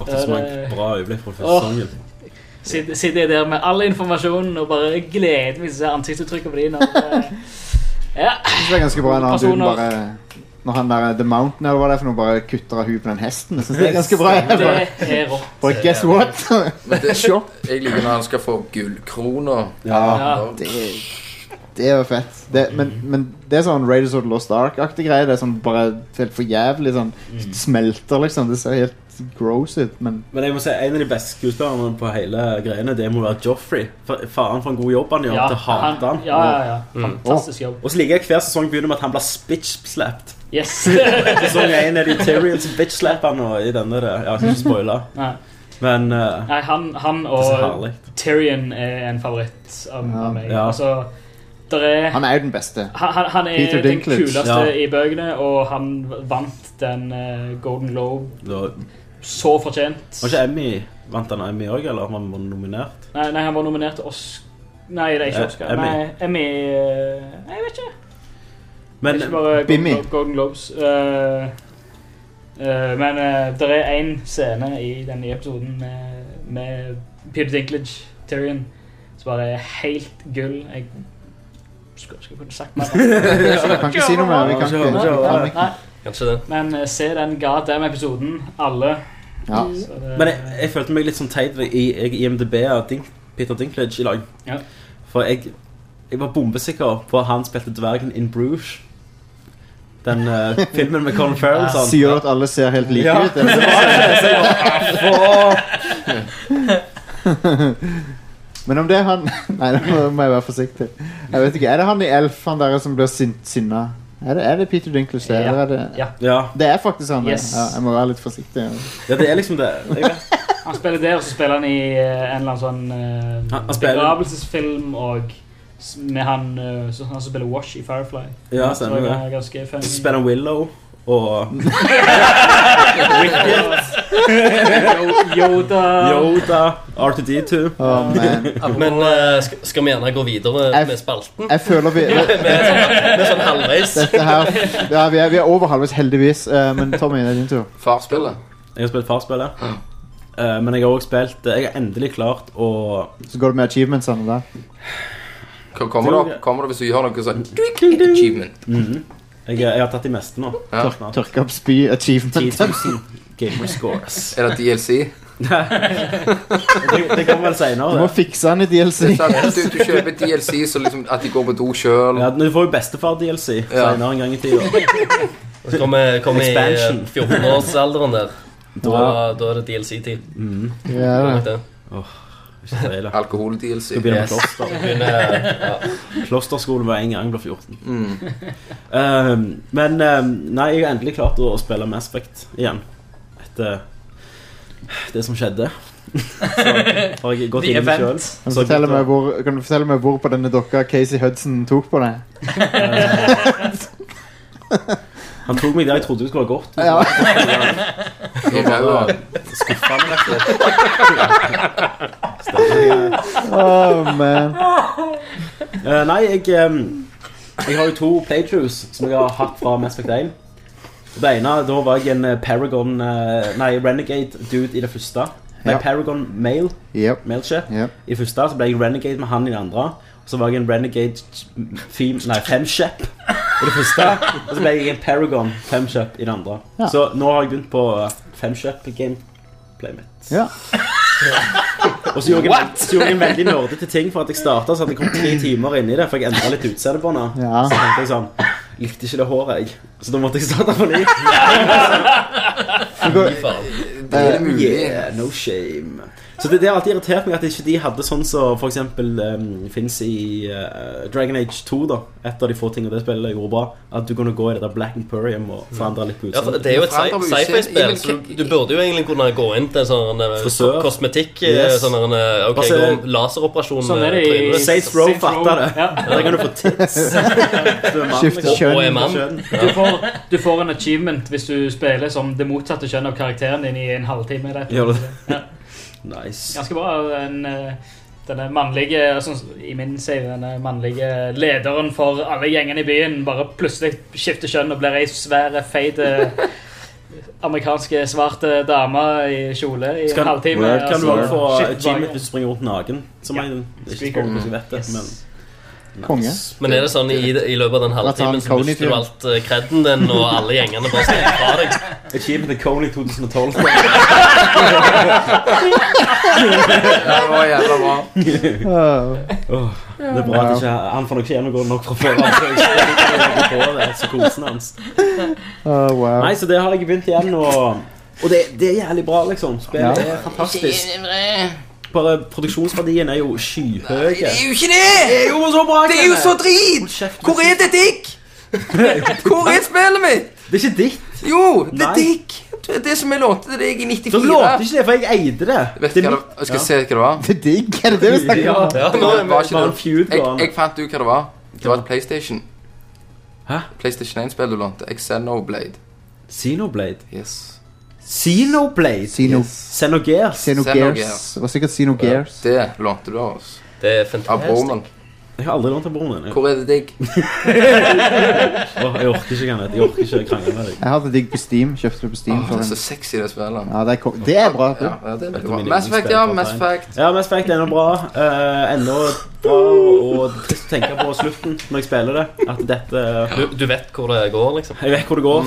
Ofte så der, mange eh, bra øyeblikk fra åh, første sesongen. Sitter sitter jeg der med all informasjonen og bare gleder meg til å se ansiktsuttrykket på de når eh, Ja. Jeg synes det er ganske bra når han duden Personer. bare Når han der The Mountain eller hva det er for noe, bare kutter av huet på den hesten. Jeg synes det er ganske bra. Det er rått. Bare guess what? Men det, Sjokk. jeg liker når han skal få gullkroner. Ja, det, det er jo fett. Det, men, men det er sånn Raiders of the Lost Ark-aktig greie. Det er sånn bare helt for jævlig sånn Smelter, liksom. Det ser helt gross ut, men Men jeg må si, en av de beste skuespillerne på hele greiene, det må være Joffrey. Fa- Faen for en god jobb han gjør. Ja, det hater han- han. ja, ja, ja. Mm. Fantastisk jobb. Og så liker jeg hver sesong begynner med at han blir bitch-slapped. Yes. sesong 1 er de Tyrion som bitch-slapper han, og i denne det. Ja, jeg skal ikke spoile. Nei. Men eh, Nei, han, han Det er så og herlig. Tyrion er en favoritt av, av meg. Ja. Altså, der er, han er jo den beste. han, han, han er Peter den Dinklage. kuleste Ja. i bøkene, og han vant den eh, Golden Globe det var, så fortjent. var ikke Emmy Vant han Emmy òg, eller var han nominert? Nei, nei, han var nominert til Oscar Nei, det er ikke Eh, Oscar. Emmy. Nei, Emmy eh, Nei, jeg vet ikke. Men eh, ikke bare Golden, Bimmy. Globe, Golden Globes. Eh, eh, men det er én scene i den nye episoden med, med Peter Dinklage, Tyrion, som bare er helt gull. Jeg skulle ønske jeg kunne sagt mer. Jeg kan ikke si noe mer, vi kan ikke- vi kan Nei, Kanskje det. Men eh, se den goddamn-episoden, alle. Ja. Så det- Men jeg, jeg følte meg litt sånn teit i, i IMDb av Dink, Peter Dinklage i lag. Ja. For jeg, jeg var bombesikker på at han spilte dvergen in Bruges. Den eh, filmen med Colin Farrell. Sånn. Sier du at alle ser helt like Ja. ut? eller? Så var det- så jeg Men om det er han Nei, nå må jeg være forsiktig. Jeg vet ikke, Er det han i Elf, han der som blir sin- sinna? Er det, er det Peter Dinklage? det, Ja. Eller er det, Ja. det er faktisk han. det. Yes. Ja, jeg må være litt forsiktig. Ja, det er liksom det. Han spiller der, og så spiller han i eh, en eller annen sånn eh, Han- han spiller- begravelsesfilm og s- med han, eh, så, han som spiller Wash i Firefly. Ja, Så stemmer han er Ganske det. funny. Så spiller han Willow og Yo- Yoda. Yoda. R2D2. Men eh, skal, skal vi gjerne gå videre med spalten? jeg føler vi- med, sånn, med sånn halvveis. Dette her ja, vi, er, vi er over halvveis, heldigvis. eh, Men Tommy, det er din tur. Farspillet. Jeg har spilt Farspillet. Eh, men jeg har også spilt Jeg har endelig klart å Så går det med achievementsene der. Kommer det, opp- kommer det hvis du gjør noe sånn Achievement. Mhm. jeg, jeg har tatt de meste nå. Ja. Snart. Tørke opp spy, achievement. 10 000 gamer scores. Er det DLC? det, det kommer vel senere. Du må fikse han i DLC. Det er sant, Du, du kjøper DLC så liksom at de går på do sjøl. Ja, men du får jo bestefar-DLC Ja. senere en gang i tida. Så kom jeg, kom jeg i eh, Expansion. 14-årsalderen der. Da, Da- da er det DLC-tid. Mhm. Ja, det. Alkohol-DLC. Skal begynne Yes. på kloster. Skal begynne, ja. Klosterskolen var en gang jeg ble 14. Mm. Ehm, men ehm, nei, jeg har endelig klart å spille Mass Effect igjen. Etter det som skjedde. Så har jeg gått The inn i det event. sjøl. Kan du, fortelle meg hvor, kan du fortelle meg hvor på denne dokka Casey Hudson tok på deg? Han tok meg der jeg trodde det skulle være godt. Det Ja. var skuffende, rett og slett. Oh, man. Eh, nei, jeg ehm, Jeg har jo to playthroughs som jeg har hatt fra Mass Effect 1. Og Det ene, da var jeg en eh, Paragon eh, Nei, Renegade-dude i det første. Nei, Ja. Paragon Male. Yep. Mailchef. Yep. I det første så ble jeg Renegade med han i det andre. Og så var jeg en Renegade fem, Nei, femshep i det første. Og så ble jeg en Paragon femshep i det andre. Ja. Så nå har jeg begynt på femshep-gameplay mitt. Ja. Og så gjorde, jeg, så gjorde jeg en veldig nerdete ting for at jeg starta, så hadde jeg kommet tre timer inn i det, for jeg endra litt utseende på henne. Ja. Så tenkte jeg sånn Likte ikke det håret, jeg. Så da måtte jeg starte på ny. Det er Eh, mulig. Yeah, no shame. Så det, det har alltid irritert meg at ikke de hadde sånn som for eksempel um, fins i eh, Dragon Age 2, da. Et av de få tingene det spillet gjorde bra. At du kunne gå i det der Black Imperium og forandre litt på Ja, for utseendet. det er jo et sci- sci-fi-spill, så du, du burde jo egentlig kunne gå inn til sånn eh, Frisør. kosmetikk Yes. sånn en, eh, Ok, Altså, gå om laseroperasjon sånn er det i- eh, trynet. Saints Row Saints Row. fatter det. Ja. Der kan du få tits. Du er mann, Skifte liksom. kjønn. Og er mann. Ja. Du, får, du får en achievement hvis du spiller som det motsatte kjønn av karakteren din i en halvtime. eller et eller Gjør annet. det. Ja. Nice. Ganske bra. En, eh, denne mannlige sånn, I min save, denne mannlige lederen for alle gjengene i byen bare plutselig skifter kjønn og blir ei svær, feit eh, amerikanske svarte dame i kjole i Skal- en halvtime. Kan du eh, også Altså, få shit, achievement bare- hvis du springer rundt naken? Som Ja. jeg ikke Squeaker. spør om hvis jeg vet det, men Konge. Men er det sånn i, i løpet av den halvtimen så Coney mister du til. alt eh, credden din, og alle gjengene bare stikker fra deg? Achievement til Coney 2012. det var jævla bra. Oh, Åh, det er bra at ikke, han får nok ikke gjennomgå nok fra før. Han får ikke på det, psykosen hans. Oh, wow. Nei, så det har jeg begynt igjen, og, og det, det er jævlig bra, liksom. Spillet Ja. er fantastisk. Bare produksjonsverdien er jo skyhøy. det er jo ikke det! Det er jo så bra, Det er jo Kenneth. så drit! Hvor er det digg? Hvor er spillet mitt? Det er ikke ditt. Jo, det Nei. er digg. Det er det som jeg lånte til deg i 94. Du lånte ikke det, for jeg eide det. Vet du hva det Jeg skal Ja. se hva det var. Det er digg, er det det vi snakker om? Ja, nå er vi var ikke bare det. feud jeg, gående. jeg fant ut hva det var. Det var et PlayStation. Hæ? PlayStation 1-spill du lånte. Xenoblade. Xenoblade? Yes. Xenoblade. Xeno- Xenogears. Xenogears. Det var sikkert Xenogears. Det lånte du av oss. Det er Av broren. Jeg har aldri lånt av broren min. Hvor er det digg? Åh, jeg orker ikke, Kenneth. Jeg orker ikke krangle med deg. Jeg hadde digg på Steam. Kjøpte det på Steam. Åh, for det er en- Så sexy det spillet. ja, det, er, ko- det er bra. du. Ja, det er veldig bra. Mass Effect, ja. Mass Effect. Ja, Mass Effect er ennå bra. eh, ennå bra å tenke på slutten når jeg spiller det. At dette Du, du vet hvor det går, liksom? Jeg vet hvor det går.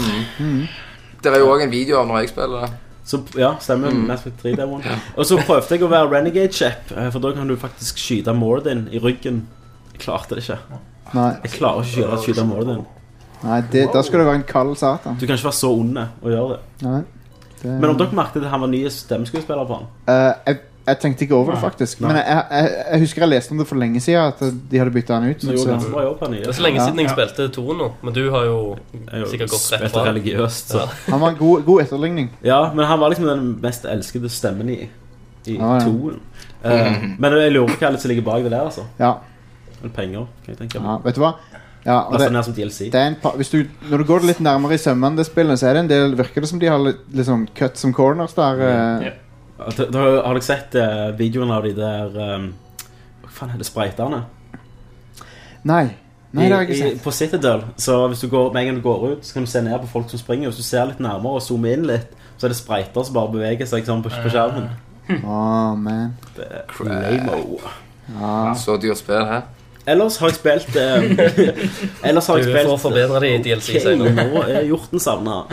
Det er jo òg en video av når jeg spiller det. Så, ja, stemmer. Mm. Mass Effect 3 demoen. Og så prøvde jeg å være renegade chap, eh, for da kan du faktisk skyte Morden i ryggen. Jeg klarte det ikke. Nei. Jeg klarer ikke å gjøre skyte Morden. Nei, det, da skal du være en kald satan. Du kan ikke være så ond og gjøre det. Nei. Det, Men om dere merket at han var ny stemmeskuespiller på han? Eh, jeg, jeg tenkte ikke over det, faktisk. Nei. Men jeg, jeg, jeg husker jeg leste om det for lenge siden, at de hadde bytta han ut. Men gjorde ganske bra jobb, han i Det er så lenge Ja. siden jeg spilte to nå, men du har jo sikkert gått rett spilt fra. religiøst, så. Ja. Han var en god, god etterligning. Ja, men han var liksom den mest elskede stemmen i, i Ja, Ah, ja. toen. Eh, Mm. men jeg lurer på hva som ligger bak det der, altså. Ja. Men penger, kan jeg tenke ja, meg. vet du hva? Ja, og Laste det- ned som DLC. det er en pa hvis du, når du går litt nærmere i sømmene, det spillet, så er det en del, virker det som de har litt, litt sånn cut som corners der. eh. At- da Har har dere sett eh, videoen av de der eh, Hva faen er det? Spreiterne? Nei. Nei, det har jeg I- ikke i- sett. På Citadel. Så hvis du går, med en gang du går ut, så kan du se ned på folk som springer. Hvis du ser litt nærmere og zoomer inn litt, så er det spreiter som bare beveger seg sånn på, på skjermen. Åh, man. Det er lame-o. Ja. Så dyrt spill her. Ellers har jeg spilt eh, Ellers har jeg Du spilt får forbedre det i DLC Ok, senere. Nå er hjorten savna.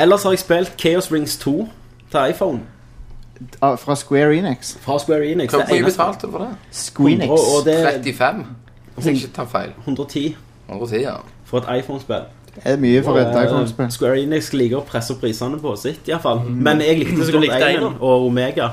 ellers har jeg spilt Chaos Rings 2 til iPhone. Ah, fra Square Enix. Fra Square Enix. Hvor det mye eneste- betalte du for det? Squeenix. Og- og det- 35? Hvis jeg ikke tar feil. 110 110, ja. for et iPhone-spill. Det er mye for et Og, eh, iPhone-spill. Square Enix liker å presse opp prisene på sitt, iallfall. Mhm. Men jeg likte så Du godt likte Einen Einen. og Omega.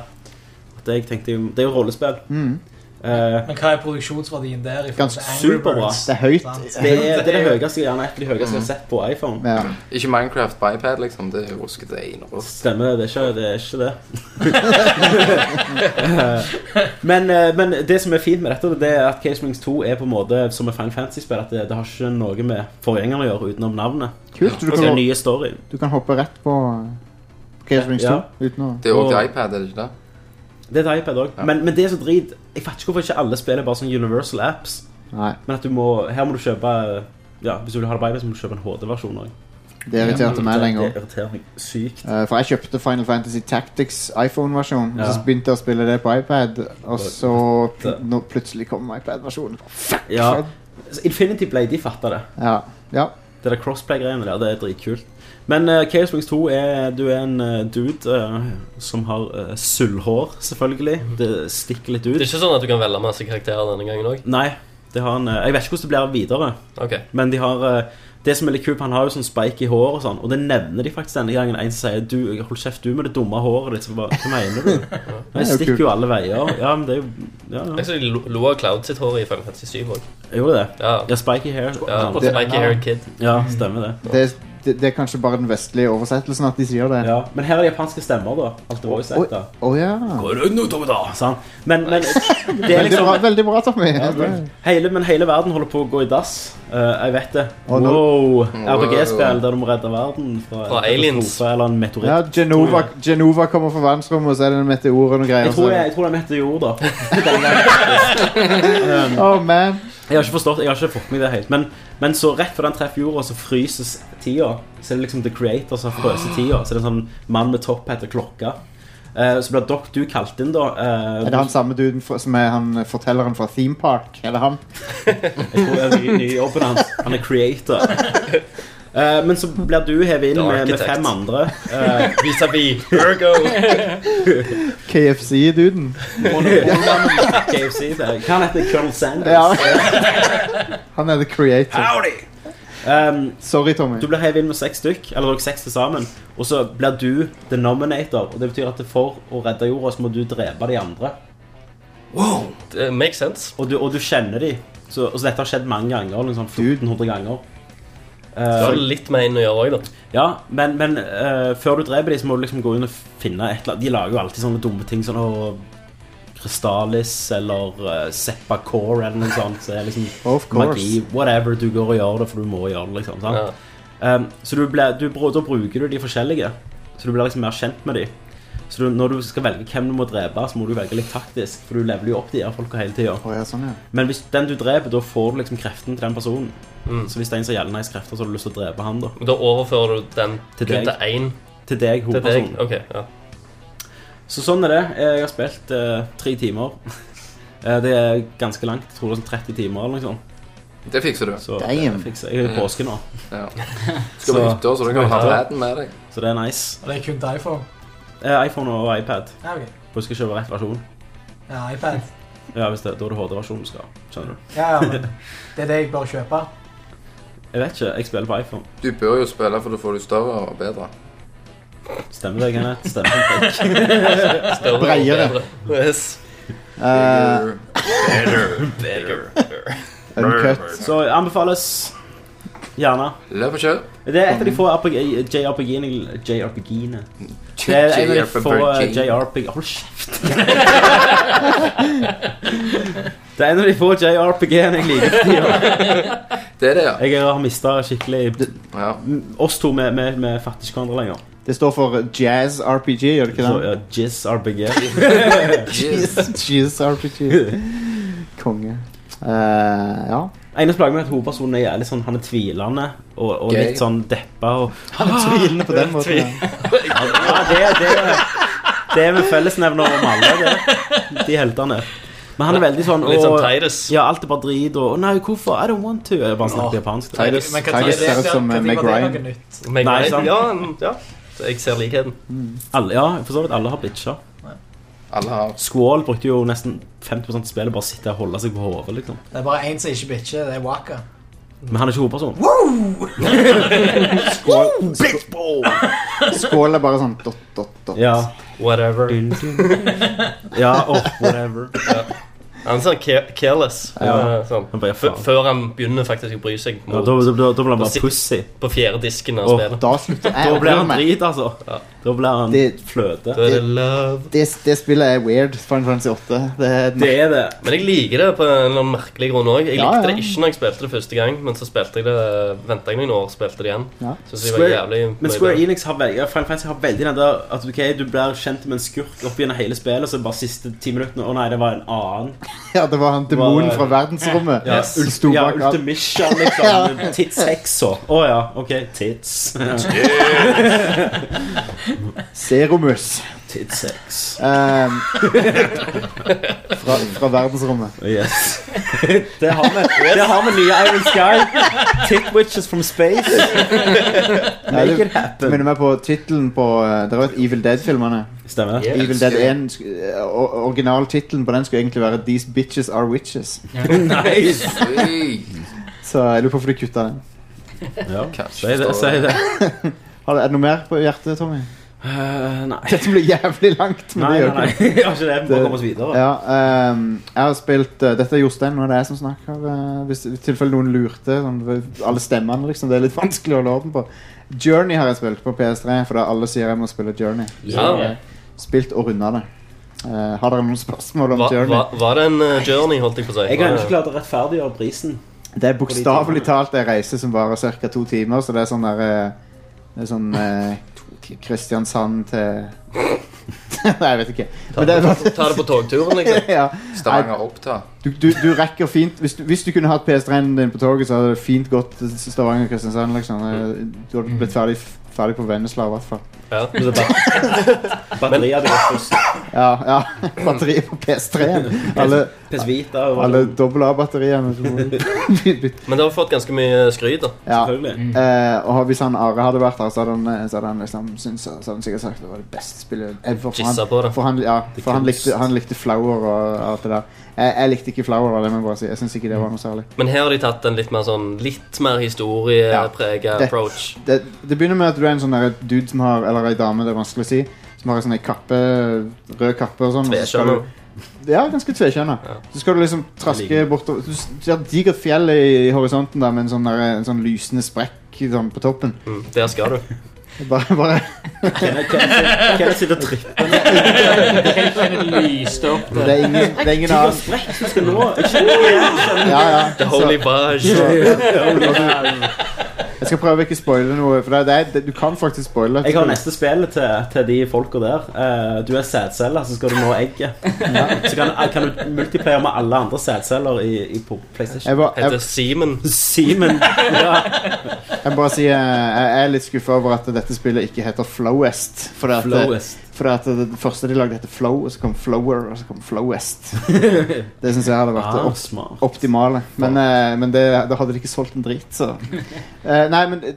At jeg tenkte, jo- det er jo rollespill. Mm. Eh, Men hva er produksjonsverdien der? i forhold ganske til Angry superbra. Birds? Sånn, Sant? Det er det, er det høyeste, gjerne et av de høyeste jeg har sett på iPhone. Ikke Minecraft på iPad, liksom. Det er ruskete einerbrøst. Stemmer det. Det er ikke det. Er ikke det. men, eh, men det som er fint med dette, det er at Case Rings 2 er på en måte som et Final Fantasy-spill. At det, det har ikke noe med forgjengerne å gjøre utenom navnet. Kult, du Og så kan- er det nye storyen. Du kan hoppe rett på Case Rings 2 Ja. uten å Det er jo til iPad, er det ikke det? Det er et iPad òg. Men, men det er så drit Jeg fatter ikke hvorfor ikke alle spiller bare sånn Universal apps. Nei. Men at du må Her må du kjøpe Ja, Hvis du vil ha det på iPad, så må du kjøpe en HD-versjon òg. Det irriterte meg lenge Det irriterer meg sykt. Eh, For jeg kjøpte Final Fantasy Tactics iPhone-versjon, Ja. så begynte jeg å spille det på iPad, og så pl Det- nå plutselig kom iPad-versjonen. Fuck! Ja. Så Infinity Blade, de fatter det. Ja. ja. Det der crossplay-greiene der, det er dritkult. Men eh, Chaos Wings 2 er Du er en eh, dude eh, som har uh, sølvhår, selvfølgelig. Det stikker litt ut. Det er ikke sånn at du kan velge masse karakterer denne gangen òg? Nei. Det har en, eh, jeg vet ikke hvordan det blir videre. Ok. Men de har eh, det som er litt kult, han har jo sånn spike i håret og sånn, og det nevner de faktisk denne gangen. En som sier 'du, hold kjeft, du med det dumme håret ditt'. Så bare, Hva mener du? Det Jeg er jo stikker kult. jo alle veier. Ja, men det er jo ja, ja. Jeg så de lo lo av Cloud sitt hår i Final Fantasy 7 òg. Jeg gjorde det. Ja. ja, spiky hair. Ja, Det- spiky haired kid. Ja, stemmer det. Det, det, det er kanskje bare den vestlige oversettelsen at de sier det. Ja, men her er det japanske stemmer, da. Alt er voice Oi. actor. Å ja. Sånn. Men, men det er Veldig bra, liksom veldig bra Tommy. vel. hele, men hele verden holder på å gå i dass. Eh, jeg vet det. Å, nå- Wow! RPG-spill der du må redde verden fra, Fra en aliens. katastrofe Eller en meteoritt. Ja, Genova, Genova kommer fra verdensrommet, og så er det en meteor og noen greier. Jeg tror, så- jeg, jeg tror det er meteor, da. Um, Oh, man. Jeg har ikke forstått, jeg har ikke fått med det helt. Men, men så rett før den treffer jorda, så fryses tida. Så er det liksom The Creator som har Ah. frøst tida. Så er det en sånn mann med topp heter Klokka. Eh, så blir Doc du kalt inn, da. eh, Er det han samme duden fra- som er han eh, fortelleren fra Theme Park? Er det han? Jeg tror det er ny, ny jobben hans. Han er creator. Eh, men så blir du hevet inn The med, med Architect. fem andre. eh, Vis-à-vis Ergo. KFC-duden. KFC, det er- Hva heter han? Colonel Sanders? Ja. Han er the creator. Um, Sorry, Tommy. Du blir hevet inn med seks stykk, eller dere seks til sammen, og så blir du the nominator. Og det betyr at for å redde jorda, så må du drepe de andre. Wow! Det makes sense. Og du, og du kjenner de. Så, og så dette har skjedd mange ganger. Liksom 1400 ganger. Så Eh, har det litt med en å gjøre òg, da. Ja, men, men eh, før du dreper dem, så må du liksom gå inn og finne et eller annet. De lager jo alltid sånne dumme ting. Sånn «Åh, Crystallis eller uh, Seppa Core eller noe sånt. Så det er liksom Of course. magi. Whatever. Du går og gjør det, for du må gjøre det, liksom. Sant? Um, så du ble, du, br- da bruker du de forskjellige. Så du blir liksom mer kjent med de. Så du, når du skal velge hvem du må drepe, så må du velge litt taktisk, for du leveler jo opp de her folka hele tida. Å, ja, sånn, ja. Men hvis den du dreper, da får du liksom kreften til den personen. Så hvis det er en som har jævlig nice krefter, så har du lyst til å drepe han, da. Men Mm. Da overfører du den Til kun deg. til én. Til deg, Til deg. hovedpersonen. Ok, ja. Så sånn er det. Jeg har spilt eh, tre timer. Eh, det er ganske langt. Jeg tror det er sånn 30 timer eller noe sånt. Det fikser du. Så Damn. det fikser jeg. Jeg er i påske nå. Ja. Skal på hytta, så du kan ha verden med deg. Så det er nice. Og det er kun til iPhone? Eh, iPhone og iPad. Ja, ok. Husk å kjøpe rett versjon. Ja, iPad. Ja, hvis det, da er det HD-versjonen du skal ha. Skjønner du? Ja, ja, men det er det jeg bør kjøpe. Jeg vet ikke. Jeg spiller på iPhone. Du bør jo spille, for da får du større og bedre. Stemmer det, Kenneth? Stemmer det? Større og Breiere. bedre. Yes. Eh, Better, better, Uncut. Så anbefales gjerne. Løp og kjør. Det er et av de få RPG JRPG-ene JRPG-ene. Det er en av de få eh, JRPG Hold kjeft! Det er en av de få JRPG-ene jeg liker. for tiden. Det er det, ja. Jeg har mista skikkelig Oss to, vi- vi vi fatter ikke hverandre lenger. Det står for Jazz RPG, gjør det ikke Så, det? ja, Jizz RPG. Jizz- Jizz RPG. Konge. Eh, ja. Eneste plagen med at hovedpersonen er litt sånn, han er tvilende og, og Gay. litt sånn deppa. Og, Han er tvilende på den måten, ja. ja, det, det, det er med fellesnevner om alle. Det. De heltene. Men han er veldig sånn Litt sånn og- Titus. Ja, alt er bare drit og «Å, Nei, hvorfor? I don't want to. Jeg bare snakker japansk. Titus. Men kan Titus ser ser ut som, eh, Meg Ryan. Nei, Meg Ryan, sant? ja, mm, ja. Så jeg ser likheten. Alle, ja, for så vidt. Alle har bitcher. Alle har Squall brukte jo nesten 50 av spillet bare å sitte og holde seg på hodet, liksom. Det er bare én som ikke bitcher, det er Waka. Men han er ikke hovedperson. Skål. Skål er bare sånn dot, dot, dot. Ja. Whatever. Ja, åh, whatever. Han er sånn care- careless. Ja. Eh, Sånn. Han bare, F- faen. Før han begynner faktisk å bry seg. Ja, da- da- da- da blir han på bare si- pussy. På fjerde disken av Åh, spillet. da slutter Da jeg å blir han bry meg. drit, altså. Da blir han fløte. Da er det love. Det, det spillet er weird. Final Fantasy 8. Det, er- Men jeg liker det på en eller annen merkelig grunn òg. Jeg Ja, likte ja. det ikke når jeg spilte det første gang, men så spilte jeg det venta jeg noen år, spilte det igjen. Ja. Synes jeg var jævlig Square, men mye Square bedre. Enix har veldig, ja, Final Fantasy har veldig den der at ok, du blir kjent med en skurk opp gjennom hele spillet, så bare siste ti minuttene Å nei, det var en annen. ja, det var han demonen fra verdensrommet. Ja, Som sto ja bak alt. Ultimisha, liksom. Tidsheksa. Å ja, ok. Tids. Serumus. Tidsex. Um, fra, fra verdensrommet. Yes. Det har vi. Det har vi nye Iron Sky. Tit Witches from Space. Nei, Make det it happen. minner meg på tittelen på eh, Det var et Evil Dead-filmene. Stemmer. Yes. Evil Dead 1 sk- eh, or- Originaltittelen på den skulle egentlig være These Bitches Are Witches. Nice. Så jeg lurer på hvorfor de kutta den. Ja, si det. Si det. Har du- Er det noe mer på hjertet, Tommy? Eh, nei. Dette blir jævlig langt. men Nei, det gjør nei, nei. ikke noe. Jeg har ikke det. Vi må bare komme oss videre. Ja, ehm, jeg har spilt eh, Dette er Jostein, nå er det jeg som snakker. eh, hvis i tilfelle noen lurte. Sånn, alle stemmene, liksom. Det er litt vanskelig å holde orden på. Journey har jeg spilt på PS3, for da alle sier jeg må spille Journey. Så Ja. jeg har Spilt og runda det. Eh, har dere noen spørsmål om Hva, Journey? hva, var det en eh, journey, holdt jeg på å si? Jeg har ikke klart å rettferdiggjøre prisen. Det er bokstavelig talt en reise som varer ca. to timer, så det er sånn der eh, Det er sånn eh, Kristiansand til Nei, jeg vet ikke. Men det er bare- Ta det på togturen, liksom. ja. Stavanger opp, da. du, du, du rekker fint hvis du, hvis du kunne hatt PS3-en din på toget, så hadde det fint gått til Stavanger og Kristiansand. Liksom. Eh, Du hadde blitt ferdig, ferdig på Vennesla, i hvert fall. Ja. Batteriet hadde gått først. Ja, ja. Batteriet på PS3-en. Alle, PS Vita og- alle dobbel A-batteriene. som må bytte- Men det har fått ganske mye skryt, da. Ja. Eh, og hvis han Are hadde vært her, så hadde han, eh, så hadde han liksom syntes, så hadde han sikkert sagt det var det beste spillet ever. For Gissa han, på det. for han, ja, Det for han, kunst. likte, han likte Flower og alt det der. Jeg, jeg likte ikke Flower, det må jeg bare si. Jeg syns ikke det var noe særlig. Men her har de tatt en litt mer sånn Litt mer historiepreget Det- approach. Det, det begynner med at du er en sånn der dude som har Eller ei dame, det er vanskelig å si. Som har en sånn ei kappe, rød kappe og sånn. og så skal Tveskjønner. du- Ja, ganske tvekjønna. Så skal du liksom traske Jeg bortover Du s- ser et digert fjell i, i horisonten der med en sånn, der, en sånn lysende sprekk sånn, på toppen. Mm, der skal du. Bare, bare Kenneth sitter og tripper. Det er ingen, det er ingen annen Du skal nå Ja, ja. The Holy Bash. Jeg skal prøve å ikke spoile noe, for det er, det, du kan faktisk spoile. Jeg har neste spill til, til de folka der. Eh, du er sædcelle, så skal du nå egget. Så kan, eh, kan du multiplayer med alle andre sædceller i, i på PlayStation. Jeg var- jeg- Heter Seaman. Seaman. Jeg må bare si, eh, jeg er litt skuffa over at dette spillet ikke heter Flowest. For det at, eh, Flowest. For det, at det, det første de lagde, heter Flow, og så kom Flower, og så kom Flowest. Det syns jeg hadde vært Ah, det smart. op optimale. Men, eh, men det, da hadde de ikke solgt en drit, så Eh, Nei, men eh,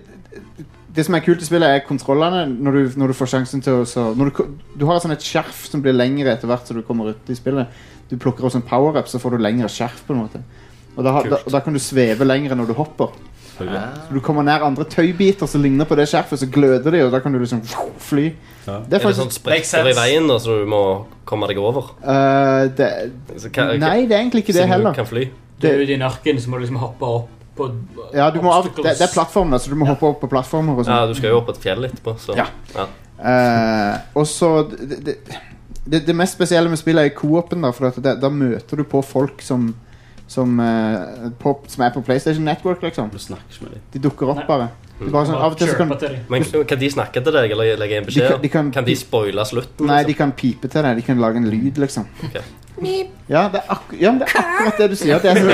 det som er kult i spillet, er kontrollene. Når du, når du får sjansen til å så, når du, ko- du har sånn et skjerf som blir lengre etter hvert som du kommer ut i spillet. Du plukker også en power-up, så får du lengre skjerf. på en måte Og da, har- da, da kan du sveve lengre når du hopper. Så du kommer nær andre tøybiter som ligner på det skjerfet, så gløder de, og da kan du liksom fly. Det er, det sånn sprekker i veien, da, så du må komme deg over? Eh, det, Så hva- Nei, det er egentlig ikke det Siden du heller. Kan fly. Du er ute i narken, så må du liksom hoppe opp på Ja, du må av, det, det er plattformer, så du må hoppe opp på plattformer. Og Ja, sånn. du skal jo opp på et fjell etterpå, så Ja. Eh, og så det, det, det- det mest spesielle med spillet er co-open, da, for at det, da møter du på folk som som, eh, på, som er på PlayStation Network, liksom. Du snakker ikke med dem. De dukker opp, bare. Det er bare sånn, av og til så kan Men kan de snakke til deg, eller legge en De beskjed? kan- de kan- de spoile slutten? liksom? Nei, de kan pipe til deg. De kan lage en lyd, liksom. Ja, det er, akku- ja, men det er akkurat det du sier. Det er så,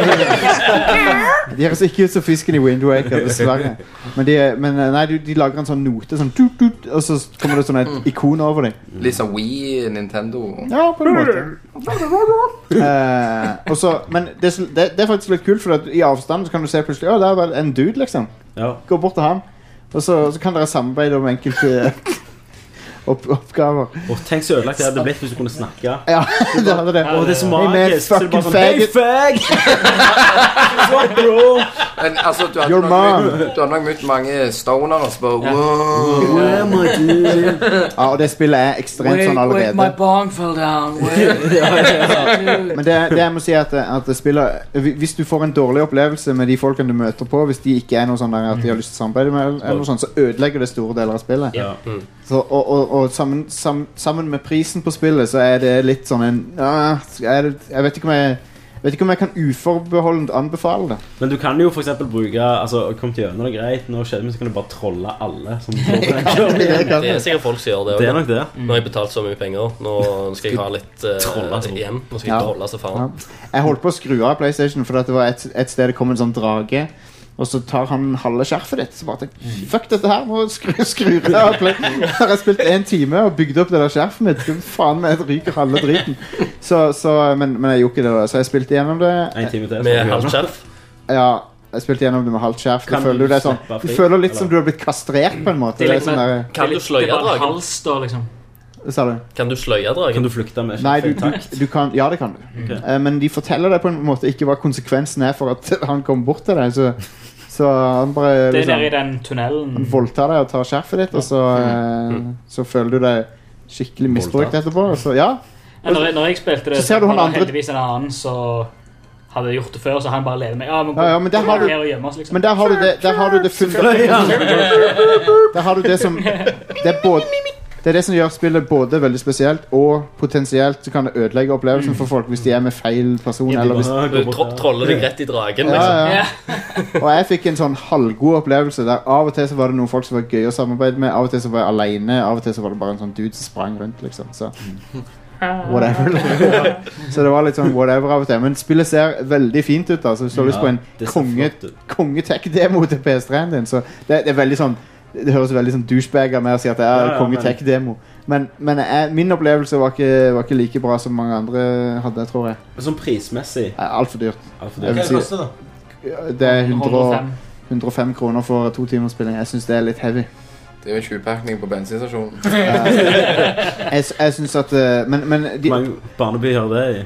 de høres ikke ut som fisken i Wind Waker, dessverre. Men, de, er- men eh, nei, du- de lager en sånn note, sånn tut, tut, og så kommer det sånn et ikon over dem. Litt sånn Wii, Nintendo Ja, på en måte. Eh, og så- men det, er så- det, det er faktisk litt kult, for at i avstand så kan du se plutselig Å, der var en dude, liksom. Ja. Gå bort til han. Og så, så kan dere samarbeide om enkelte opp, oppgaver. Og tenk så ødelagt det hadde blitt hvis du kunne snakke. Ja, det hadde det. Å, det er sånn så Hey, man, magisk. Så er det bare fucking sånn, Hey, faggot. fag! What's up, bro? Men altså, du hadde Your nok mom. møtt- Du hadde nok møtt mange stonere som bare Oh, wow. Where my Ja, og det spillet er ekstremt sånn allerede. bong fell down. Men det, det jeg må si er at, at det spiller hvi- Hvis du får en dårlig opplevelse med de folkene du møter på, hvis de ikke er noe sånn der at de har lyst til å samarbeide med, eller noe sånt, så ødelegger det store deler av spillet. Ja. Mm. Så, og og, og sammen, sam, sammen med prisen på spillet, så er det litt sånn en ah, er det, Jeg vet ikke om jeg Vet ikke om jeg kan uforbeholdent anbefale det. Men du kan jo for eksempel bruke Altså, kom til gjennom det er greit, nå skjedde det, men så kan du bare trolle alle. Som går på den kjøren. Det er sikkert folk som gjør det. også. Det er nok det. Nå har jeg betalt så mye penger. Nå skal jeg ha litt eh, Trolle, altså. igjen. Nå skal jeg Ja. trolle så faen. Ja. Jeg holdt på å skru av PlayStation fordi at det var et, et sted det kom en sånn drage. Og så tar han halve skjerfet ditt. Så bare tenkte jeg, Fuck dette her, må jeg skru, skru det av. Play. Her har jeg spilt én time og bygd opp det der skjerfet mitt. Skal faen meg ryke halve driten. Så, så, men, men jeg gjorde ikke det, da. Så jeg spilte gjennom det. En time til, så Med skal vi gjøre halvt det. skjerf. Ja, jeg spilte gjennom det med halvt skjerf. Du Kan føler, du jo det er sånn, slippe du fri, føler litt eller? som du har blitt kastrert, på en måte. Det er Det er litt sånn der, Kan du sløye dragen? Hals, da, liksom. Hva sa du? Kan du sløye dragen? Kan du flykte med Nei, du, du, du kan, ja, det kan du. Ok. Eh, Men de forteller deg på en måte ikke hva konsekvensen er for at han kom bort til deg. Så, så han bare Det er der i liksom, den tunnelen. han voldtar deg og tar skjerfet ditt, og så, eh, så føler du deg skikkelig misbrukt Voldtatt. etterpå. og Så, ja. Ja, Når, når jeg spilte det, Så ser du han var det andre- heldigvis en annen som hadde gjort det før, så han bare lever med Ja, men, Ja, ja, men der har du- her og gjemme oss, liksom. Men der har du det, der har du det full- Der har du det som Det er både det er det som gjør spillet både veldig spesielt og potensielt så kan det ødelegge Mm. opplevelsen for folk hvis de er med feil person. Eller hvis, Du tro troller deg rett i dragen, Ja, liksom. ja. Og jeg fikk en sånn halvgod opplevelse der av og til så var det noen folk som var gøy å samarbeide med, av og til så var jeg alene, av og til så var det bare en sånn dude som sprang rundt, liksom. Så whatever. så det var litt sånn whatever av og til. Men spillet ser veldig fint ut, da. Så hvis du har lyst på en det ser konge, flott ut. kongetech-demo til PS3-en din, så det, det er veldig sånn det høres veldig sånn douchebag av meg å si at det Ja, er ja, kongetech-demo. Men, men jeg, min opplevelse var ikke, var ikke like bra som mange andre hadde, tror jeg. Sånn prismessig. Altfor dyrt. Alt for Jeg vil dyrt. si- Det er 100 og- 105 kroner for to timers spilling. Jeg syns det er litt heavy. Eh, Det er jo en 20-pakning på bensinstasjonen. Jeg, s- jeg synes at eh, Men, men, de, Hvor mange barnebyer har det i?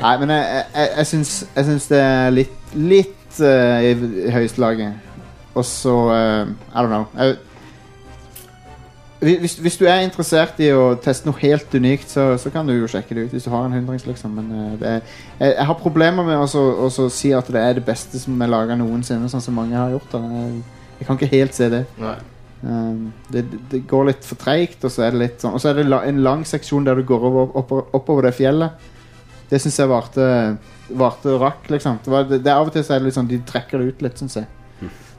nei, men jeg, jeg, jeg, syns, jeg syns det er litt, litt eh, i, i høyeste laget. Og så eh, I don't know. Jeg, Hvi- hvis, hvis du er interessert i å teste noe helt unikt, så, så kan du jo sjekke det ut. Hvis du har en hundrings, liksom. Men eh, det er, jeg, jeg har problemer med å så- å så si at det er det beste som er laga noensinne, sånn som mange har gjort. Da. Jeg, jeg kan ikke helt se det. Nei. Um, det, det- det går litt for treigt, og så er det litt sånn Og så er det la, en lang seksjon der du går over, oppover, oppover det fjellet. Det syns jeg varte, varte og rakk, liksom. Det var, det, det, er av og til så er det litt sånn de trekker det ut litt, syns jeg.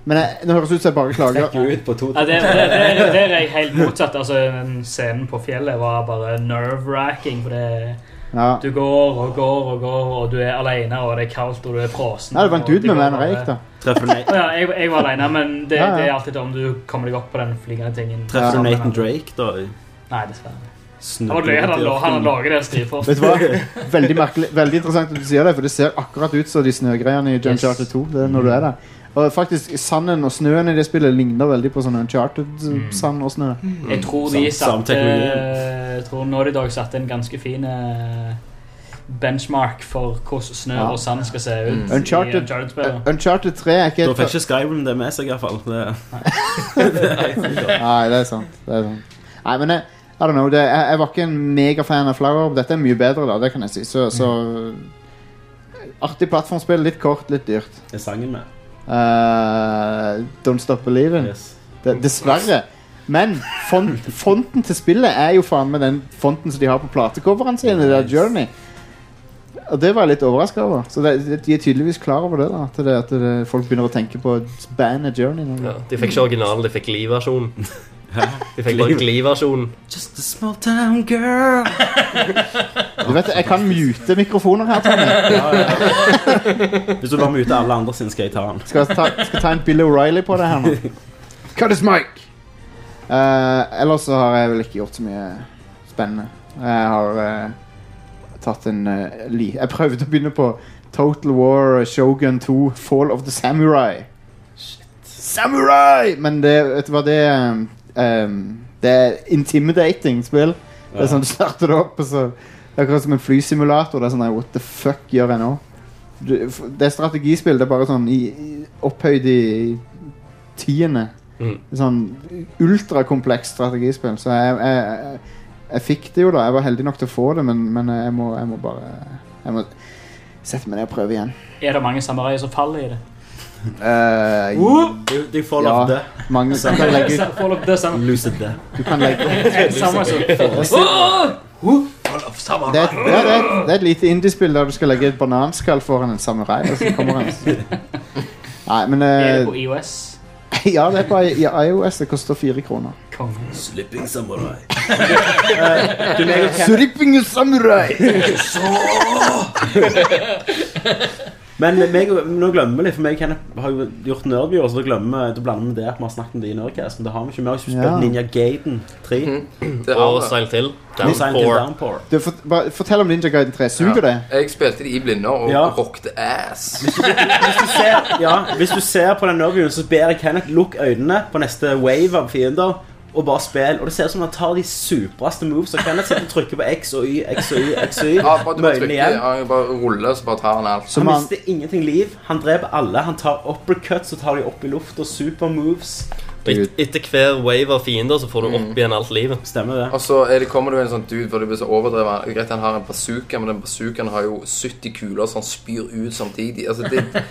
Men jeg, det høres ut som jeg bare klager. Trekker ut på to Ja, det, det, det, det er jeg helt motsatt. Altså, den scenen på fjellet var bare nerve-racking. For det, Ja. du går og går og går, og du er alene, og det er kaldt, og du er frossen. Nei, det var en og dude du med meg går når jeg bare- gikk, da. Treffer du Na- Å Ja, jeg, jeg var alene, men det, Ja, ja. det er alltid om du kommer deg opp på den flygende tingen. treffer du Sammen med Nathan andre. Drake, da? i- Nei, dessverre. Det Snubler var løye, rundt i han lå- ørkenen? han har laget det skrivet for. Vet du hva? Veldig, merkelig, veldig interessant at du sier det, for det ser akkurat ut som de snøgreiene i John Yes. Charter 2. Det er når du er der. Og faktisk, sanden og snøen i det spillet ligner veldig på sånn Uncharted-sand og snø. Jeg tror Sam- de Mm. samme satte teknologi. Jeg tror Naughty Dog satte en ganske fin eh, benchmark for hvordan snø Ja. og sand skal se Mm. ut. i Uncharted- Uncharted-spillet. Uncharted 3 er ikke Da et fikk ikke Skyrim det med seg, iallfall. Det... Nei, det er sant. Det er sant. Nei, men jeg, I don't know, det, jeg, jeg var ikke en megafan av Flower. Dette er mye bedre, da. Det kan jeg si. Så, så Artig plattformspill. Litt kort, litt dyrt. er sangen med. Eh, don't Stop Believing. Yes. Det- Dessverre. Men font, fonten til spillet er jo faen meg den fonten som de har på platecoverne sine. Det er Journey. Og det var jeg litt overraska over. Så det, de er tydeligvis klar over det. da At, det, at det, folk begynner å tenke på bandet Journey. nå. Ja, de fikk ikke originalen, de fikk Glee-versjonen. De fikk bare Glee-versjonen. Just a small town girl. Du vet, Jeg kan mute mikrofoner her. Tommy. Hvis du bare muter alle andre sin, skal jeg ta den. Skal jeg ta, skal jeg ta en Bill O'Reilly på det her nå. Cut his mic. Eh, ellers så har jeg vel ikke gjort så mye spennende. Jeg har eh, tatt en eh, li... Jeg prøvde å begynne på Total War eh, Shogun 2 Fall of the Samurai. Samurai! Men det, vet du hva det er? Ehm, det er intimidating spill. Det sånn, er sånn du starter det opp, og så det er akkurat som en flysimulator. Det er sånn, nei, What the fuck gjør jeg nå? du, f- Det er strategispill. Det er bare sånn i, i, opphøyd i tiende. Mm. Sånn ultrakomplekst strategispill. Så jeg, jeg, jeg, jeg fikk det jo, da. Jeg var heldig nok til å få det, men, men jeg, må, jeg må bare Jeg må sette meg ned og prøve igjen. Er det mange samuraier som faller i det? Eh, Du- du får lov det. Mange, du kan legge ut Eh, Fall of the Samurai. Lose it there. Du kan legge En samurai som faller. det er, et, ja, det, er et, det er et lite indiespill der du skal legge et bananskall foran en samurai, og så kommer han Nei, men eh, Er det på E IOS? Ja, det er på I- i iOS. Det koster fire kroner. Slipping samurai. Eh, du, meg og Ken- Stripping samurai! Men meg, og- nå glemmer vi litt, for meg og Kenneth har jo gjort nerdviewer, så da glemmer vi, da blander vi det at vi har snakket om det i Nerdcast, men det har vi ikke. Vi har ikke spilt Ja. Ninja Gaiden 3. Mhm. Det har Og vi. Silent Hill. Silent Hill Downpour. Downpour. Du, fort- bare fortell om Ninja Guiden 3. Suger det? Jeg spilte de i blinde og Ja. rockte ass. Hvis du ser, ja, hvis du ser på den nerdviewen, så ber jeg Kenneth lukk øynene på neste wave av fiender. Og bare spill, og det ser ut som han tar de supreste moves. Og Kenneth sitter og trykker på X og Y, X og Y, X og Y. Ja, bare du med bare øynene trykker, igjen. ja, jeg bare ruller, så bare tar han alt. Han mister ingenting liv. Han dreper alle. Han tar uppercuts og tar de opp i luft og supermoves. Et, etter hver wave av fiender så får du Mm. opp igjen alt livet. Stemmer det. Og så er det, kommer det jo en sånn dude, for det blir så overdrevet. Greit, han har en bazooka, men den bazookaen har jo 70 kuler som han spyr ut samtidig. Altså, det,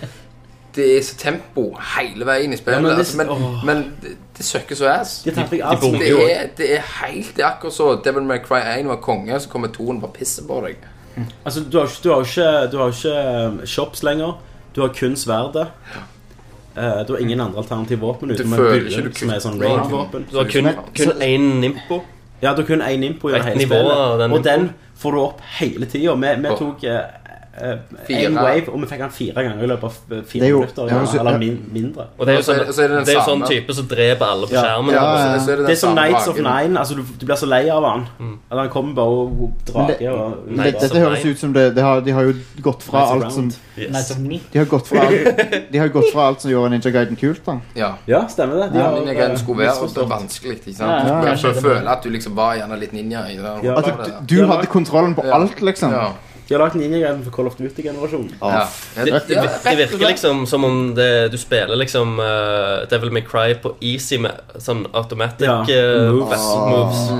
det er så tempo hele veien i Ja, spillet. men men, altså, hvis- men, åh. men det, det søkker så ass. Altså, De tar vekk alt som Det er, det er helt Det er akkurat så Devil May Cry 1 var konge, så kommer 2 og bare pisser på deg. Altså, du har, ikke- du har ikke, du har ikke um, shops lenger. Du har kun sverdet. Eh, du har ingen andre alternative våpen Du utenom en føler bue, ikke du som er kun- sånn Du har, range-våpen. du har kun, kun én nimpo. Ja, du har kun én impo i Et hele nivå av spillet. den Og den får du opp hele tida. Vi, vi Åh. tok Fire. én wave, og vi fikk den fire ganger i løpet av eh, Det fire er jo- minutter. ja, så- eller min, mindre. Og det er jo Og så er sånn, det- så er det den det er jo sånn samme. type som dreper alle på Ja. skjermen. Ja, og ja. Så er sånn. det, den Det er som samme Nights of dragen. Nine. Altså, du, du blir så lei av han. Eller han kommer bare og drager. og- Nei, Det, altså, dette høres nei. ut som det, det har, De har jo gått fra Nice alt round. som Night of Meat. De har gått fra alt, de har gått fra alt som gjorde Ninja Guiden kult, da. Ja. Ja, stemmer det. De Ja, har, Ninjaguiden eh, skulle være misforstått. også vanskelig. ikke Ja, ja, sant? Du ja. skulle kanskje føle at du liksom var gjerne litt ninja. i den Ja. rollen At der. Altså, du, du hadde kontrollen på alt, liksom. Ja. De har lagt Ninja-greien for Call of Duty-generasjonen. Ja. Det, Ja, det, vir- det rett og virker slett. liksom som om det, du spiller liksom eh, Devil May Cry på easy med sånn automatic Ja. eh, Moves. best moves.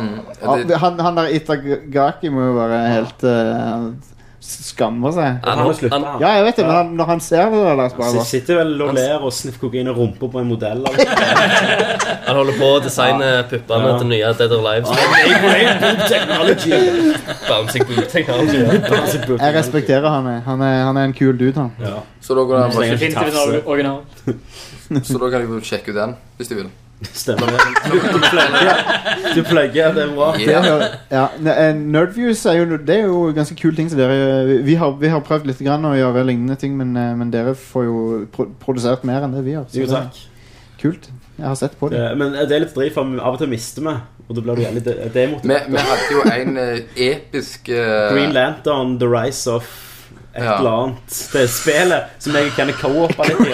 Ja, det- Ja, han, han der Itagaki må jo være helt eh, Han skammer seg. Han, Han har han, sluttet, han. Ja, jeg vet det, men han, når han ser det der, så bare Så sitter vel og ler og sniffer kokain og rumper på en modell. eller noe. han holder på å designe puppene Ja. til nye Dead or Alive. Bouncing boot technology. Jeg respekterer han. jeg. Han er, han er en kul dude, han. Ja. Så da går det an å Trenger ikke Fint tafse. original- original. Så da kan du jo sjekke ut den, hvis du vil. Stemmer det. Du plugger. Du plugger, det er bra. Det hører- Ja, ne- eh, Nerdviews er jo, det er jo ganske kule ting. Så dere, vi- vi, har, vi har prøvd litt grann å gjøre lignende ting, men, eh, men dere får jo pro produsert mer enn det vi gjør. Så Jo, det er takk. kult. Jeg har sett på det. Eh, Men det er litt drit, for av og til mister vi, og da blir du jævlig de- demotivert. Vi, vi hadde jo en eh, episk eh, Green Lantern, The Rise of et Ja. eller annet. Det er spillet som jeg kan co-oppe litt i.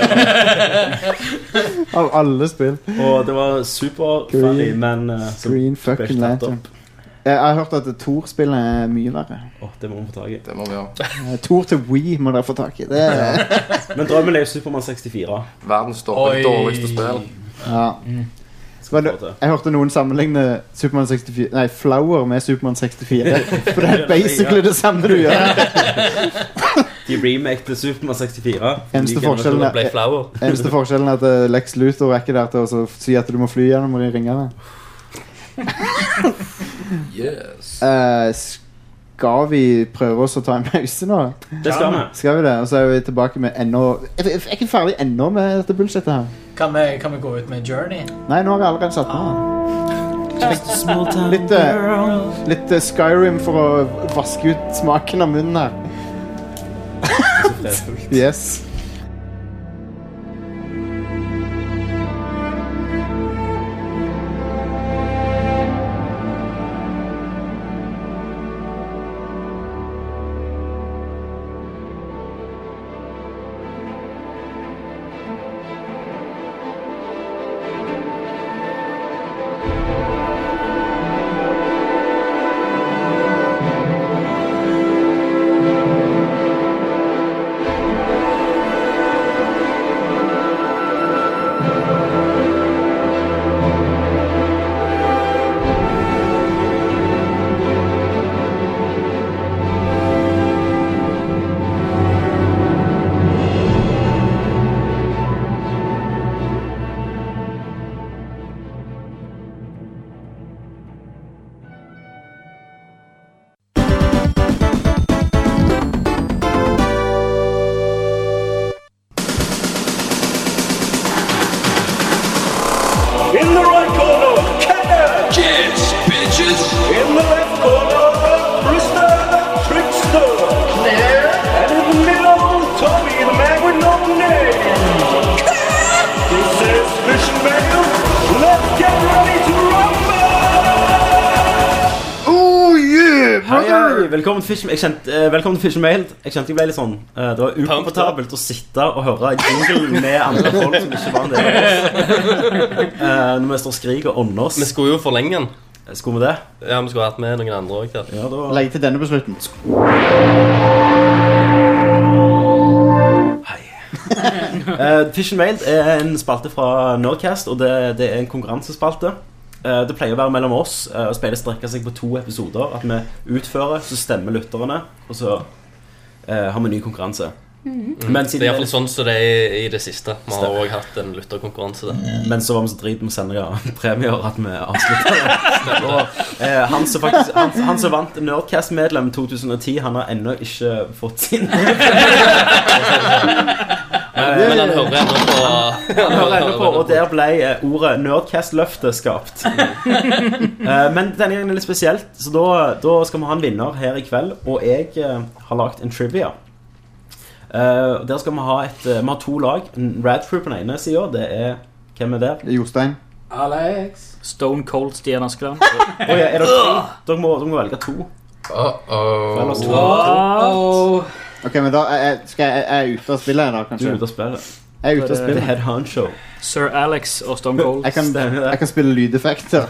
Av alle spill. Og det var superfunny, men eh, så Green ble ikke fucking tatt lantern. opp. Jeg, jeg har hørt at Tor-spillet er mye verre. Åh, det må vi få tak i. Det må vi ha. Eh, Tor til Wii må dere få tak i. Det er, Men drømmen er jo Supermann 64. Verdens dårlig- Oi. dårligste spill. ja. Skal Men, vi få til. jeg hørte noen sammenligne Superman 64, nei, Flower med Supermann 64. For det er basically det samme du gjør. De remakte Supermann 64. Eneste Like forskjellen Ble er, flower. eneste forskjellen er at eh, Lex Luthor er ikke der til å så si at du må fly gjennom de ringene. Yes. Eh, skal vi prøve oss å ta en pause nå? generasjon. Det skal vi. Skal vi det? Og så er vi tilbake med ennå Er vi er vi ikke ferdig ennå med dette bullshitet her? Kan vi, kan vi gå ut med Journey? Nei, nå har vi allerede satt den av. Litt, eh, litt eh, Skyrim for å vaske ut smaken av munnen her. Det er fullt. Yes. In the left corner, Brewster the Trickster. Clear. And in the middle, Tommy the man with no name. This is Vision Man. Let's get ready to Oh yeah, brother! velkommen til Fish jeg kjente, eh, velkommen til Fishmail. Jeg kjente jeg ble litt sånn eh, Det var ukomfortabelt å sitte og høre jingle med andre folk som ikke var en del av oss. Eh, når vi står og skriker og ånder oss. Eh, Vi skulle jo forlenge den. Skulle vi det? Ja, vi skulle hatt med noen andre òg. Ja, Legg til denne på slutten. Eh, Fish and Mailed er en spalte fra Nerdcast, og det, det er en konkurransespalte. Eh, det pleier å være mellom oss, eh, og spillet strekker seg på to episoder. At vi utfører, så stemmer lytterne, og så eh, har vi en ny konkurranse. Mm. det er iallfall sånn som det er i det siste. Vi har Stemmer. òg hatt en lytterkonkurranse. der. Men så var vi så drit med å sende ja, premier at vi avslutta det. Og, eh, han, som faktisk, han, han som vant Nerdcast-medlem 2010, han har ennå ikke fått sin. Men, men han hører ennå på Han hører ennå på, og der ble eh, ordet Nerdcast-løftet skapt. Mm. Eh, Men denne gangen er det litt spesielt, så da, da skal vi ha en vinner her i kveld. Og jeg eh, har lagd en trivia. Eh, og der skal vi ha et eh, Vi har to lag. En Rad Crew på den ene sida. Det er Hvem er der? Jostein. Alex. Stone Cold Stian Askeland. Å ja, er det tre? Dere må, dere må velge to. For ellers- Ok, men da er, jeg- skal jeg, jeg er ute av spillet her, da, kanskje? Du er ute av spillet. Jeg er ute av Det spillet. er head honcho. Sir Alex og Stone Cold. Jeg kan, jeg kan spille lydeffekter.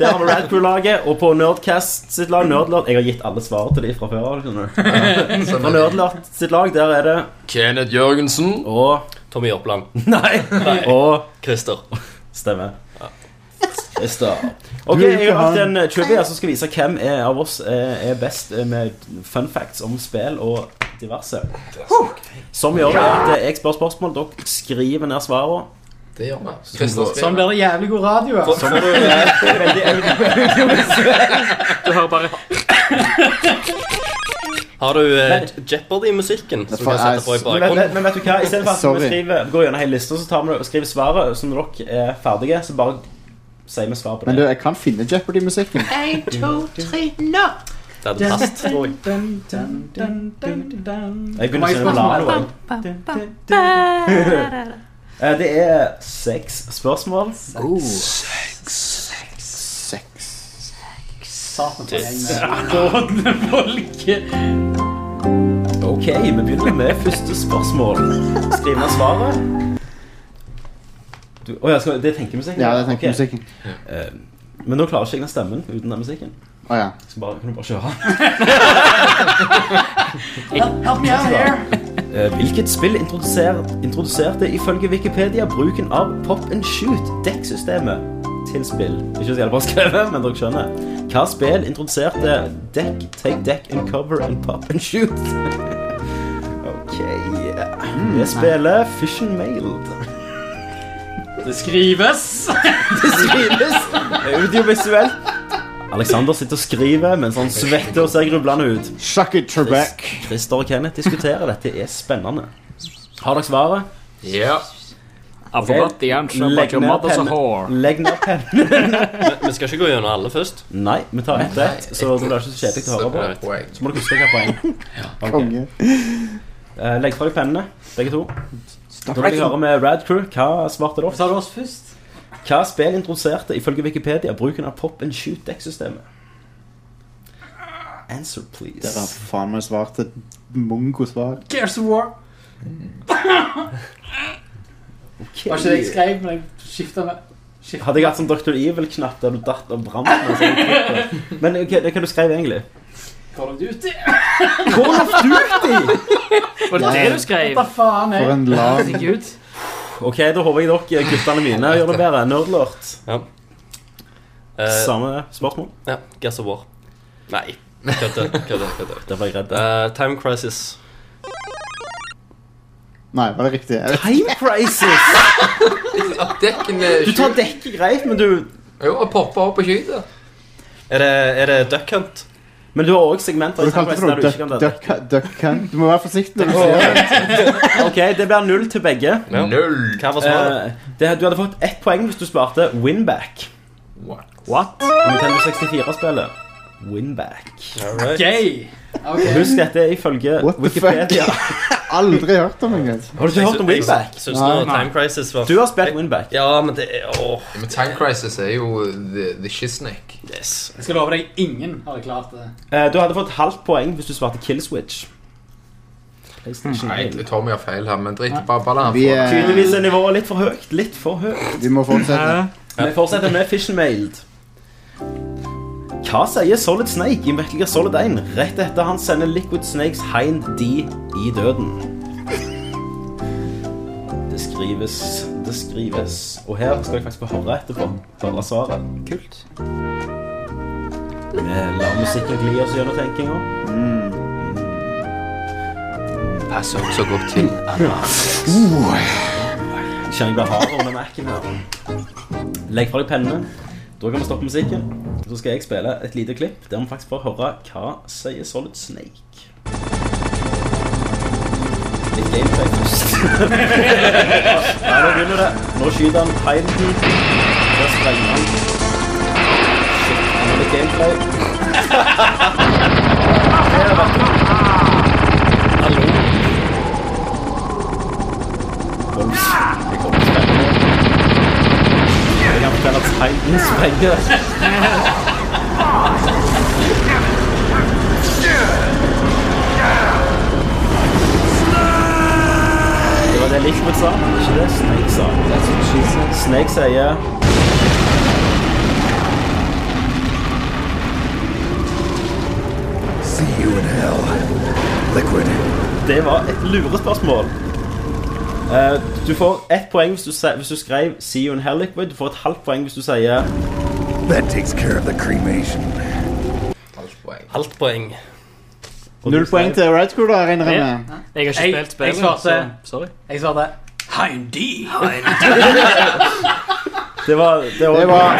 Der har vi Rad Crew-laget, og på Nerdcast sitt lag Nerdlert, Jeg har gitt alle svar til de fra før av. skjønner du. Eh, Fra Nerdlert sitt lag, der er det Kenneth Jørgensen. Og Tommy Oppland. Nei. Og Christer. Stemmer. Christer. Ok, jeg har hatt en eh, trivia som skal vise hvem er av oss er er best eh, med fun facts om spill og diverse. Huh. Som gjør det at eh, jeg spør spørsmål, dere skriver ned svarene. Det gjør vi. Sånn blir det jævlig god radio. altså. Så- så må du, eh, veldig Du hører bare Har du eh, Jeopardy-musikken? Som du kan sette på i men, men, bakgrunnen? men vet du hva, i stedet for at Sorry. vi skriver, går gjennom hele lista, så tar vi det og skriver svaret så når dere er ferdige, så bare sier vi svar på det. Men du, jeg kan finne Jeopardy-musikken. En, to, tre, nå! Det hadde passet. Jeg begynner å synge Lalo. jeg. Eh, Det er seks spørsmål. Seks. Seks. Satan for Seks. gjeng. Rådende folke. Ok, vi begynner med første spørsmål. Skriv ned svaret. Du, oh, ja, skal, det er tenkemusikken? Ja, det er Ok. tenkemusikken. Eh, men nå klarer ikke jeg den stemmen uten den musikken. Å ja. Så bare, kan du bare kjøre? Help me out here. Eh, Hvilket spill introduser, introduserte ifølge Wikipedia bruken av pop and shoot-dekksystemet til spill? Ikke så hjelp å skrive, men dere skjønner. Hva spill introduserte deck, take deck and cover and pop and shoot? ok Vi spiller Fish and Mailed. Det skrives. Det skrives audiovisuelt. Alexander sitter og skriver mens han svetter og ser grublende ut. Suck it, Trebek. Christer og Kenneth diskuterer. Dette er spennende. Har dere svaret? Ja. I forgot the answer, but Legg your ned mother's a pennen. whore. Legg ned pennen. Vi skal ikke gå gjennom alle først. Nei, vi tar ett rett, så det blir ikke så kjedelig å høre på. Så må dere huske hva poeng. Ok. Eh, Legg fra deg pennene, begge to. Da vil jeg høre med Rad Crew. Hva svarte dere? Tar du oss først? Hva spill introduserte ifølge Wikipedia bruken av pop and shoot-dekksystemet? Answer, please. Der har faen meg svart et mongosvar. Gears of War. Var ikke det jeg skrev, men jeg skifta med skiftet- Hadde jeg hatt sånn Dr. Evil-knapp der du datt og brant med sånn klipp. Men ok, det er hva du skrev egentlig? Call of Duty. Call of Duty! Var det det du skrev? Hva faen jeg? For en lang- Herregud. Ok, da håper jeg dere, guttene mine, gjør det bedre. Nerdlort. Eh, Samme spørsmål. Ja. Guess of War. Nei. Kødde. kødde, kødde. Der var jeg redd. Eh, time Crisis. Nei, var det riktig? Jeg vet Time Crisis! Du tar dekket greit, men du Jo, og popper opp og skyter. Er det, er det Duck Hunt? Men du har òg segmenter i Du kalte Time det Crisis der du ikke kan for noe dette. duck- duck- duck hunt. Du må være forsiktig når du sier det. Ok, det blir null til begge. Null. Hva var svaret? Eh, det, du hadde fått ett poeng hvis du sparte Winback. What? What? Og Nintendo 64-spillet Winback. Alright. Gay! Og Husk dette er ifølge What the Wikipedia. fuck? Aldri hørt om engang. Har du ikke hørt om Winback? Jeg syns nå Time Crisis var Du har spilt Winback. Ja, men det er åh. Men Time Crisis er jo the, the shiznit. Yes. Jeg skal love deg, ingen hadde klart det. Eh, Du hadde fått halvt poeng hvis du svarte Killswitch. Nei, Tommy har feil her, men drit i bare bare la han Vi få er- det. Tydeligvis er nivået litt for høyt. Litt for høyt. Vi må fortsette. Vi fortsetter med Fish and Mailed. Hva sier Solid Snake i Metal Gear Solid 1 rett etter han sender Liquid Snakes Hind D i døden? Det skrives, det skrives. Og her skal jeg faktisk få høre etterpå. Høre svaret. Kult. Vi lar musikken gli oss gjennom tenkinga. Altså, Passer også godt til. Kjenner jeg blir hard under Mac-en her. Legg fra deg pennene. Da kan vi stoppe musikken. Så skal jeg spille et lite klipp der vi faktisk får høre hva sier Solid Snake. Litt gameplay først. Nei, nå begynner det. Nå skyter han Heiden. Der sprenger han. Shit, han har litt gameplay. Her, vet du. Bols. Det kommer spennende. Jeg kan fortelle at Heiden sprenger. Det var det Lichwood sa, men ikke det Snake sa. Snake sier See you in hell, liquid. Det var et lurespørsmål. Eh, du får ett poeng hvis du, se- hvis du skrev 'See you in hell liquid'. Du får et halvt poeng hvis du sier That takes care of the cremation. Halvt poeng. Null poeng til Red Crew, da, regner jeg med. Jeg har ikke spilt spillet. Jeg svarte, så sorry. jeg svarte Heindi. Det var Det var, Det var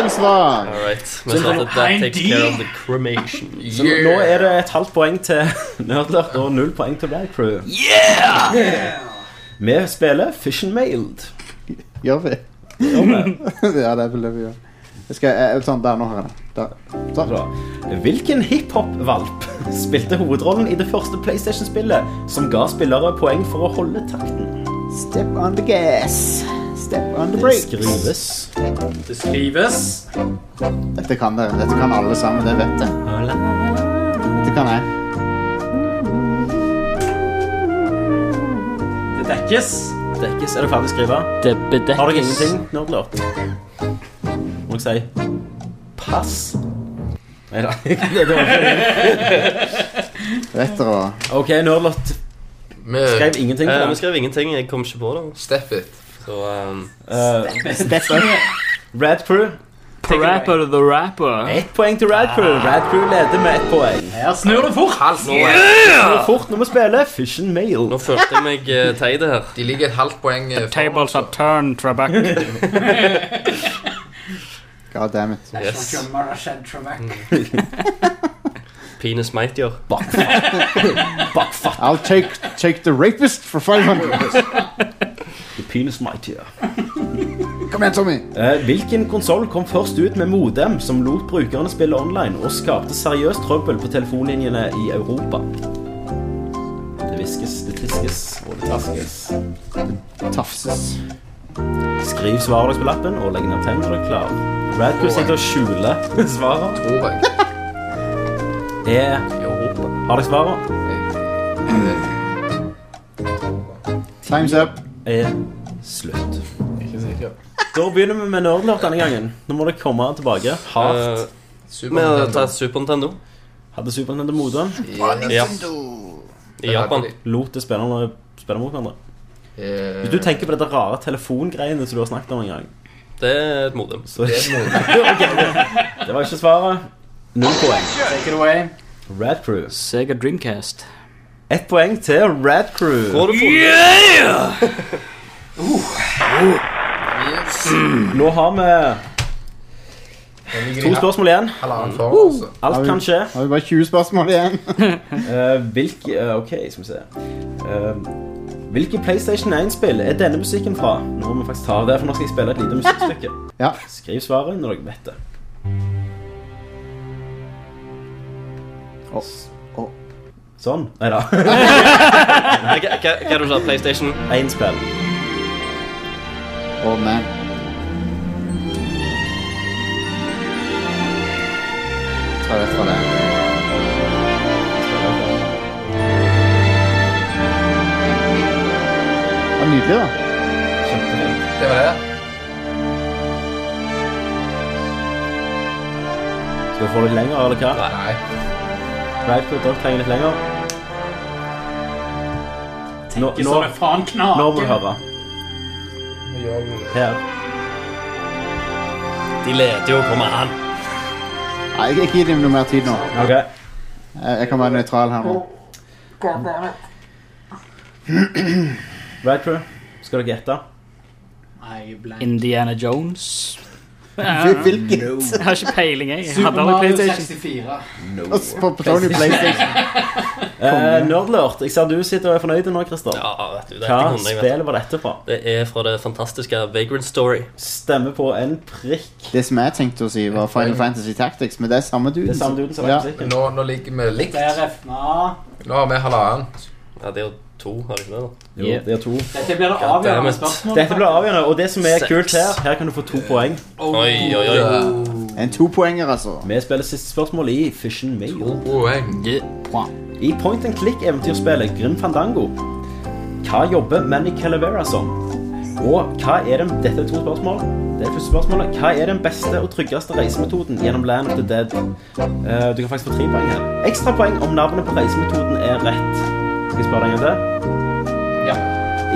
feil svar. All right. Vi starter That takes care of the cremation. Så nå- nå er det et halvt poeng til Nerdlert og null poeng til Black Crew. Vi spiller Fish and Mailed. Gjør vi? ja, det er vel det vi gjør. Jeg skal, eh, sånn, der, nå har jeg det. Der. Sånn. Bra. Hvilken hiphop-valp spilte hovedrollen i det første PlayStation-spillet som ga spillere poeng for å holde takten? Step on the gas. Step on the Det brakes. skrives Det skrives. Dette kan dere. Dette kan alle sammen. Det vet jeg. Dette kan jeg. Det dekkes. Dekkes. Er du ferdig å skrive? Det Har dere bedekkes. ingenting? Nerdlert? Må jeg si pass? Nei da. Det var Vet dere hva? ikke- OK, Nerdlert Med skrev ingenting på Eh, Vi den. skrev ingenting. Jeg kom ikke på det. Step It. Så um, Eh, Step up. Rad Crew. Parappa to the rapper. Ett poeng til Rad Crew. Rad Crew leder med ett poeng. Her snur det fort. Halvt poeng. Nå fort når vi spiller Fish and Mail. nå følte jeg meg eh, teit her. De ligger et halvt poeng eh, foran. Tables are turned, Trebek. God damn it. Yes. National Drummer Shed Mm. Trebek. Penis Mightyer. I'll take, take the rapist for 500. The penis might here. Kom igjen, Tommy. Eh, Hvilken konsoll kom først ut med modem som lot brukerne spille online, og skapte seriøst trøbbel på telefonlinjene i Europa? Det hviskes, det tiskes, og det taskes. Tafses. Skriv svaret deres på lappen, og legg ned tegn når dere er klar. Radcrew sitter og skjuler svaret. Tror jeg. Er Europa. Har dere svaret? Time's up. Er slutt. Da begynner vi med Nerdlert denne gangen. Nå må dere komme tilbake hardt. Eh, Vi har tatt Super Nintendo Hadde Super Nintendo modem. Ja. i Japan. Lot det spillerne spille mot hverandre. Eh, Hvis du tenker på dette rare telefongreiene som du har snakket om en gang Det er et modem. så... det er noe. Det var ikke svaret. Null poeng. Take it away. Rad Crew. Sega Dreamcast. Ett poeng til Rad Crew. Får du fot- Nå har vi Den ligger to i spørsmål igjen. halvannen foran, altså. Alt kan skje. Har vi bare 20 spørsmål igjen? Eh, hvilke eh, OK, skal vi se. Eh, Hvilke PlayStation 1-spill er denne musikken fra? Nå må vi faktisk ta av det, for nå skal jeg spille et lite musikkstykke. Ja. Skriv svaret når dere vet det. Sånn. Nei da. Hva hva du sa du? PlayStation? 1-spill. Oh, man. Ta det fra deg. Ja, nydelig, da. Det var det. Skal vi få litt lenger, eller hva? Nei. Rightfoot Dog trenger litt lenger. Nå, Ikke så det faen knaker. nå må du høre. Her. De leder jo, kom an. Nei, jeg, jeg gir dem noe mer tid nå. Ok. Jeg, jeg kan være nøytral her nå. Rightfoot, skal dere gjette? Indiana Jones. Hvil- hvilket? Jeg har ikke peiling, jeg. jeg. Super hadde aldri Mario PlayStation. 64. Og så på- på Tony PlayStation. Eh, Nerdlurt, jeg ser du sitter og er fornøyd nå, Christer. Ja, vet du, dette Hva kunne jeg, vet spill var dette fra? du. Det er fra det fantastiske Vagrant Story. Stemmer på en prikk. Det som jeg tenkte å si, var Final Fantasy Tactics, men det er samme duden. Det er samme duden som ja. lagde musikken. Nå, nå ligger vi likt. RFNA. Nå har vi halvannen. Ja, det er jo to, har det ikke det? da? Jo, det er to. Dette blir det God damn avgjørende it. spørsmål. Dette blir avgjørende, og det som er Seks. kult her, her kan du få to poeng. Oi, oi, Oh, oi. En topoenger, altså. Vi spiller siste spørsmål i Fission Mail. Poeng. I point and click-eventyrspillet Grim Fandango, hva jobber Manny Calavera som? Og hva er den Dette er to spørsmål. Det er første spørsmålet. Hva er den beste og tryggeste reisemetoden gjennom Land of the Dead? Eh, du kan faktisk få tre poeng her. Ekstrapoeng om navnet på reisemetoden er rett. Skal jeg spørre deg om det? Ja.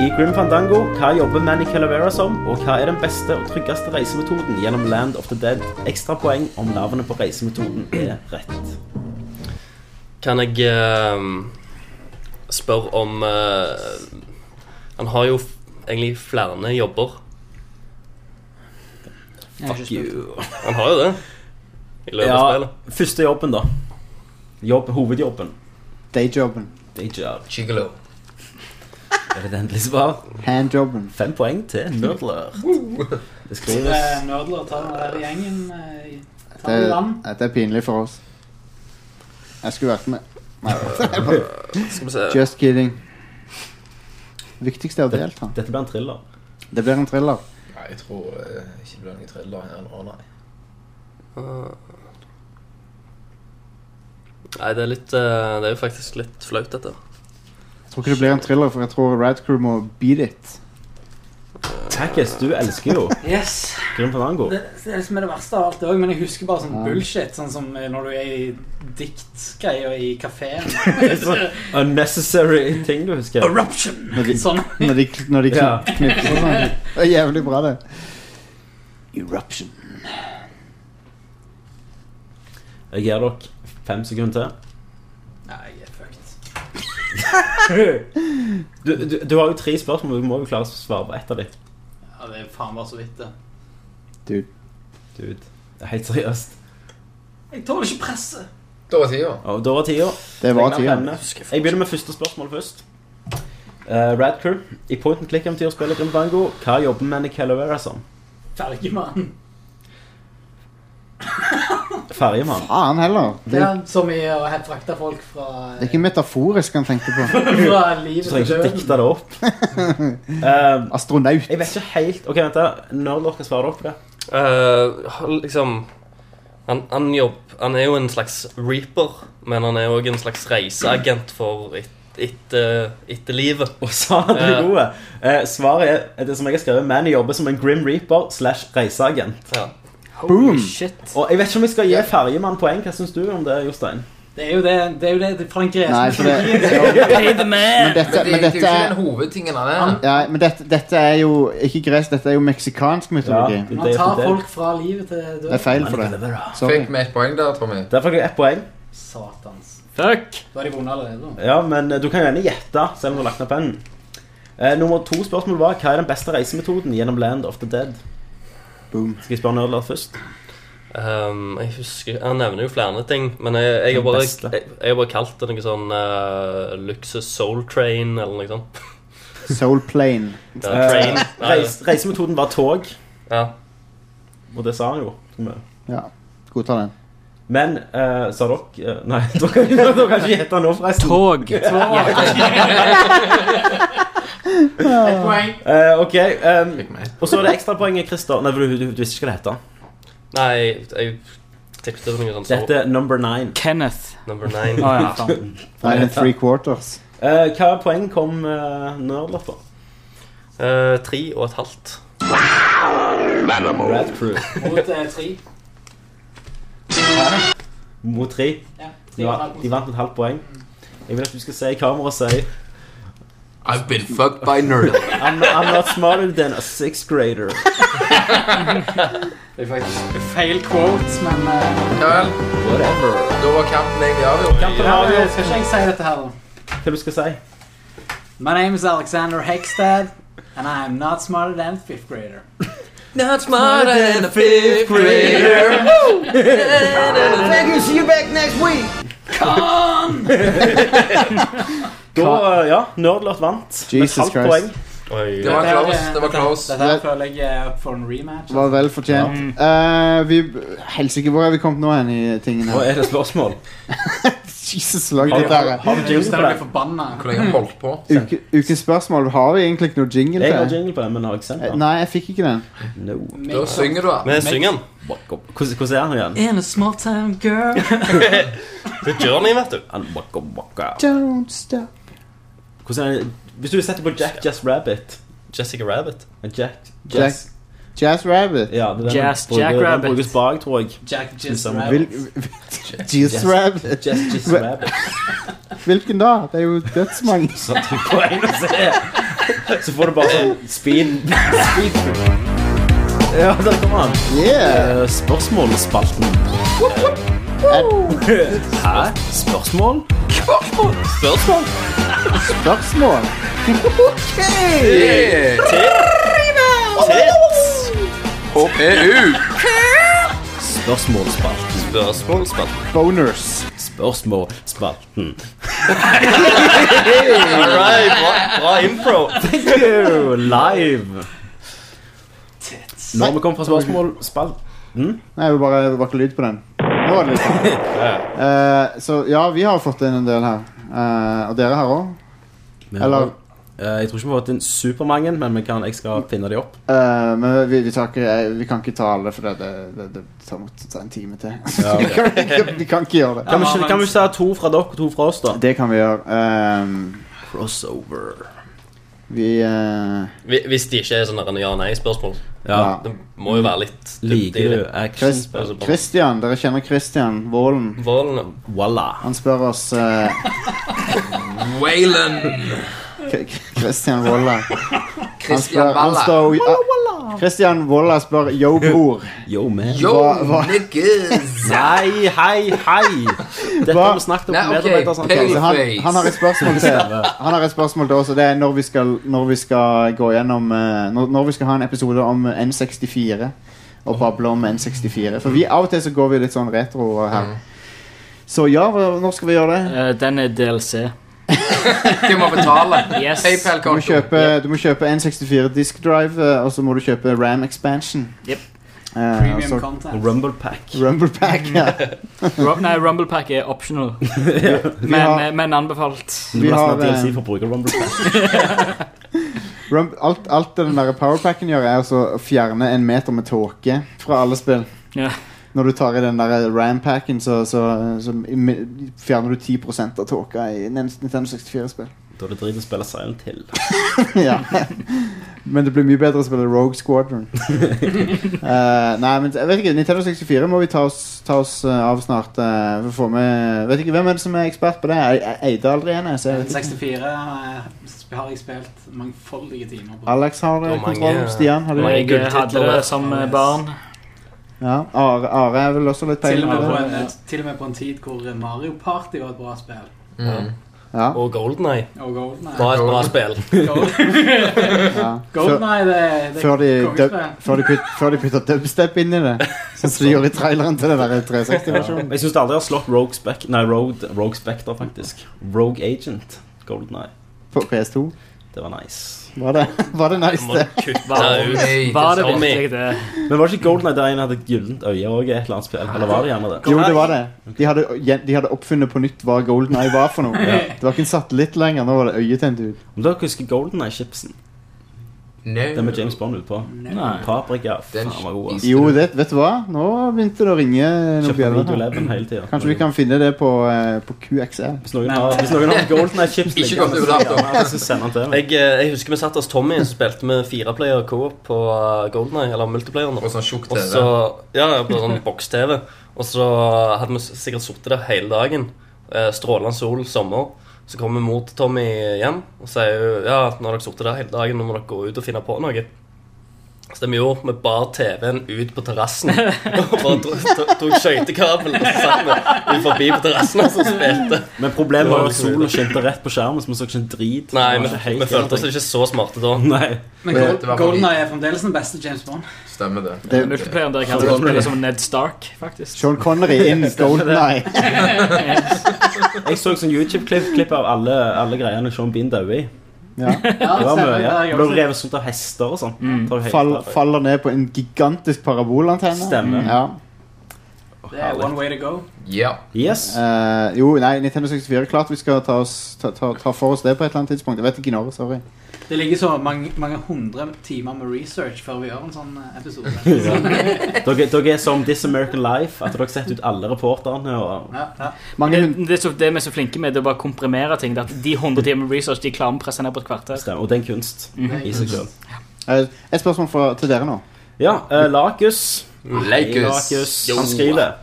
I Grim Fandango, hva jobber Manny Calavera som, og hva er den beste og tryggeste reisemetoden gjennom Land of the Dead? Ekstrapoeng om navnet på reisemetoden er rett. Kan jeg ehm, spørre om eh, Han har jo f egentlig flere jobber. Fuck you. Han har jo det. I løpet av Ja, spillet. første jobben, da. Jobb, hovedjobben. Dayjobben. Dayjob. Gigolo. Er det det endelige svar? Handjobben. Fem poeng til Nerdler. Det skrives Eh, Nerdler tar her i gjengen. eh, Det, Tar i land. dette er pinlig for oss. Jeg skulle vært med. Nei, Skal vi se. just kidding. Det viktigste er å delta. Dette blir en thriller. Det blir en thriller. Nei, jeg tror eh, ikke det blir noen thriller her nå, nei. Ah. Nei, det er litt eh, Det er jo faktisk litt flaut, dette. Jeg tror ikke det blir en thriller, for jeg tror Rad Crew må beat it. Tackis, du elsker jo Yes. Grim Fandango. Det, det er det som er det verste av alt det òg, men jeg husker bare sånn bullshit. Sånn som eh, når du er i diktgreier i kafeen. Unnecessary ting du husker. Eruption! Når de, Sånn. når de, når de Ja. knip, knipser sånn. Det er jævlig bra, det. Eruption. Jeg gir dere fem sekunder Nei, jeg er fucked. til. Du, du, du har jo tre spørsmål, du må jo klare å svare på ett av dem. Ja, det er faen bare så vidt, det. Dude. Dude, det er helt seriøst. Jeg tåler ikke presset. Da var tida. Og da var tida. Det var Tegner tida. pennene. Jeg begynner med første spørsmål først. Uh, Rad Crew, i point and click-eventyr spiller Grim Fandango. Hva jobber Manny Calavera som? Fergemann. Ferjemann. Faen heller. Det, Ja, som i å he- frakte folk fra, det er ikke metaforisk han tenkte på. Du fra livet trenger til ikke døden. dikte det opp. Ehm, Astronaut. jeg vet ikke helt Ok, vent da. Når dere kan svare opp det? Eh, han liksom han, han, jobb, han er jo en slags reaper, men han er òg en slags reiseagent for et, etter- etterlivet. Og sa han det Ja. gode? Eh, svaret er det som jeg har skrevet. Manny jobber som en Grim Reaper slash reiseagent. Ja. Boom. Holy shit. Og jeg vet ikke om jeg skal gi ferjemann poeng. Hva syns du om det, Jostein? Det er jo det, det er jo det, det er fra den greske Nei, for det- mytologien. Pay the man! Men dette, Men det, det er jo men dette ikke er den hovedtingen han er. ja, men dette, dette er jo ikke gresk, dette er jo meksikansk mytologi. det er Man tar det. folk fra livet til Det er døden. feil for det. Sorry. Fikk vi et poeng der, Tommy? Der fikk du ett poeng. Satans. Fuck! Da har de vunnet allerede. Ja, men eh, du kan jo gjerne gjette, selv om du har lagt ned pennen. Eh, nummer to spørsmål var hva er den beste reisemetoden gjennom Land of the Dead? Boom. Skal jeg spørre Nerdler først? Ehm, jeg husker Han nevner jo flere ting, men jeg, jeg, har Den bare, beste. jeg, jeg har bare kalt det noe sånn eh, luksus soul train eller noe sånt. Soul Plane. Ja, train. Nei, Eh, reis, reisemetoden var tog, Ja. og det sa han jo. Men- Ja, godta den. Men eh, sa dere eh, Nei, dere kan ikke dere kan ikke gjette nå, forresten. Tog. Et poeng. Eh, ok. ehm, og så er det ekstrapoenget, Christer. Nei, for du, du, du visste ikke hva det heter. Nei, jeg tippet på noe sånt. Det heter Number Nine. Kenneth. Number nine. Å, ja, faen. Nine and three quarters. Eh, hva poeng kom uh, Nerdlot på? Eh, tre og et halvt. Rad Crew. Mot eh, tre. Mot tre. Ja, De, vant- de vant et halvt poeng. Jeg vil at du skal se i kamera og si I've been fucked by nerd. I'm, I'm not smarter than a sixth grader. Det er faktisk feil quotes, men eh, Ja vel. Da var kampen egentlig avgjort. ja, men Skal ikke jeg si dette her, da? Hva du skal si? My name is Alexander Hegstad, and I am not smarter than fifth grader. Not smarter than a fifth grader. Thank you. See you back next week. Da, eh, ja, Nerdlot vant. Jesus med et halvt poeng. Christ. Det var close. Det var close. Dette her føler jeg er opp for en rematch. Var vel Mm. fortjent. Eh, vi Helsike, hvor er vi kommet nå hen i tingene? Nå er det spørsmål. Jesus, lag det der. eh. Har du jingle på det? Hvor lenge har vi holdt på? Uke, ukens spørsmål. Har vi egentlig ikke noe jingle Jeg har til? jingle på det, men har ikke sendt Eh, den. Nei, jeg fikk ikke den. No. Da synger du, da. Vi synger den. Walk up. Hvordan hvordan er han igjen? In a small town girl. Det er Journey, vet du. Han walk up, walk up. Don't stop. Hvordan er han? Hvis du setter på Jack Jazz Rabbit Eh, Jessica Rabbit. Jack Jack Jazz Jazz Rabbit. Ja, det er den Jazz bruker- Jack den Rabbit. brukes bak, tror jeg. Jack Jizz Som- Rabbit. Vil, Jazz Rabbit. Jazz Jazz Hva- Rabbit. Hvilken da? Det er jo dødsmange. Så trykker du på en og se. Så får du bare sånn speed. speed. Ja, der kommer han. Yeah! Eh, Spørsmålspalten. Hæ? Spørsmål? Spørsmål? Spørsmål. HPU. Spørsmålspalten. Spørsmål, spørsmål. Boners. Spørsmålspalten. All right, bra, bra Ah, impro. Thank you! Live. Nå har vi kommet fra spørsmålspalten. Nei, det var bare det var ikke lyd på den. Nå var det lyd på den. Eh, så ja, vi har fått inn en del her. Eh, og dere her òg. Eller Eh, Jeg tror ikke vi har fått inn supermangen, men vi kan, jeg skal finne de opp. eh, Men vi, vi, tar ikke, eh, vi kan ikke ta alle, for det, det, det, det tar mot ta en time til. vi, kan, ikke- vi kan ikke gjøre det. Kan vi, ikke- kan vi ikke ta to fra dere og to fra oss, da? Det kan vi gjøre. Ehm, Crossover. vi eh, Hvi- Hvis det ikke er sånn ja-nei-spørsmål. Ja. Det må jo være litt Liker du Chris, action? Christian, dere kjenner Christian Vålen. Volden Voila. Han spør oss eh, Waylon. K- Christian Wolla. Han Christian spør, han Walla. står, ja, Christian Wolla spør Yo, bror. Yo, man. Yo, Hva- hva- niggas. Nei, hei, hei! Dette Hva? har vi snakket om. sånn, Nei, ok, medarbeidersamtale. Så han, han har et spørsmål til Han har et spørsmål til oss, og det er når vi skal, når vi skal gå gjennom eh, når, når vi skal ha en episode om eh, N64 og bable om N64. For vi av og til så går vi litt sånn retro her. Så ja, hva- når skal vi gjøre det? Mm. Eh, den er DLC. Hvem må betale? Yes. Du må PayPal-konto. kjøpe, du må kjøpe N64 disk drive, eh, og så må du kjøpe RAM expansion. Yep. Eh, Premium altså content. Rumble Pack. Rumble pack, ja. Ru- Nei, Rumble Pack er optional, Vi men, har- eh, men anbefalt. Du Vi må har, nesten ha DLC eh, for å bruke Rumble Pack. Rump, alt, alt den der powerpacken gjør, er altså å fjerne en meter med tåke fra alle spill. Ja. Når du tar i den der RAM-packen, så, så, så mi- fjerner du 10 av tåka i Nintendo 64-spill. Da er det drit å spille Silent Hill. ja. Men det blir mye bedre å spille Rogue Squadron. Eh, nei, men jeg vet ikke, Nintendo 64 må vi ta oss, ta oss eh, av snart. eh, for å få med, vet ikke, Hvem er det som er ekspert på det? Jeg, jeg eide aldri en. jeg, så jeg vet ikke. 64 eh, har jeg spilt mangfoldige timer på. Alex har eh, Og mange- kontroll. Stian har du mange Jeg eh, hadde gulltitler. det som eh, barn. Ja, Are, Are er vel også litt Til og, peiling med på på det? en, til og med på en tid hvor Mario Party var et bra spill. Mm. Ja. og Golden Eye Og GoldenEye. var et bra spill. Ja. Før, GoldenEye, det, det før, de, dub, kongespill. før, de putt, før de putter dubstep inn i det, sånn som de gjorde i traileren til den der 360-versjonen. Jeg syns det aldri har slått Rogue, Spec nei, Rogue, Rogue Spectre, faktisk. Rogue Agent. Golden Eye. På PS2. Det var nice. Var det, var det nice, det? Men var det ikke GoldenEye der en hadde et gyllent øye òg i et eller annet spill? Eller var det gjerne det? Jo, det var det. De hadde, de hadde oppfunnet på nytt hva Golden Eye var for noe. Det var ikke en satellitt lenger. Nå var det øyet til en dude. Om dere husker GoldenEye chipsen Den med James Bond utpå? Nei. Paprika. Faen, den var god. ass. Jo, det, vet du hva? Nå begynte det å ringe noen Kjøper bjeller Video her. 11 hele tiden. Kanskje vi kan finne det på, eh, på QXL. Hvis noen har, hvis noen har GoldenEye chips liksom. Ikke liggende, gått så- over dato. ja, så send den til meg. Jeg, eh, jeg husker vi satt hos Tommy og spilte med fireplayer co-op på uh, GoldenEye, eller multiplayeren. På sånn tjukk Og TV. så- Ja, ja, på sånn boks-TV. Og så hadde vi s- sikkert sittet der hele dagen. Eh, Strålende sol, sommer. Så kommer mor til Tommy hjem og sier jo, ja, nå har dere sittet der hele dagen, nå må dere gå ut og finne på noe. Så det vi gjorde, vi bar TV-en ut på terrassen og bare dro- dro- tok skøytekabel og så satt vi forbi på terrassen og så spilte. Men problemet var liksom- jo at Det var solen skinte rett på skjermen, så vi så ikke en drit. Nei, Det var vi, ikke helt vi følte oss jævlig. ikke så smarte da. Nei. Men Gold- GoldenEye er fremdeles den beste James Bond. Stemmer det. Det- Multiplayeren der kan Sean du Connery. spille som Ned Stark, faktisk. Sean Connery in GoldenEye. Jeg så sånn YouTube-klipp av alle, alle greiene Sean Bean døde i. Ja. Det var mye. Ja, jeg Det ble også. revet sånt av hester og sånn. Mm. Det var helt Fall, jævlig. faller ned på en gigantisk parabolantenne. Stemmer. Ja. Det er one way to go. Eh, jo, nei, Nintendo 64 klart vi skal ta, oss, ta, ta, ta for oss det på et eller annet tidspunkt. Jeg vet ikke når. Sorry. Det ligger så mange, mange hundre timer med research før vi gjør en sånn eh, episode. Ja. Dere, dere er som This American Life, at dere setter ut alle reporterne og Eh, Det, det, er så, det vi er så flinke med, det er å bare komprimere ting. det At de 100 timer med research de klarer å presse ned på et kvarter. Stemmer, og det er en kunst i seg selv. Eh, et spørsmål fra, til dere nå. Ja, eh, Lakus. Lakus. Lakus. Jo. Han skriver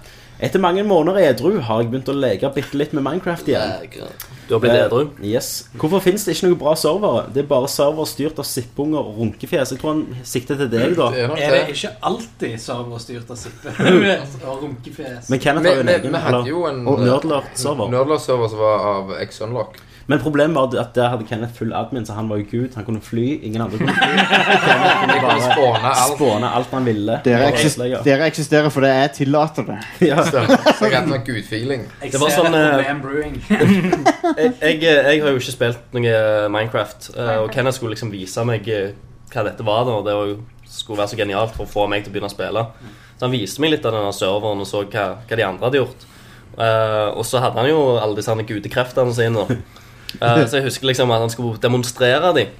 Etter mange måneder edru har jeg begynt å leke bitte litt med Minecraft igjen. Du har blitt Eh, edru? Yes. Hvorfor finnes det ikke noen bra servere? Det er bare servere styrt av sippunger og runkefjes. Jeg tror han sikter til deg, da. Er det ikke alltid serverstyrt av Sippe? Og runkefjes. Men Kenneth har jo en vi, egen, vi eller? hadde jo en eh, Og Nerdlert-server. Nerdlert-server som var av X-Unlock. Men problemet var at der hadde Kenneth full admin, så han var jo gud. Han kunne fly. Ingen andre kunne fly. Vi kunne spåne alt. Spåne alt han ville. Dere, Og eksis- ødelegge. dere eksisterer fordi jeg tillater det. Ja. Stemmer. Så jeg hadde sånn gudfeeling. Det var sånn eh, brewing. jeg, jeg, jeg har jo ikke spilt noe Minecraft, eh, og Kenneth skulle liksom vise meg eh, hva dette var, da, og det var jo, skulle være så genialt for å få meg til å begynne å spille. Så han viste meg litt av denne serveren og så hva, hva de andre hadde gjort. Eh, og så hadde han jo alle disse her gudekreftene sine. da. Eh, så jeg husker liksom at han skulle demonstrere dem.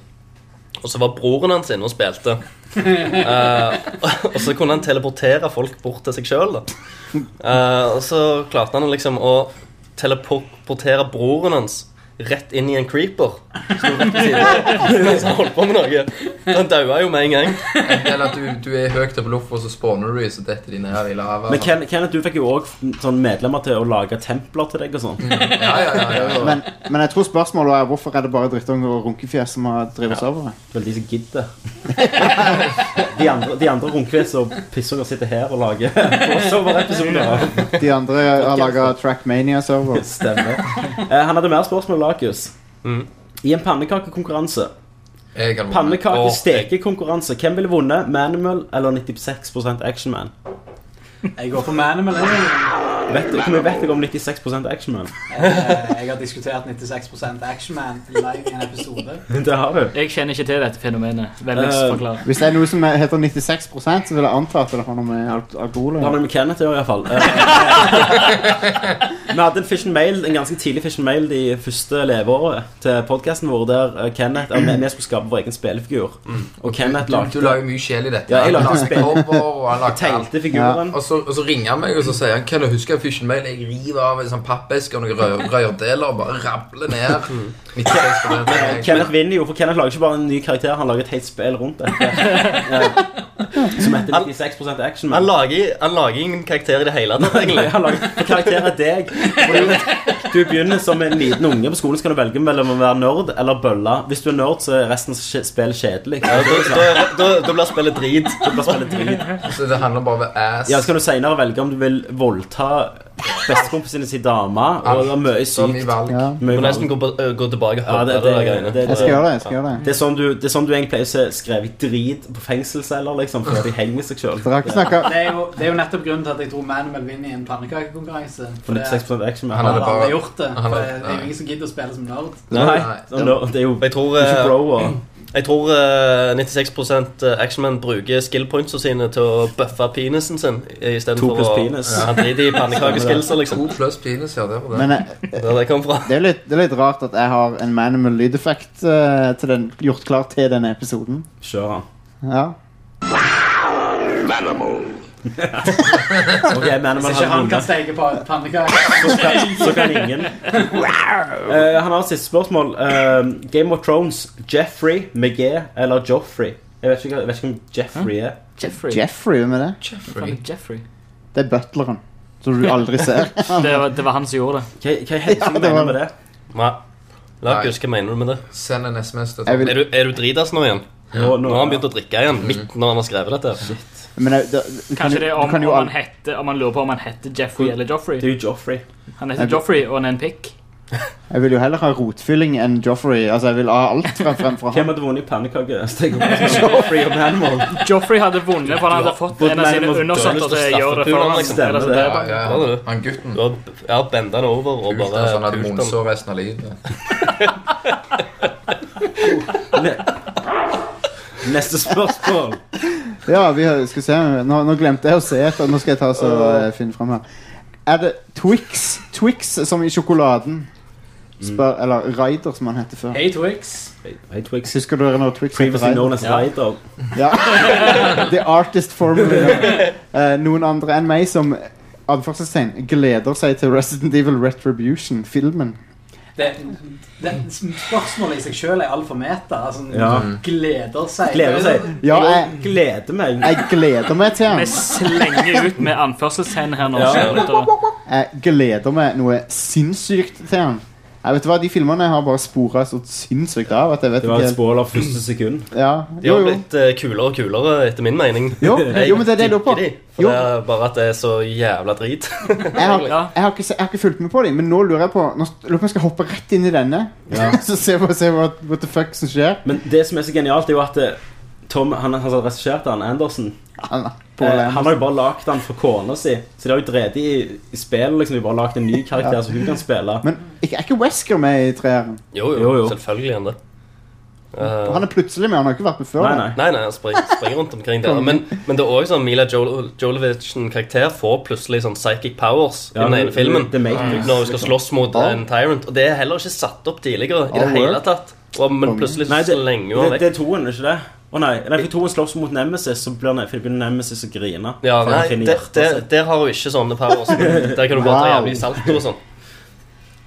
Og så var broren hans inne og spilte. Eh, og så kunne han teleportere folk bort til seg sjøl. og så klarte han liksom å teleportere broren hans rett inn i en creeper. Som rett ved siden av, mens han holdt på med noe. Han daua jo med en gang. Eller at du, du er høyt oppe i lufta, og så spawner du, i, så detter de ned i lava. Men Ken- Kenneth, du fikk jo òg sånn medlemmer til å lage templer til deg og sånn. Ja, ja, ja, ja, ja. Men, men jeg tror spørsmålet er hvorfor er det bare drittunger og runkefjes som har drevet servere? Det er de som gidder. De andre, de andre runkefjes og pissunger sitter her og lager crossover-episoder. De andre har laga Trackmania-server. Stemmer. Mm. Eh, Han hadde mer spørsmål, Lakus. I en pannekakekonkurranse Jeg kan Pannekake-stekekonkurranse. Hvem ville vunnet? Manimal eller 96 Actionman? Jeg går for Manimal. Jeg, Vet du, hvor mye vet dere om 96 Actionman? Eh, jeg har diskutert 96 Action Man live i en episode. Det har du. Jeg kjenner ikke til dette fenomenet. Vennligst Eh, forklar. Hvis det er noe som heter 96 så vil jeg anta at det har noe med al- alkohol å Det har gjøre. noe med Kenneth å gjøre, iallfall. Eh, Vi hadde en, fish and mail, en ganske tidlig fish and mail de første leveåret til podkasten vår, der eh, Kenneth, ja, vi- vi skulle skape vår egen spillefigur. Og Kenneth Mm. Du, du lagde la jo mye sjel i dette. Ja, jeg lagde Han spill. cover, og han lagde Jeg tegnte figuren. Og, så, og så ringer han meg og så sier han, kan du huske Fusion Mail? Jeg river av en sånn pappeske og noen rør- rørdeler og bare rabler ned. 96 på den. Men Eh, Kenneth vinner jo, for Kenneth lager ikke bare en ny karakter, han lager et helt spill rundt det. Eh, Som heter 96 Action. Han lager, han lager ingen karakter i det hele tatt, egentlig. Han lager for karakter er deg. Fordi Du begynner som en liten unge på skolen, så kan du velge mellom å være nerd eller bølle. Hvis du er nerd, så er resten av skje- spillet kjedelig. Ja, da, da, da, da blir spillet drit. Da blir spillet drit. Så det handler bare om ass. Ja, så kan du senere velge om du vil voldta bestekompisen sin dame, og det er mye Så mye Sånn sykt. valg. Ja. Du må nesten gå, på- øh, gå tilbake og Ja, høre det, det, det, greiene. det, det, Jeg skal gjøre det, jeg skal gjøre det. Det er sånn du, det er sånn du egentlig pleier å se skrevet drit på fengselsceller, liksom, før de henger seg sjøl. Dere har ikke Det snakka er, jo, det er jo nettopp grunnen til at jeg tror Manuel vinner i en pannekakekonkurranse. For 96% action, ja. Han Han hadde hadde aldri bare- gjort det. han For hadde- det er jo ingen som gidder å spille som nerd. Nei, sånn, nå- det er jo Jeg tror, det er ikke bro, eh, og- jeg tror eh, 96 actionmen øh, bruker skill pointsene sine til å bøffe penisen sin To istedenfor pluss å penis. Ja, drite i pannekakeskillser, liksom. To pluss penis, ja, det var det. Men eh, Der det kom fra. det er, jo litt, det er litt rart at jeg har en Manimal lydeffekt eh, til den, gjort klar til denne episoden. Kjør han. Ja. Ok, men Hvis man ikke hadde han kan vunnet. steke på pannekaker Så kan ingen. Eh, han har et siste spørsmål. Eh, Game of Thrones, Jeffrey, McGee eller Joffrey? Jeg vet ikke, jeg vet ikke om Jeffrey er Jeffrey. Jeffrey, hvem er det? Jeffrey. Jeffrey. Det er butleren. Som du aldri ser. det, var, det var han som gjorde det. Hva, hva er helsing Ja, det mener var- med det? Nei. Larkus, hva mener du med det? Send en SMS til Jeg vil- Er du, er du dritas nå igjen? Nå, nå- har han begynt å drikke igjen, Mm. midt når han har skrevet dette. Shit. Men jeg, da, du kan, Kanskje det er jo- du om, kan jo om, han aldri heter, om han lurer på om han heter Jeffrey eller Joffrey. Det er jo Joffrey. Han Jeg- heter Joffrey, og han er en pikk. Jeg vil jo heller ha rotfylling enn Joffrey. Altså, jeg vil ha alt fra fremfor Hvem han. hadde vunnet i pannekake? Steak og- Joffrey og Manimal. Joffrey hadde vunnet, for han hadde fått Både en av sine Magnus undersøtter Døhlis til og å gjøre det Staffepuleren, for ham. liksom. Eller Stemmer det. sånt. Ja, ja. Bra, det. Han gutten. Du har ja, benda han over og Kult, altså, han bare hadde pult han. munnsår resten av livet. Ne- Neste spørsmål. Ja, vi har- skal se. Nå, nå glemte jeg å se etter. Nå skal jeg ta så, eh, finne frem her. Er det Twix? Twix som i sjokoladen? Mm. Spør, Eller Ryder, som han heter før. Hey Twix. Hei, Twix. Husker dere når Twix het Previously known Ryder? as Ryder. Ja. The artist formally. Eh, noen andre enn meg som anførselstegn, gleder seg til Resident Evil Retribution-filmen. Det, det, spørsmålet i seg selv er altfor meta. Altså, Ja. Gleder seg. Gleder seg. Ja, jeg, Gleder meg. jeg gleder meg til Vi den. slenger ut med anførselstegn her nå. Ja. kjære lyttere. Jeg gleder meg noe sinnssykt til den. Jeg vet hva, De filmene har bare spora så sinnssykt av at jeg vet Det var et ikke spoiler første sekund. ja. De Jo, har jo. blitt eh, kulere og kulere, etter min mening. Jo, jo, men det er det jeg lurer på. digger de, For Jo. det er bare at det er så jævla drit. Jeg har, jeg, har ikke, se- jeg har ikke fulgt med på dem, men nå lurer jeg på Nå lurer jeg på om jeg skal hoppe rett inn i denne. Ja. så se hva, se hva what the fuck som skjer. Men det som er så genialt, er jo at eh, Tom, han, han som regisserte han, Andersen, Han, eh, Paul han Anderson. har jo bare lagd han for kona si. Så de har jo drevet i, i spillet, liksom. De har bare lagd en ny karakter som hun kan spille. Men ikke- er ikke Wesker med i treeren? Jo, jo, Jo, jo. selvfølgelig er han det. Eh, Han er plutselig med, han har ikke vært med før. Nei, nei. Nei, nei, han springer, springer rundt omkring der. Men, men det er også sånn Mila Jol Jolovich sin karakter får plutselig sånn psychic powers i Ja, den ene filmen. The Matrix, Når hun skal slåss mot Ja. en tyrant. Og det er heller ikke satt opp tidligere i det Ja, hele word. tatt. Og, men plutselig Nei, det, slenger hun det, det han vekk. er toen, er ikke det? Å nei, nei, for toen slåss mot Nemesis, så blir ne- for det blir Nemesis å grine. Ja, For han nei, finner der, hjertet der, sitt. der har hun ikke sånne powers. Der kan du bare ta Wow. jævlig salto og sånn.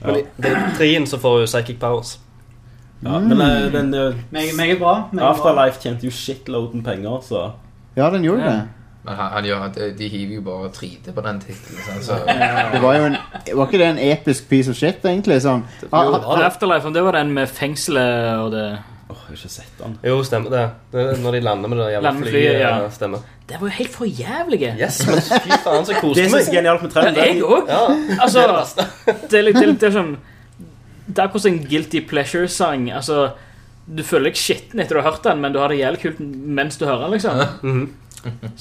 Men i det er trien så får hun psychic powers. ja, Men Mm. eh, den, eh, Meget, meget bra. meget bra. Afterlife tjente jo shitloaden penger, så Ja, den gjorde Ja. det. Men han, han gjør, de, de hiver jo bare 3D på den tittelen. sant, Så Det var jo en Var ikke det en episk piece of shit, egentlig? Sånn. Ah, Jo, Afterlife, om det var den med fengselet og det Åh, jeg har ikke sett den. Jo, stemmer det. det er når de lander med det der jævla Lander med flyet. flyet, ja. eh, Stemmer. Det var jo helt for jævlige. Yes, men fy faen, så Det koste som er så meg. genialt med Men jeg traileren òg. Ja. Altså, det er litt det er litt- det er sånn Det er akkurat som en Guilty Pleasure-sang. Altså, du føler deg skitten etter du har hørt den, men du har det jævlig kult mens du hører den. liksom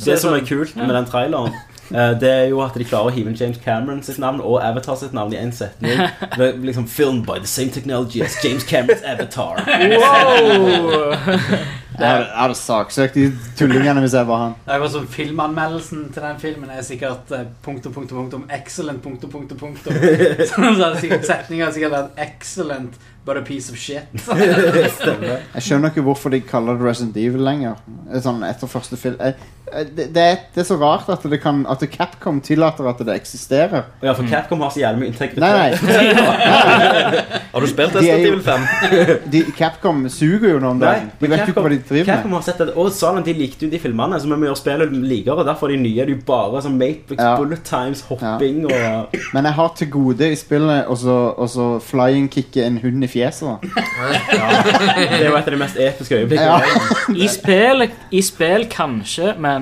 Det som er kult med den traileren, eh, det er jo at de klarer å hive inn James Cameron sitt navn og Avatar sitt navn i én setning. Det er liksom Filmed by the same technology as James Camerons Avatar. Jeg hadde- jeg hadde saksøkt de tullingene hvis jeg var han. Det er akkurat som Filmanmeldelsen til den filmen er sikkert eh, punktum, punktum, punktum, excellent, punktum, punktum, punktum. Sånn så hadde sikkert setningen sikkert vært excellent, but a piece of shit. Jeg skjønner ikke hvorfor de kaller det Resident Evil lenger. Sånn etter første film jeg, jeg- det, det, er, det er så rart at, det kan, at Capcom tillater at det eksisterer. Og ja, for Capcom har så jævlig mye integritet. Nei, nei. Har du spilt De er Resident jo- Evil 5? De, Capcom suger jo nå om dagen. De men vet jo ikke hva de driver Capcom med. har sett at, Og Salen de likte jo de filmene, så vi må gjøre spillet likere. Derfor er de nye. Det er jo bare sånn Matrix, Ja. Bullet Times, hopping og Men jeg har til gode i spillet å så- å så flying kicke en hund i fjeset. da. Det er jo et av de mest episke øyeblikkene. Ja. I spill, I spill kanskje, men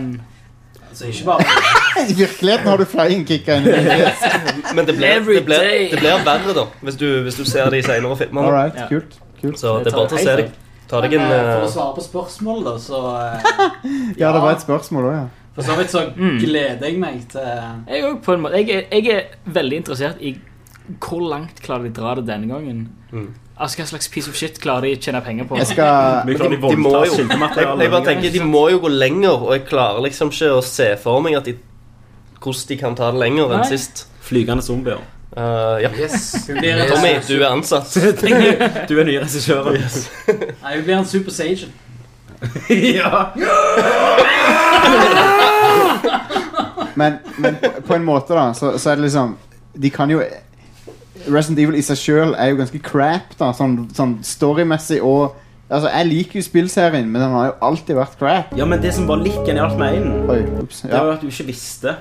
Så ikke bare I virkeligheten har du flying kicka inn. Men det blir, det blir, det blir verre, da, hvis du, hvis du ser de senere filmene. Alright, kult, kult. Så det er bare til å se deg. Ta deg en Men, eh, For å eh, svare på spørsmål, da, så eh, Ja, det var et spørsmål òg, ja. For så vidt så gleder jeg meg til eh, Jeg, er også på en måte, jeg, er- jeg er veldig interessert i hvor langt klarer de å dra det denne gangen. Altså, Hva slags piece of shit klarer de å tjene penger på? Jeg skal- Men de, de må jo jeg, jeg bare tenker, De må jo gå lenger, og jeg klarer liksom ikke å se for meg at de, hvordan de kan ta det lenger enn Nei. sist. Flygende zombier. Eh, ja. Yes. Tommy, du er ansatt. Du er nye regissøren. Nei, vi blir en Super Sage. ja. Men, men på- på en måte, da, så, så er det liksom De kan jo Resident Evil i seg sjøl er jo ganske crap, da, sånn, sånn storymessig og Altså, Jeg liker jo spillserien, men den har jo alltid vært crap. ja, men det som var litt genialt med én, Oi, ups, det var ja. jo at du ikke visste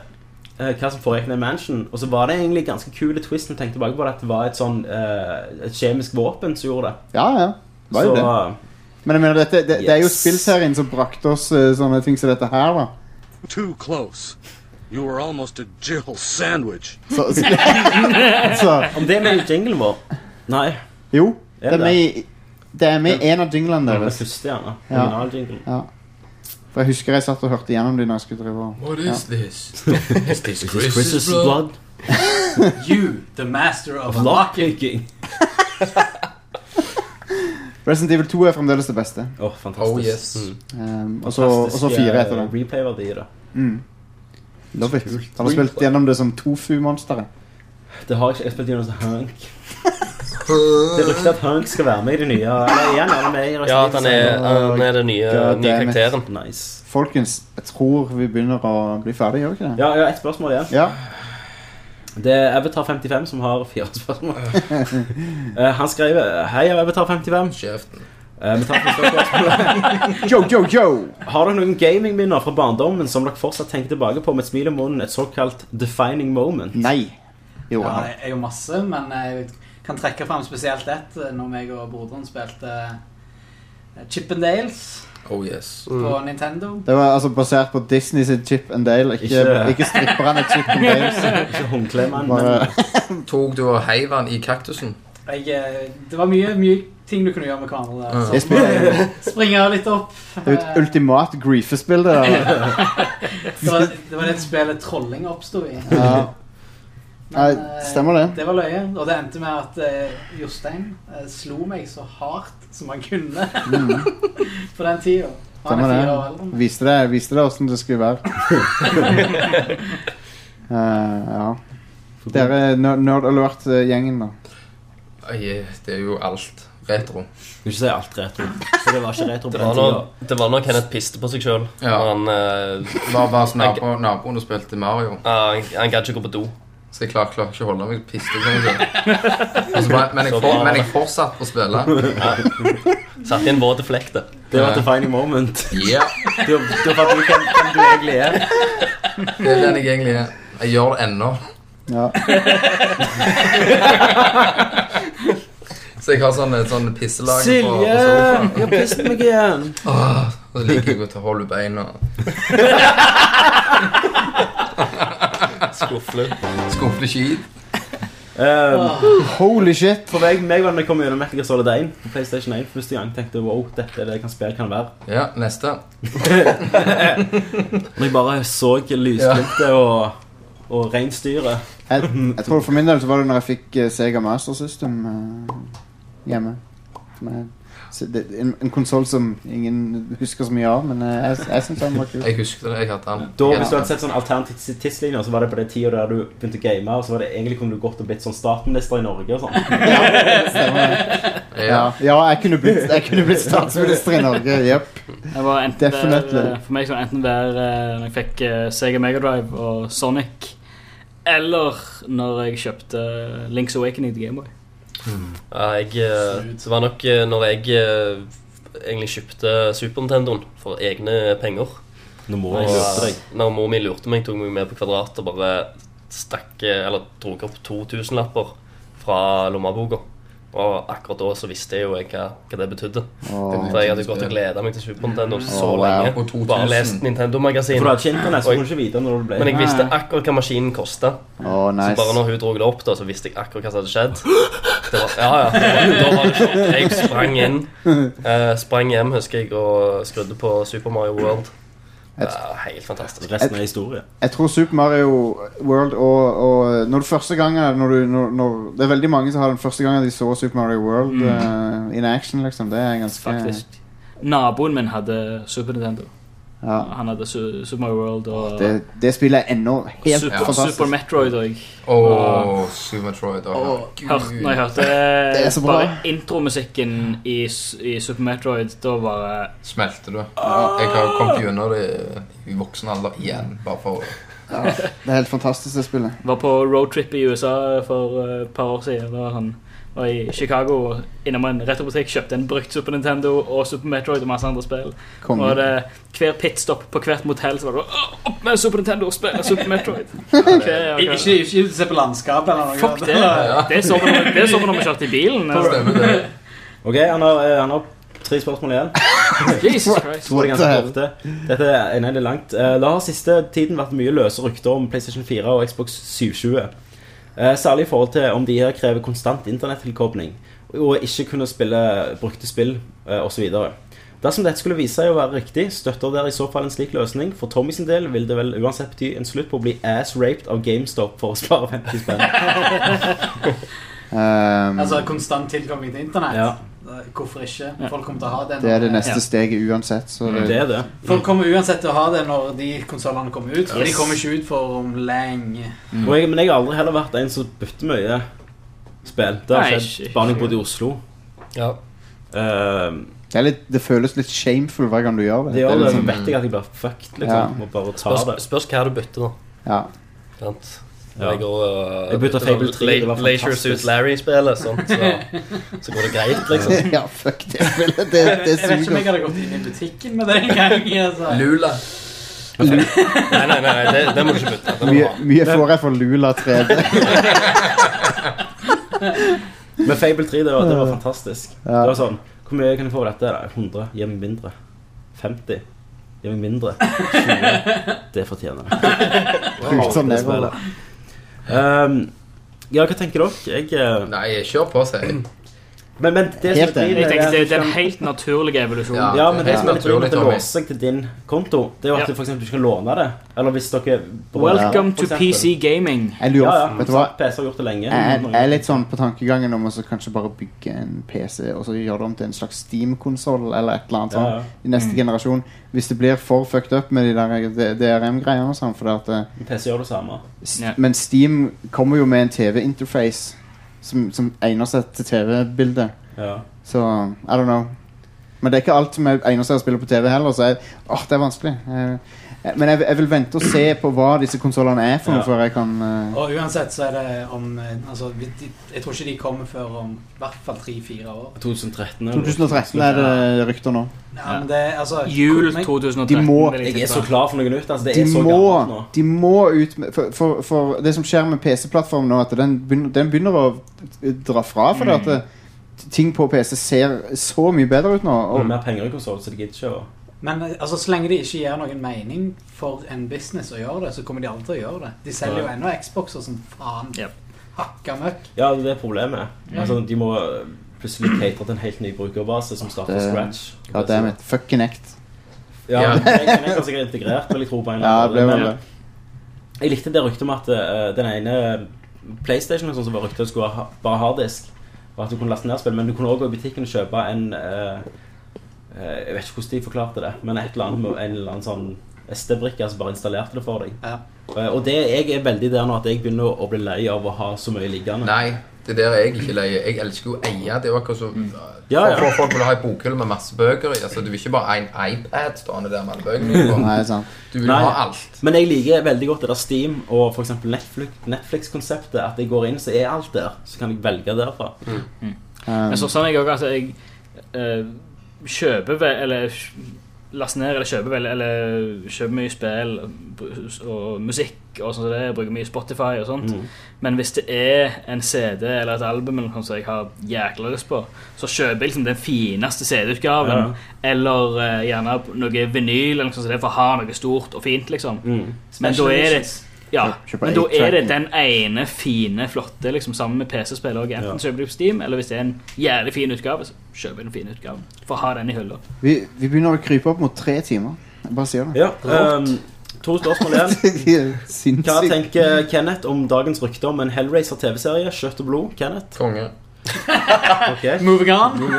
eh, hva som foregikk nede i mansion. Og så var det egentlig ganske kule twist når du tenkte tilbake på det, at det var et sånn eh, et kjemisk våpen som gjorde det. ja, ja. Det var jo så det. Men jeg mener, dette, det, det er jo Yes. spillserien som brakte oss eh, sånne ting som dette her, da. Too close. You were almost a Jill sandwich. Så, så, så eh, Om det er med i jinglen vår Nei. Jo, Er det er det? med i det er med i en av jinglene Det var den deres. første, gjerne. Ja. Originaljinglen. Ja. For jeg husker jeg satt og hørte gjennom de når jeg skulle drive og What ja. is this? Is this Chris's blood? You, the master of Lock locking. picking. Resident Evil 2 er fremdeles det beste. Åh, fantastisk. Oh, yes. Um, og så og så fire etter det. Replay-verdi i det. Mm. Love it. Han har spilt gjennom det som Tofu-monsteret. Det har ikke ekspert Jonas Hank. sånn Det er ryktet at Hank skal være med i det nye. Eller igjen, han er med i Ja, at han er, han er den nye, God nye damn it. karakteren. Nice. Folkens, jeg tror vi begynner å bli ferdig, gjør vi ikke det? Ja, ja, et spørsmål igjen. Ja. Det er Avatar55 som har fire spørsmål. Eh, han skriver Hei, jeg er Avatar55. Kjeften. Eh, vi tar det første spørsmålet. Yo, yo, yo! Har dere noen gamingminner fra barndommen som dere fortsatt tenker tilbake på med et smil om munnen? Et såkalt defining moment? Nei. Jo, Ja, han- jeg er jo masse, men jeg kan trekke fram spesielt ett eh, når meg og broderen spilte eh, Chip and Dales Oh yes. Mm. på Nintendo. Det var altså basert på Disney sin Chip and Dale, ikke, Ikke- ikke, stripperne Chip and Dale. Ikke håndklemannen, Bare- men Tok du og heiv han i kaktusen? Jeg, eh, det var mye, mye ting du kunne gjøre med hverandre. Ja. der. Mm. Jeg spiller- Så Springe litt opp. Eh, Det er jo et ultimat griefespill, det der. Det var, det var det spillet trolling oppstod i. Ja. Nei, eh, stemmer det. Det var løye. Og det endte med at eh, Jostein eh, slo meg så hardt som han kunne på den tida. Og Mm. Han Stemmer er fire år det. eldre. enn meg. Viste det, viste det hvordan det skulle være. Eh, ja. Dere ner- nerd alert-gjengen, da. Ai, det er jo alt. Retro. Du ikke si alt retro. For det var ikke retro på Det var den tida. når- det var når Kenneth piste på seg sjøl. Ja. Han, eh, ah, Var bare hos nabo, naboen og spilte Mario. han, han gadd ikke gå på do. Så jeg klarer klar, ikke å holde meg piste. Men jeg, for, men jeg fortsatte å spille. Satt i en våt flekk, det. Det var defining moment. Ja, Du, du fant ut hvem, hvem du egentlig er. det er den jeg egentlig er. Jeg gjør det ennå. Ja. Så jeg har sånne, sånne pisselag på, på Silje! sofaen. Jeg har pisset meg igjen. Åh, og så liker jeg å ta hold i beina. Skuffle. Skumple skit. Um, Holy shit! for meg, meg var det når jeg kom gjennom Metal Gear Solid 1 på PlayStation 1 for første gang. Tenkte wow, dette er det jeg kan spille, kan være. Ja, neste. Når jeg bare så lysglimtet og, og reinsdyret. Jeg, jeg tror For min del så var det når jeg fikk eh, Sega Master System eh, hjemme. Som er- så det, en en konsoll som ingen husker så mye av, men eh, jeg, jeg syns den var kul. Jeg husker det. Jeg hadde den. Da, hvis du hadde sett sånn alternativ tidslinjer, så var det på den tida der du begynte å game, og så var det egentlig kunne du gått og blitt sånn statsminister i Norge og sånn. Ja, ja jeg kunne blitt, jeg kunne blitt statsminister i Norge. Jepp. Jeg var enten Definitely. der, eh, for meg så var det enten der eh, når jeg fikk eh, Sega Megadrive og Sonic, eller når jeg kjøpte eh, Links Awakening til Gameboy. Ja, jeg, eh, det var nok eh, når jeg eh, egentlig kjøpte Super Nintendoen for egne penger. Nå må Og, jeg løpe deg. eh, Når mor mi lurte meg, tok meg med på Kvadrat og bare stakk eh, Eller dro opp 2000-lapper fra lommeboka. Og akkurat da så visste jeg jo jeg hva, hva det betydde. Åh. For jeg hadde gått og gleda meg til Super Nintendo så Åh, wow. lenge. Og 2000. Bare lest Nintendo-magasinet. For du hadde ikke internett, så Og kunne du ikke vite når det ble. Men jeg visste Nei. akkurat hva maskinen kosta. Åh, nice. Så bare når hun dro det opp, da, så visste jeg akkurat hva som hadde skjedd. Det var, ja, ja. Da var, da var det sånn. Jeg sprang inn. eh, sprang hjem, husker jeg, og skrudde på Super Mario World. Det var helt fantastisk. Resten er historie. Jeg tror Super Mario World og, og når du første gangen når du, når, når, Det er veldig mange som har den første gangen de så Super Mario World Mm. eh, in action, liksom. Det er ganske Faktisk. Naboen min hadde Super Nintendo. Ja. Han hadde Su- Super Mario World og Det, det spillet er ennå helt Super, fantastisk. Super Metroid òg. Åh, Super Metroid og- Når jeg hørte Det er så bra. bare intromusikken i, s- i Super Metroid, da eh, bare Smelter du? Jeg har jo kommet gjennom det i voksen alder igjen, bare for Ja, det er helt fantastisk, det spillet. Var på roadtrip i USA for eh, et par år siden. Da var han var i Chicago og innom en retrobutikk, kjøpte en brukt Super Nintendo og Super Metroid og masse andre spill. Konge. Og det, hver pitstop på hvert motell så var det bare, «Åh, opp med Super Nintendo og spill Super Metroid. Ik- Ikke, ikke se på landskapet eller noe. Fuck det. Det så vi når- det så vi når vi kjørte i bilen. altså. Ok, han har, eh, han har tre spørsmål igjen. Jesus Christ. To er ganske korte. Dette er, nei, det er langt. Eh, Det har siste tiden vært mye løse rykter om PlayStation 4 og Xbox 720. Eh, Særlig i forhold til om de her krever konstant internettilkobling og ikke kunne spille brukte spill eh, og så videre Dersom dette skulle vise seg å være riktig, støtter dere i så fall en slik løsning. For Tommy sin del vil det vel uansett bety en slutt på å bli ass-raped av GameStop for å spare 50 spenn. Um, Altså konstant tilkobling til internett. Ja. Hvorfor ikke? Folk kommer til å ha det. det er det når- neste Ja. steget uansett. Så Mm. Det er det. Folk kommer uansett til å ha det når de konsollene kommer ut. For Yes. de kommer ikke ut for om lenge. Og jeg, men jeg har aldri heller vært en som bytter mye spill. Det har Nei, skjedd ikke- bare når jeg bodde i Oslo. Eh, Ja. Det, er litt, det føles litt shameful hver gang du gjør det. det gjør er det, så liksom- vet jeg at jeg blir fucked, liksom. Ja. Må bare ta Spørs, det. spørs hva du bytter, da. Ja. Sant? Ja. Jeg, går, uh, Jeg bytter Fable 3, det var Leisure fantastisk. Suit Larry-spillet, sånt, så, så går det greit, liksom. Ja, fuck det spillet. Det, det jeg vet ikke om jeg suger. hadde gått inn i butikken med det en gang. Altså. Lula. Nei, nei, nei, nei, det, det må du ikke bytte. Det må du Mye, ha. mye får jeg for Lula 3D. Men Fable 3, det var, det var fantastisk. Ja. Det var sånn Hvor mye kan jeg få for dette? Da? 100? Gi meg mindre. 50? Gi meg mindre. 20? Det fortjener jeg. Wow. Sånn Det det var. spillet. Um, ja, hva tenker dere? Jeg eh, Nei, kjør på, sier jeg. Men, men det Helt som er enig. dritt, Jeg tenker Det det er at den du helt naturlige evolusjonen. kan- ja, men det som er litt dritt, at det Tommy. låser seg til din konto, det er jo at Ja. du for eksempel ikke kan låne det. Eller hvis dere Welcome For to eksempel. PC gaming. Jeg lurer, Ja, ja. vet du hva? PC har gjort det lenge. Jeg, jeg er litt sånn på tankegangen om å så kanskje bare bygge en PC og så gjøre det om til en slags Steam-konsoll eller et eller annet Ja, ja. sånt i neste generasjon. Hvis det blir for fucked up med de der eh, DRM-greiene og sånn, for det at eh, PC gjør det samme. St- Men Steam kommer jo med en TV-interface som, som egner seg til TV-bildet. Ja. Så I don't know. Men det er ikke alt som er- egner seg å spille på TV heller, så jeg, åh, det er vanskelig. Jeg, jeg- men jeg, jeg vil vente og se på hva disse konsollene er for noe Ja. før jeg kan eh, Og uansett så er det om eh, altså, vi- de- Jeg tror ikke de kommer før om i hvert fall tre-fire år. 2013 eller- 2013 er det rykter nå. Ja, men det, er, altså, Jul men- 2013. De må- vil Jeg er tippe. så klar for noe nytt. Altså, det De er så gammelt nå. må, de må ut med for, for, for det som skjer med PC-plattformen nå, at den begynner, den begynner å dra fra. For det at det- ting på PC ser så mye bedre ut nå. Og Og, mer penger i konsoll, så de gidder ikke å Men eh, altså, så lenge det ikke gir noen mening for en business å gjøre det, så kommer de aldri til å gjøre det. De selger jo Nei. ennå Xboxer som faen. Hakka møkk. Ja, det er problemet. Ja. Altså, de må plutselig cater til en helt ny brukerbase som starter fra scratch. det, ja, det er mitt fucking act. Ja, Ja. jeg jeg er ganske integrert, vil jeg tro, på en eller Ja, annen det ble måte. vel Men Jeg likte det ryktet om at eh, den ene PlayStation sånn som var ryktet skulle ha bare harddisk, og at du kunne laste ned spill, men du kunne også gå i butikken og kjøpe en eh, eh, Jeg vet ikke hvordan de forklarte det, men et eller annet med en eller annen sånn SD-brikke som bare installerte det for deg. Eh, og det, jeg er veldig der nå at jeg begynner å bli lei av å ha så mye liggende. Nei, det der er jeg ikke lei. Jeg elsker jo å eie. Det er jo akkurat som Ja, ja. For, for folk vil ha en bokhylle med masse bøker i. Altså, du vil ikke bare ha en iPad stående der med alle bøkene. Mm. på. Nei, sant. Du vil Nei, ha alt. Men jeg liker veldig godt det der Steam og for eksempel Netflix- Netflix-konseptet. At jeg går inn, så er alt der. Så kan jeg velge derfra. Um, Um, altså, Men så sånn er jeg også at jeg eh, kjøper ve- Eller laster ned eller kjøper, vel, eller kjøper mye spill og, og musikk og sånn som det, bruker mye Spotify og Mm. sånt. Mhm. Men hvis det er en CD eller et album eller noe sånt som jeg har jækla lyst på, så kjøper jeg liksom den fineste CD-utgaven. Eller eh, gjerne noe vinyl eller noe sånt som det, for å ha noe stort og fint, liksom. Mm. Men da Special er det editions. ja, Kjøp- kjøp men da er det 8-tracken. den ene fine, flotte liksom, sammen med PC-spill også. Enten Ja. kjøper du på Steam, eller hvis det er en jævlig fin utgave, så kjøper jeg den fine utgaven. For å ha den i hylla. Vi, vi begynner å krype opp mot tre timer. Jeg bare sier det. Ja, ehm, to spørsmål igjen. Hva tenker Kenneth om dagens rykte om en Hellraiser TV-serie? Kjøtt og blod? Kenneth? Konge. Moving on.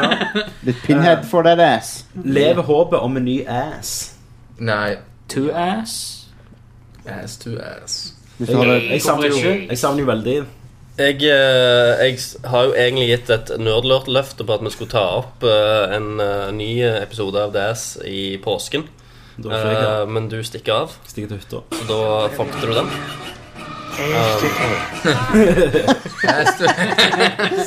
Litt pinhead for that ass. Lever håpet om en ny ass? Nei. Two ass? Ass to ass. Jeg, jeg, savner, jo, jeg savner jo veldig Jeg, eh, jeg s- har jo egentlig gitt et nerdlørt-løfte på at vi skulle ta opp eh, en eh, ny episode av DS i påsken. Da får jeg Eh, men du stikker av. Stikker til hytta. Så da fangte du den. Eh,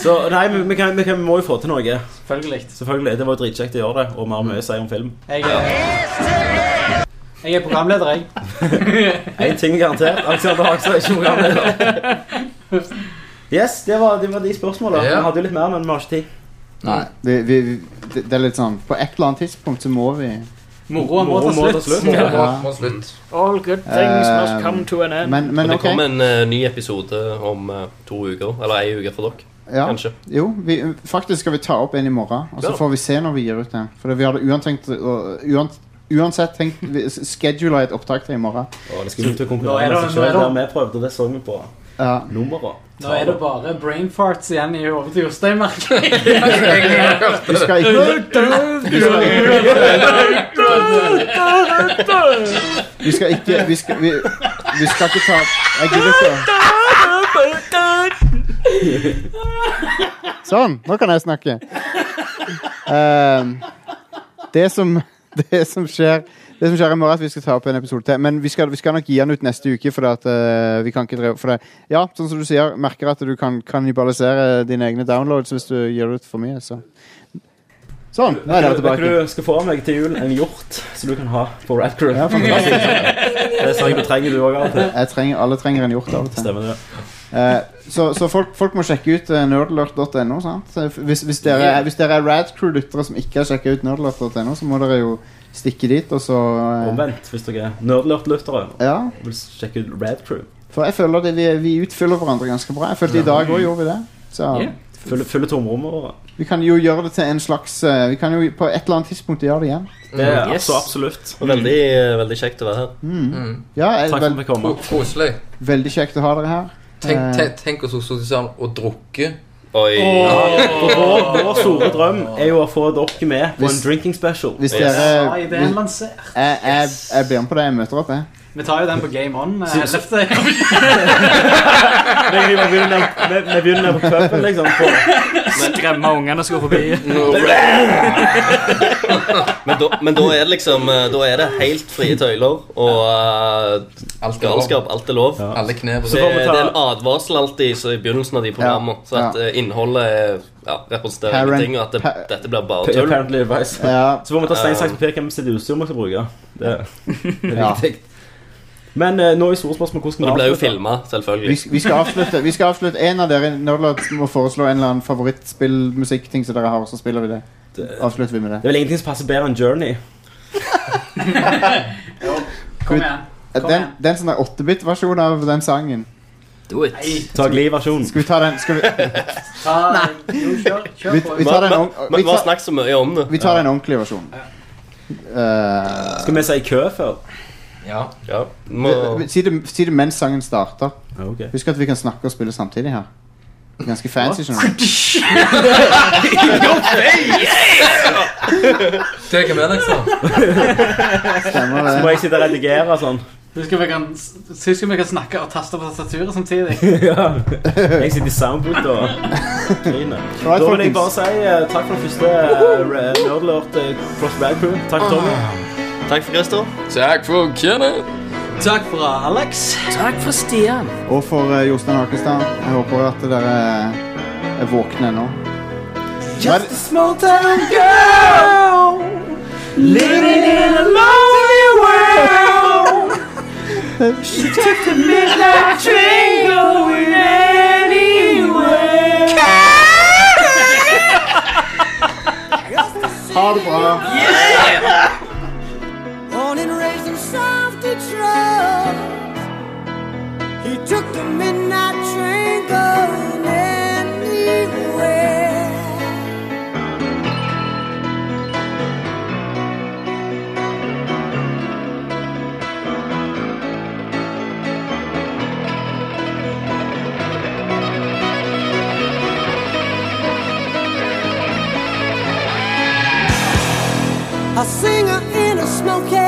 Så nei, men vi, kan, vi, kan, vi må jo få til noe. Selvfølgelig. Det var jo dritkjekt å gjøre det, og vi har mye å si om film. Jeg er, jeg er programleder, jeg. Én ting er garantert. Alexander Hagstad er ikke programleder. Yes, det var, det var de spørsmålene. Ja. Vi hadde jo litt mer, men vi har ikke tid. Nei, det, vi, vi, det, det er litt sånn På et eller annet tidspunkt så må vi Moroa må ta Moroa må ta slutt. slutt. Moroa Ja. må ta slutt. All good things must come to an end. Eh, men- men Og det ok. kommer en eh, ny episode om eh, to uker. Eller ei uke for dere. Ja. Kanskje. Jo, vi, faktisk skal vi ta opp en i morgen, og så Ja. får vi se når vi gir ut den. For vi hadde uantenkt, å- uan, uansett tenkt vi- s- schedula et opptak til i morgen. Å, det skulle til å Nå er konkurrere det- med seg nå er selv, det- der vi prøvde, det så vi på Ja. nummeret. Nå er det bare brain farts igjen i hodet til Jostein, merker jeg. Du skal Vi skal ikke Vi skal, vi, vi skal ikke ta Jeg gidder ikke. Sånn, nå kan jeg snakke. Ehm, det som Det som skjer Det som skjer i morgen, er at vi skal ta opp en episode til. Men vi skal, vi skal nok gi den ut neste uke, for at, eh, vi kan ikke drive for det. Ja, sånn som du sier, merker at du kan kannibalisere dine egne downloads hvis du gir det ut for mye. Så. Sånn, nå er dere Vet tilbake. du, Du skal få av meg til jul en hjort som du kan ha på Red Crew. Ja, fantastisk. det er sånn du trenger du òg av og til. Jeg trenger, alle trenger en hjort av og til. Stemmer det. Eh, så så folk, folk må sjekke ut eh, nerdlurt.no. sant? Så Hvis, hvis, dere, er- hvis dere er Radcrew-lyttere som ikke har sjekka ut nerdlurt.no, så må dere jo stikke dit, og så eh, Omvendt, hvis dere er nerdlurt-lyttere Ja, og vil sjekke ut Red Crew. For jeg føler det, vi, vi utfyller hverandre ganske bra. Jeg følte i dag òg gjorde vi det. Så Ja. Fylle, fylle tomrommet vårt. vi kan jo gjøre det til en slags eh, Vi kan jo på et eller annet tidspunkt gjøre det igjen. Det er Mm, så absolutt. Og Veldig, eh, veldig kjekt å være her. Mm. Ja, jeg, Takk for at vi kom. vel- Koselig. Veldig kjekt å ha dere her. Tenk, Eh, tenk, tenk å stå sammen og drukke. Oi. Og vår, vår store drøm er jo å få dere med på en Hvis- drinking special. Hvis Yes. dere Ja, ideen lansert. jeg, jeg, jeg ber om på det. Jeg møter opp, jeg. Vi tar jo den på Game On. eh, Så- 11. Vi vi begynner vi- vi begynner på puben, liksom. På. Skremme ungene som går forbi. Men, da, men da er det liksom eh, Da er det helt frie tøyler og eh, Alt er lov. galskap. Alt er lov. Alle knep og Så sånn. det, det er en advarsel alltid så i begynnelsen av de programmene. Så at eh, innholdet er- ja, representerer Parent- ting, og at det, pa- dette blir bare tull. Apparently advice. Ja. Så får vi ta stein, saks, papir hvem sitt utstyr vi skal bruke. Det, det er Ja. viktig. Men eh, nå er store spørsmål hvordan Og det ble jo avslutter? filma, selvfølgelig. Vi, vi, skal avslutte, vi skal avslutte En av dere Nerdlert må foreslå en eller annen favorittspillmusikkting som dere har, og så spiller vi det. Avslutter vi med det. Det er vel ingenting som passer bedre enn Journey. Kom igjen. Kom Den, den som er 8-bit-versjonen av den sangen. Do it. Ta Glee-versjonen. Skal vi ta den skal vi, Ta, jo, kjør, kjør Vi- på. vi tar den om- Men vi vi har tar- snakket så mye om det. vi tar den ordentlige versjonen. Eh, Skal vi si kø før? Ja. ja. vi- vi- Si det, si det mens sangen starter. ok. Husk at vi kan snakke og spille samtidig her. Det er Ganske fancy, skjønner du. Det kan være, Stemmer Så må jeg sitte og redigere og sånn. Husker vi kan, husker vi kan snakke og taste på tastaturet samtidig. Ja. Jeg sitter i soundboot og griner. Alright, Da vil jeg folkens. bare si eh, takk for den første eh, Nerdlord eh, Cross Bad Crew. Takk, Tommy. Takk for Christer. Takk for Kenneth. Takk for Alex. Takk for Stian. Og for eh, Jostein Hakestad. Jeg håper at dere eh, er våkne nå. Hva er det- Just a small town girl Living in a lonely world. She took the midnight train going anywhere. Ha det bra. Born and raised in South Detroit. He took the midnight train going anywhere. A singer in a smoky